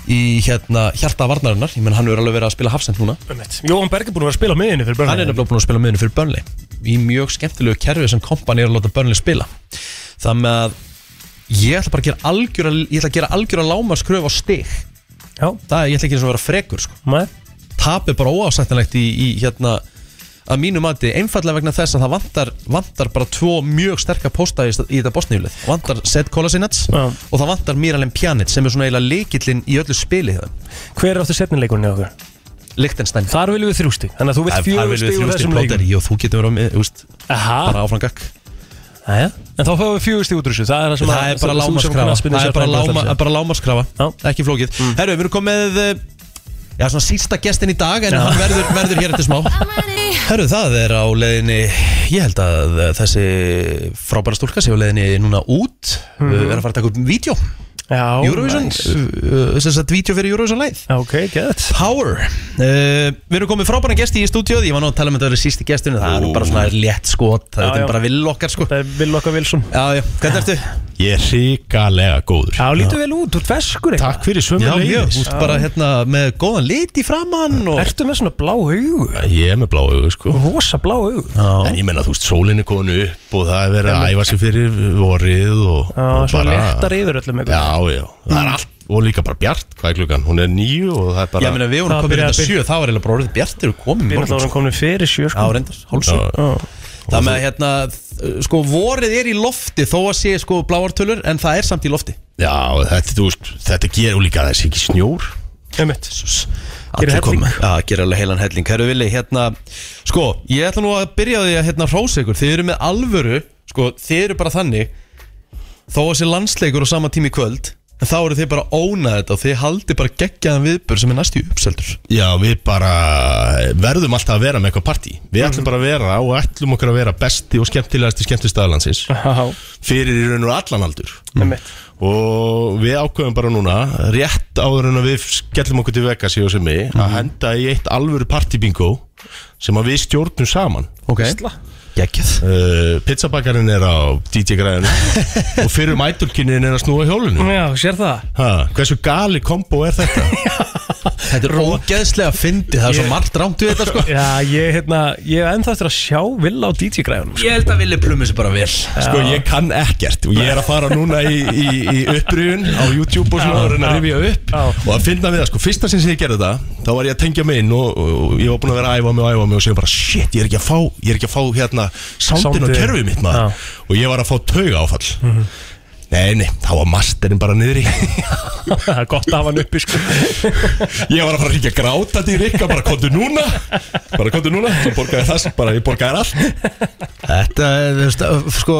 í hérna hjarta varnarinnar ég menn hann er alveg verið að spila hafsend núna Jóhann Berg er búin að vera að spila á miðinni fyrir Burnley hann er nefnilega búin að spila miðunni fyrir Burnley í mjög skemmtilegu kerfi sem kompani er að láta Burnley spila þannig að ég ætla bara að gera algjöra ég ætla að gera algjöra lámarskröf á stig Já. það er ég ætla ekki eins og að vera frekur sko. tap er bara óásættanlegt í, í hérna að mínu mati einfallega vegna þess að það vantar, vantar bara tvo mjög sterka posta í, í þetta bosniðlið vantar Seth Kolasinac og það vantar Miralem Pjanic sem er svona eiginlega leikillin í öllu spili hjá þeim. Hver er áttu setnileikunni á okkur? Lichtenstein Þar viljum við þrjústi Þannig að þú vilt fjögur stig úr þessum Ah. leikum Jó, þú getur verið á mið- þú veist, Aha. bara áfram gakk Jæja. En þá fáum við fjögur stig út úr þessu Það er, það sem Það að- er bara þú sem lámaskrafa knattspyrnu Það er bara, sérfræðingur ætlar að láma, segja. bara lámaskrafa Ekki flókið Herru, við erum komið uh, Já, svona sísta gestin í dag En Já. hann verður, verður hér eftir smá Herru, það er á leiðinni Ég held að eh, þessi frábæra stúlka sé á leiðinni núna út mm Mhm. Er að fara að taka upp vídeo Já, Eurovision nice. uh, Þess að vídeo fyrir Eurovision leið Ok, gett Power uh, Við erum komið frábæra gesti í stúdíóð Ég var nú að tala um að þetta verið sísti gestin Það er nú bara svona létt skot Það Já, er já. bara vill okkar sko Það er vill okkar vilsum Já, já, hvernig ertu? Ég er ríkalega góður Já, lítur vel út, þú ert feskur eitthvað Takk fyrir Já, sömulegis mjög, þú ert bara hérna með góðan lit í framann og... Ertu með svona blá augu? Ég er með blá augu sko Rosa blá augu En ég menna þú veist sólinn er konu upp og það er verið að æfa sig fyrir vorið og, Já, og svona léttar yfir öllum eitthvað. Já, já, það Mm. er allt og líka bara bjart, hvað er klukkan? Hún er nýju og það er bara Ég meina við vorum komið hérna sjö, það var eiginlega bara orðið bjartir og komið Við erum alltaf komin fyrir sjö sko. Já, reyndar, hálsum Það með að hérna, uh, sko vorið er í lofti þó að sé sko bláartölur en það er samt í lofti Já, þetta, þú veist, þetta gerur líka þessi ekki snjór Emmett Allir koma, já, gera alveg heilan helling Herru Vili, hérna, sko, ég ætla nú að byrja á því að hérna hrósa ykkur Þið eru með alvöru, sko, þið eru bara þannig Þó að sé landsleikur á sama tími í kvöld En þá eru þið bara að óna þetta og þið haldi bara geggjaðan viðbör sem er næst í uppseldur Já, við bara verðum alltaf að vera með eitthvað partí Mm. Við ætlum bara að vera og ætlum okkur að vera besti og skemmtilegasti skemmtistaðalansins Fyrir í raun og allan aldur Og við ákveðum bara núna, rétt áður en að við skellum okkur til Vegas í og sem mig Að henda í eitt alvöru partybingo sem að við stjórnum saman Ok Gekkið uh, Pizzabakkarinn er á DJ-græðinu Og fyrir mætulkinnin er að snúa hjólinu Já, sér það ha, Hversu gali kombo er þetta? Þetta er ógeðslega fyndi, það er svo margt rámt við þetta sko Já, ég, hérna, ég er ennþá eftir að sjá Villa á DJ-græðunum Ég held að Vili plumi sér bara vel Sko ég kann ekkert og ég er að fara núna í, í, í upprýðun á YouTube og svona Já, og reyna að já. rifja upp og að finna við það sko, fyrsta sinns ég gerði þetta þá var ég að tengja mig inn og, og ég var búin að vera að æfa mig og æfa mig og segja bara shit, ég er ekki að fá, ég er ekki að fá hérna soundin og Soundið. kerfið mitt maður og ég var að fá tauga áfall Mhm. Nei, nei, þá var masterinn bara niðri Það er sko. gott að hafa hann uppi sko Ég var að fara að ríkja grátandi í Rikka bara kontu núna bara kontu núna, ég borgaði það bara ég borgaði allt Þetta, er, þú veist, ö, sko,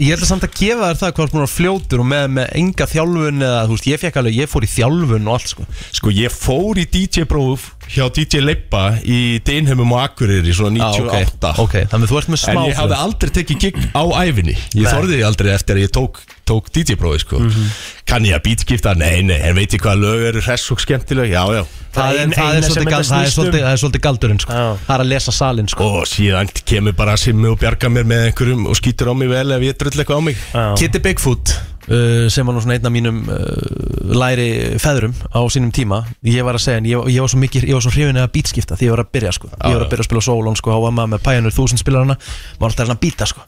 ég held að samt að gefa þér það hvað þú ert fljótur og með, með enga þjálfun eða, þú veist, ég fekk alveg, ég fór í þjálfun og allt, sko Sko, ég fór í DJ próf hjá DJ Leippa í Deinheimum og Akureyri svona 98 Ah, ok, ok, þannig að þú ert með smá En ég hafði aldrei tekið gig á æfinni Ég Nei. Mhm. þorði því aldrei eftir að ég tók, tók DJ-prófi sko. Kann ég að beatskipta? Nei, nei, en veit ég hvaða lög eru hress og skemmtileg? Já, já Það er, það, er svolítið, gal- það, er svolítið, það er svolítið galdurinn sko. Það er að lesa salin sko. Og síðan kemur bara Simmi og bjarga mér með einhverjum og skýtur á mig vel ef ég drull eitthvað á mig Kitty Bigfoot uh, sem var nú svona einn af mínum uh, læri feðrum á sínum tíma ég var að segja, en ég, ég var svo mikið ég var svo hrifin að bítskipta því ég var að byrja sko. ég var að byrja að spila sólón sko, á amma með Pioneer 1000 spilarana maður alltaf að býta sko.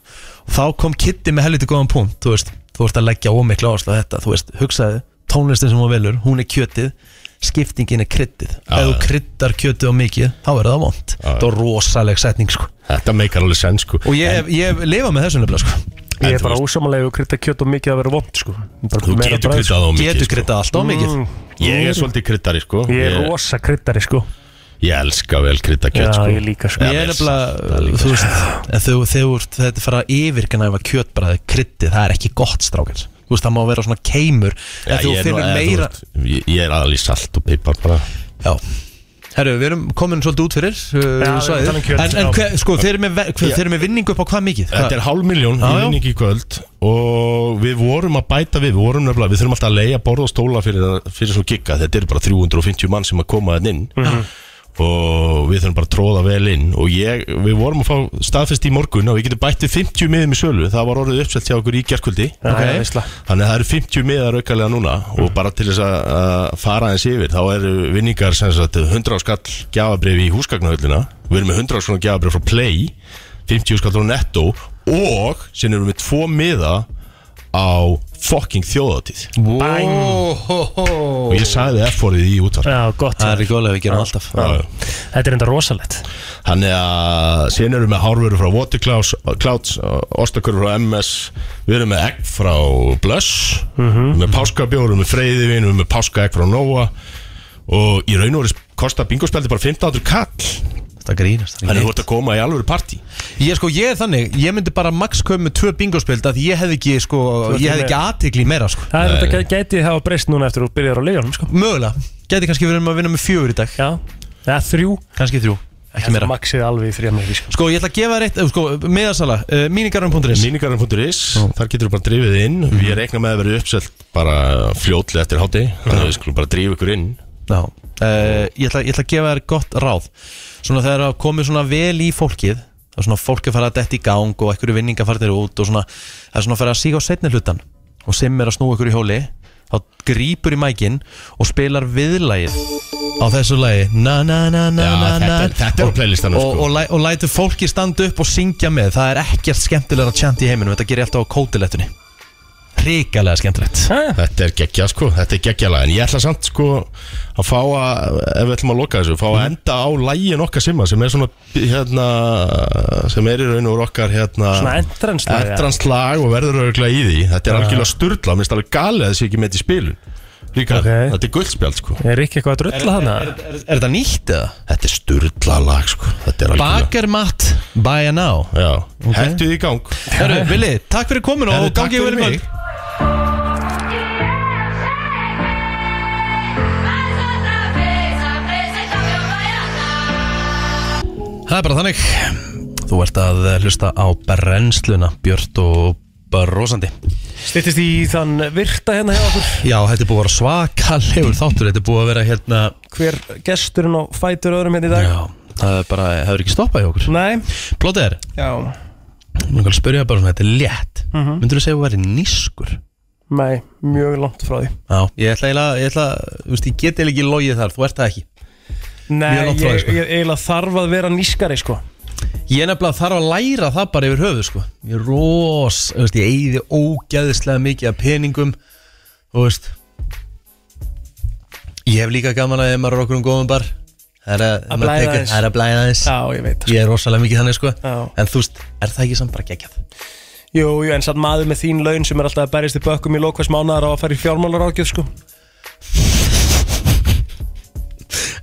og þá kom Kitty með helviti góðan punkt þú veist, þú veist að leggja ómikla áherslu á þetta þú veist, hugsaði, tónlistin sem hún velur hún er kjötið, skiptingin er kryddið ef þú kryddar kjötið á mikið þá er það vond, það er rosaleg setning sko. Þetta meikar alveg senn sko. og ég, ég lifa með þessu nefnilega sko. Ég er bara ósamalega og krytta kjöt og mikið að vera vond sko Þú getur kryddað á mikið Getur sko. kryddað allt á mikið. Mm. Ég er svolítið kryddari sko. Ég er rosa kryttari sko Ég elska vel krydda kjött Já, sko. ég líka, sko. Já, Ég er vel. nefnilega, þú veist, en þú, þegar þetta fara að yfirgnæfa kjötbræði, kryddið, það er ekki gott strákar. Þú veist, það má vera svona keimur, Já, en þú ég er nú- finnur eða, þú meira... veist, Ég ég er aðal í salt og pipar bara Já Herru, við erum komin svolítið út fyrir uh, Já, við erum svæðið. talað um kjöt, En, en já. hver, sko, þeir eru með, ve- hver, Já. þeir eru með vinningu upp á hvað mikið? Þetta er hálf miljón í Já, já. vinning í kvöld og við vorum að bæta við, við vorum nefnilega, við þurfum alltaf að leia borð og stóla fyrir, fyrir svo gigga, þetta eru bara 350 mann sem að koma þann inn og við þurfum bara að tróða vel inn og ég, við vorum að fá staðfest í morgun og við getum bætt við 50 miðum í sölu, það var orðið uppsett hjá okkur í gerkvöldi Já, já, veistla. þannig að það eru 50 miðar aukalega núna og bara til þess að að fara eins yfir þá eru vinningar sem sagt 100 skall gjafabrif í húsgagnahöllina við erum með 100 skall gjafabrif frá Play 50 skall frá Netto og sem erum við með tvo miða á fucking þjóðatíð og ég sagði F-orðið í útvarp Já, gott Það er ekki góðlega við gerum alltaf Já, já. Þetta er enda rosalegt Þannig að síðan erum við með hárveru frá Waterclouds, Clouds, Ostakur frá MS, við erum með egg frá Blöss, Mhm. við erum með páskabjór, við erum með freyðivin, við erum með páskaegg frá Nóa og í raun og verið kostar bingospjaldi bara 1500 kall. Þetta grínast. það er Þannig þú ekki ert að koma í alvöru partí. Ég sko, ég er þannig, ég myndi bara max köpa með tvö bingospild að ég hef ekki, sko, Þú ert ég hef með- ekki aðtikli meira, sko. Það er þetta gæti hafa breyst núna eftir að þú byrjar á leiðunum sko Mögulega, gæti kannski verið um að vinna með fjögur í dag. Já, eða þrjú. Kannski þrjú, ekki meira. Maxið alveg í þrjá mikið sko Sko, ég ætla að gefa þér eitt, eh, sko, miðasala, uh, mínigarum.is Mínigarum.is, þar getur þú bara drifið inn, við rekna með að vera uppselt bara fljótlega eftir hátti, þannig að við skulum bara drifa ykkur inn. Já, uh, ég, ætla, ég ætla að gefa þér gott ráð Svona þegar það komið svona vel í fólkið Það er svona fólk að fara að detti í gang og einhverju vinninga farnir út og svona Það er svona að fara að síga á setni hlutan og sem er að snúa ykkur í hjóli þá grípur í mækin og spilar viðlægið á þessu lægi na na na na Já, na na þetta er- þetta er á Og- playlistanum, og, sko. og, læ- og lætur fólki standa upp og syngja með það er ekkert skemmtilega að tjanta í heiminum þetta gerir ég alltaf á kótilettunni hrikalega skemmtilegt Þetta er geggja sko, þetta er geggja lag En ég ætla samt sko að fá að Ef við ætlum að loka þessu, fá að enda á lægin okkar simma Sem er svona, hérna Sem er í raun og veru okkar, hérna Svona entrance lag, ja. Entrance lag og verður auðvitað í því Þetta er Já. algjörlega sturla, minnst alveg galið að þessi ekki með í spilun Líka, þetta er guldspjald sko Er ekki eitthvað að drölla hana? Er þetta nýtt eða? Þetta er sturla lag sko Þetta er algjörlega Bakermat by a now Já, okay. hendu því í gang Herru, Vili, takk fyrir komin og Herru, takk gangi fyrir yfir í mig. kvöld Það er bara þannig Þú ert að hlusta á brennsluna Björt og brosandi Styttist í þann virta hérna hjá okkur Já, þetta er búið að vera svakalegur þáttur Þetta er búið að vera hérna Hver gesturinn og fætur öðrum hérna í dag Já, það er bara, það er ekki stoppað hjá okkur Nei Plótið er, Já mér langar að spyrja bara svona, þetta er létt mm Mhm. Myndur þú segja að þú væri nískur? Nei, mjög langt frá því Já, ég ætla eiginlega, ég ætla, þú veist, ég get eiginlega ekki logið þar, þú ert það ekki Nei, mjög langt frá því ég, sko. ég eiginlega þarf að vera nískari sko Ég nefnilega þarf að læra það bara yfir höfuð sko. Ég er ros, þú veist, ég eyði ógæðislega mikið af peningum Þú veist Ég hef líka gaman að ef maður er okkur um góðum bar Það er að, Að maður blæða tekur- aðeins. það er að blæða aðeins Já, ég veit Ég er rosalega mikið þannig sko Já. En þú veist, er það ekki samt bara geggjað? Jú, jú, en satt maður með þín laun sem er alltaf að berjast í bökkum í lókvæs mánar á að fara í fjármálar ágjöf sko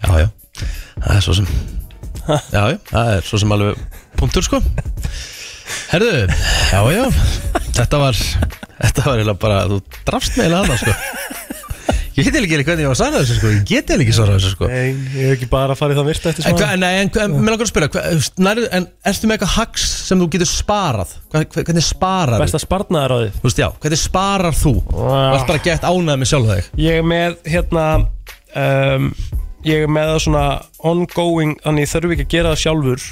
Já, já, það er svo sem Já, já, það er svo sem alveg punktur sko Herðu, já, já Þetta var, þetta var eiginlega bara Þú drafst mig eiginlega annars sko Ég get eiginlega ekki hvernig ég var að svara þessu sko Ég get eiginlega ekki svara þessu sko Nei, ég hef ekki bara farið það virta eftir En, smá hva, nei, en, en mér langar að spila hva, þú veist, nærðu, En ertu með eitthvað hacks sem þú getur sparað? Hva, hva, hvernig sparar Besta sparnaðaráðið Þú veist, já, hvernig sparar þú? Þú ert bara gett ánæð með sjálf þig Ég er með hérna um, Ég er með það svona ongoing Þannig ég þurfi ekki að gera það sjálfur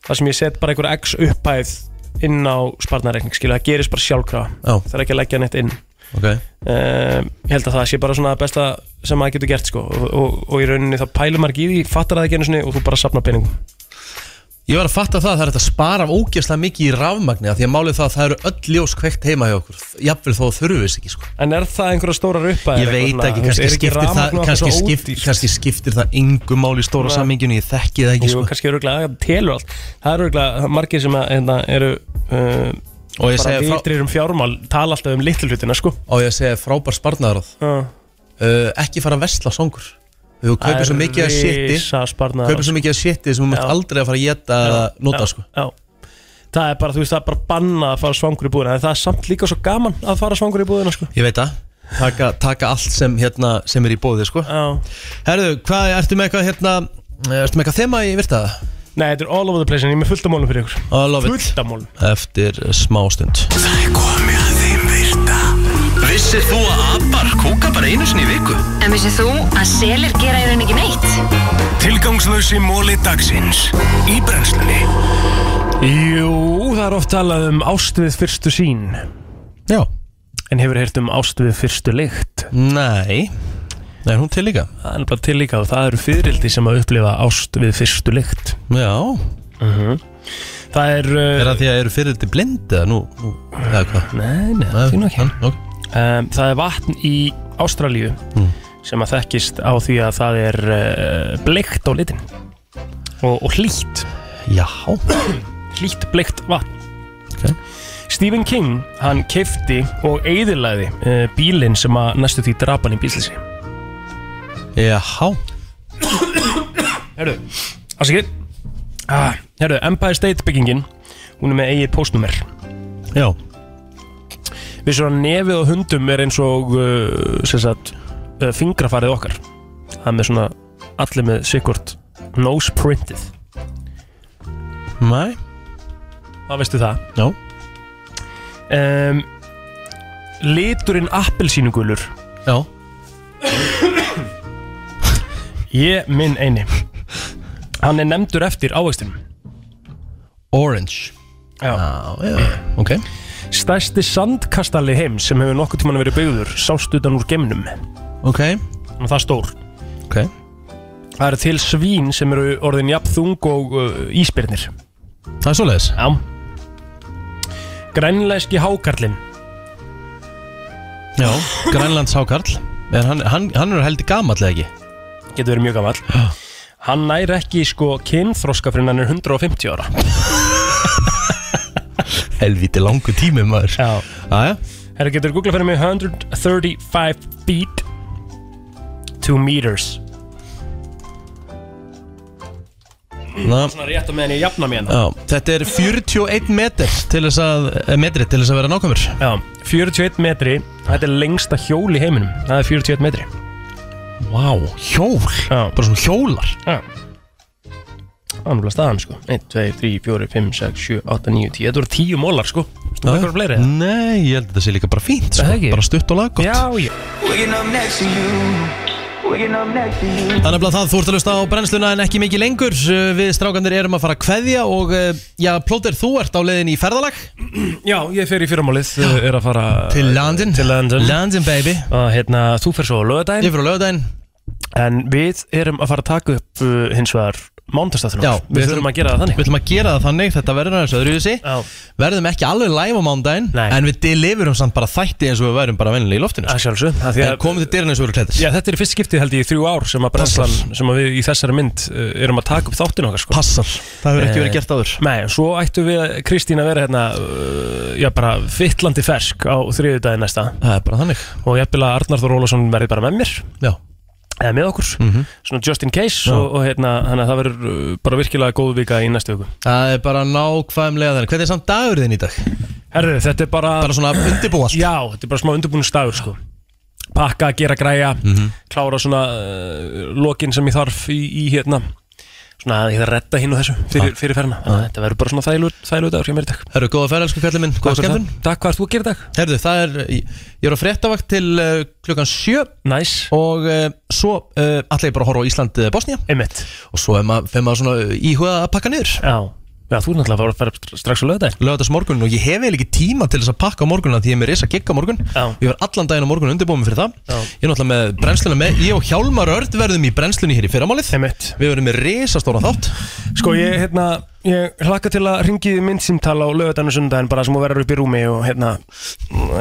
þar sem ég set bara einhver x upphæð inn á sparnareikning skilja, það gerist bara sjálfkrafa Já. það er ekki að leggja neitt inn Ok. um, Ég held að það sé bara svona það besta sem maður getur gert sko og, og, og í rauninni þá pælum maður ekki í því fattar það ekki einu sinni og þú bara sapnar peningum Ég var að fatta það að það er hægt að spara ógeðslega mikið í rafmagni af Því að málið það að það eru öll ljós kveikt heima hjá okkur Jafnvel þó þurfum við ekki sko En er það einhverja stórar upphæð? Ég veit ekki, kannski skiptir það kannski, skiptir, kannski skiptir það yngu mál í stóra Nei. saminginu Ég þekki það ekki Jú, sko kannski öruglega, það telur allt Það er öruglega margir sem að, hérna, eru uh, Og ég bara segi frá- vitrir um fjármál tala alltaf um litlu hlutina sko Og ég segi frábær sparnaðaráð uh, Ekki fara að vesla songur Þú Það er kaupir svo mikið að shiti risa sparnaðaráð, Kaupir svo mikið að shiti sem þú mætt aldrei að fara að geta að nota sko já, já. Það er bara, þú veist, það er bara banna að fara svangur í búðina en Það er samt líka svo gaman að fara svangur í búðina sko Ég veit það taka, taka allt sem, hérna, sem er í bóði sko Herðu, hvað ertu með eitthvað hérna Ertu með eitthvað þema í virtaða? Nei, þetta er all over the place en ég er með fullt af málum fyrir ykkur All of it. Fullt af málum Eftir smástund Það er komið að þeim virta Vissir þú að abar kúka bara einu sinni í viku? En vissið þú að selir gera í raun ekki neitt? Tilgangslösi móli dagsins Í brennslunni Jú, það er oft talað um ást við fyrstu sín Já En hefur heyrt um ást við fyrstu lykt? Nei Það er hún til líka Það er bara til líka og það eru fyririldi sem að upplifa ást við fyrstu lykt Já Það er uh, Er það því að eru fyrir þetta blindi eða nú, nú eða hvað? Nei, nei, það því nú ekki. okay. um, Það er vatn í Ástralíu Mm. sem að þekkist á því að það er uh, bleikt á litin og, og hlýtt Já Hlýtt bleikt vatn Stephen King, hann keifti og eyðilaði uh, bílinn sem að næstu því drapan í bíslisi Jáhá Herru, afsakið ah, Herru, Empire State byggingin hún er með eigið póstnúmer Já Við svo að nefið á hundum er eins og uh, sem sagt uh, fingrafarið okkar það er með svona allir með sikkort nose printið Nei Það veistu það Já um, Liturinn appelsínugulur Já Ég minn eini Hann er nefndur eftir ávextinum Orange Já, já, ok Stærsti sandkastali heims sem hefur nokkuð tímann verið byggður sást utan úr geimnum Ok Og það er stór Ok Það eru til svín sem eru orðin jafn þung og uh, ísbyrnir Það er svoleiðis Já Grænlæski hákarlinn Já Grænlands hákarl En hann, hann, hann er heldur gamall eða ekki Getur verið mjög gamall Hann nær ekki sko kynþroska fyrir en hann er 150 ára Helviti langu tími maður Já Aja Herra, getur googlað fyrir mig 135 feet 2 meters Ná. Svona rétt á meðan ég jafna hérna. mér Já, þetta er 41 metr til þess að, eh, metri til þess að vera nákvæmur Já, 41 metri Þetta er lengsta hjól í heiminum Það er 41 metri Vá, wow, hjól Já. Bara svona hjólar Já Ánúlega staðan sko 1, 2, 3, 4, 5, 6, 7, 8, 9, 10 Þetta voru 10 mólar sko Snúðu eitthvað fleiri eða? Nei, ég held að þetta sé líka bara fínt Það sko. ekki? Bara stutt og laggott Já, já Waking up next to you. Waking up next to you. Það er nefnilega það, þú ert að lusta á brennsluna en ekki mikið lengur Uh, Við strákandir erum að fara að kveðja og uh, já, Plóter, þú ert á leiðin í ferðalag Já, ég fer í fyrramálið Er að fara Til London Til London London, baby Og hérna, þú fer svo á lögadaginn Ég fyrir á lögadaginn En við erum að fara að taka upp uh, hins vegar mándagstáttunum Já, við, þurfum að gera það þannig Við þurfum að gera það þannig, þetta verður aðeins öðruvísi Verðum ekki alveg live á mándaginn En við deliverum samt bara þætti eins og við værum bara vennilega í loftinu sko. Að sjálfsög að því að- En komum þið dyrna eins og við erum klættir Já, þetta er í fyrst skiptið held ég í þrjú ár sem að brennslan, sem að við í þessari mynd uh, erum að taka upp þáttin okkar sko. Passar, Eh, það hefur ekki verið gert áður Nei, en svo ættu við, að- Kristín að vera hérna, uh, já bara fyllandi fersk á þriðjudaginn næsta Það er bara þannig Og ég að Arnar Þór Ólafsson verði bara með mér Já Eða með okkur, svona just in case Já. og, og hérna, þannig að það verður uh, bara virkilega góð vika í næstu viku Það er bara nákvæmlega þannig Hvernig er samt dagur þinn í dag? Herðu, þetta er bara Bara svona undirbúa allt Já, þetta er bara smá undirbúinstagur sko Pakka, gera græja, Mhm. klára svona uh, lokin sem ég þarf í, í hérna Svona að ég þarf að redda hinn og þessu Ah. fyrir, fyrir ferðina Þannig að Þetta verður bara svona þægilegu, þægilegu dagur hjá mér í dag Herru, góða ferð, elsku kallið minn, góða Takk fyrir skemmtun Takk, hvað ert þú að gera í dag? Herru, það er, ég, ég er á fréttavakt til uh, klukkan sjö Nice Og uh, svo uh, ætla ég bara að horfa á Ísland uh, Bosnia Einmitt Og svo er maður, fer maður svona íhuga að pakka niður Já, já þú er náttúrulega að fara strax á lögðaginn Lögðast morgun og ég hef eiginlega ekki tíma til þess að pakka á morgunna Því ég er með risa gigga morgun Já Ég var allan daginn á morgun undirbúin fyrir það Já. Ég er náttúrulega með brennsluna með Ég og Hjálmar Örd verðum í brennslunni hér í fyrramálið Einmitt. Við verðum með risastóra þátt Sko ég, hérna, ég hlakka til að ringi myndsimtal á lögadaginu sundaginn bara sem þú verður upp í rúmi og hérna,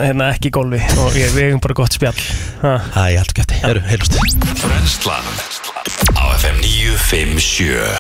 hérna ekki í golfi og ég, við eigum bara gott spjall Það er allt gætti, heyrðu, heyrðust Brenslan Á FM 957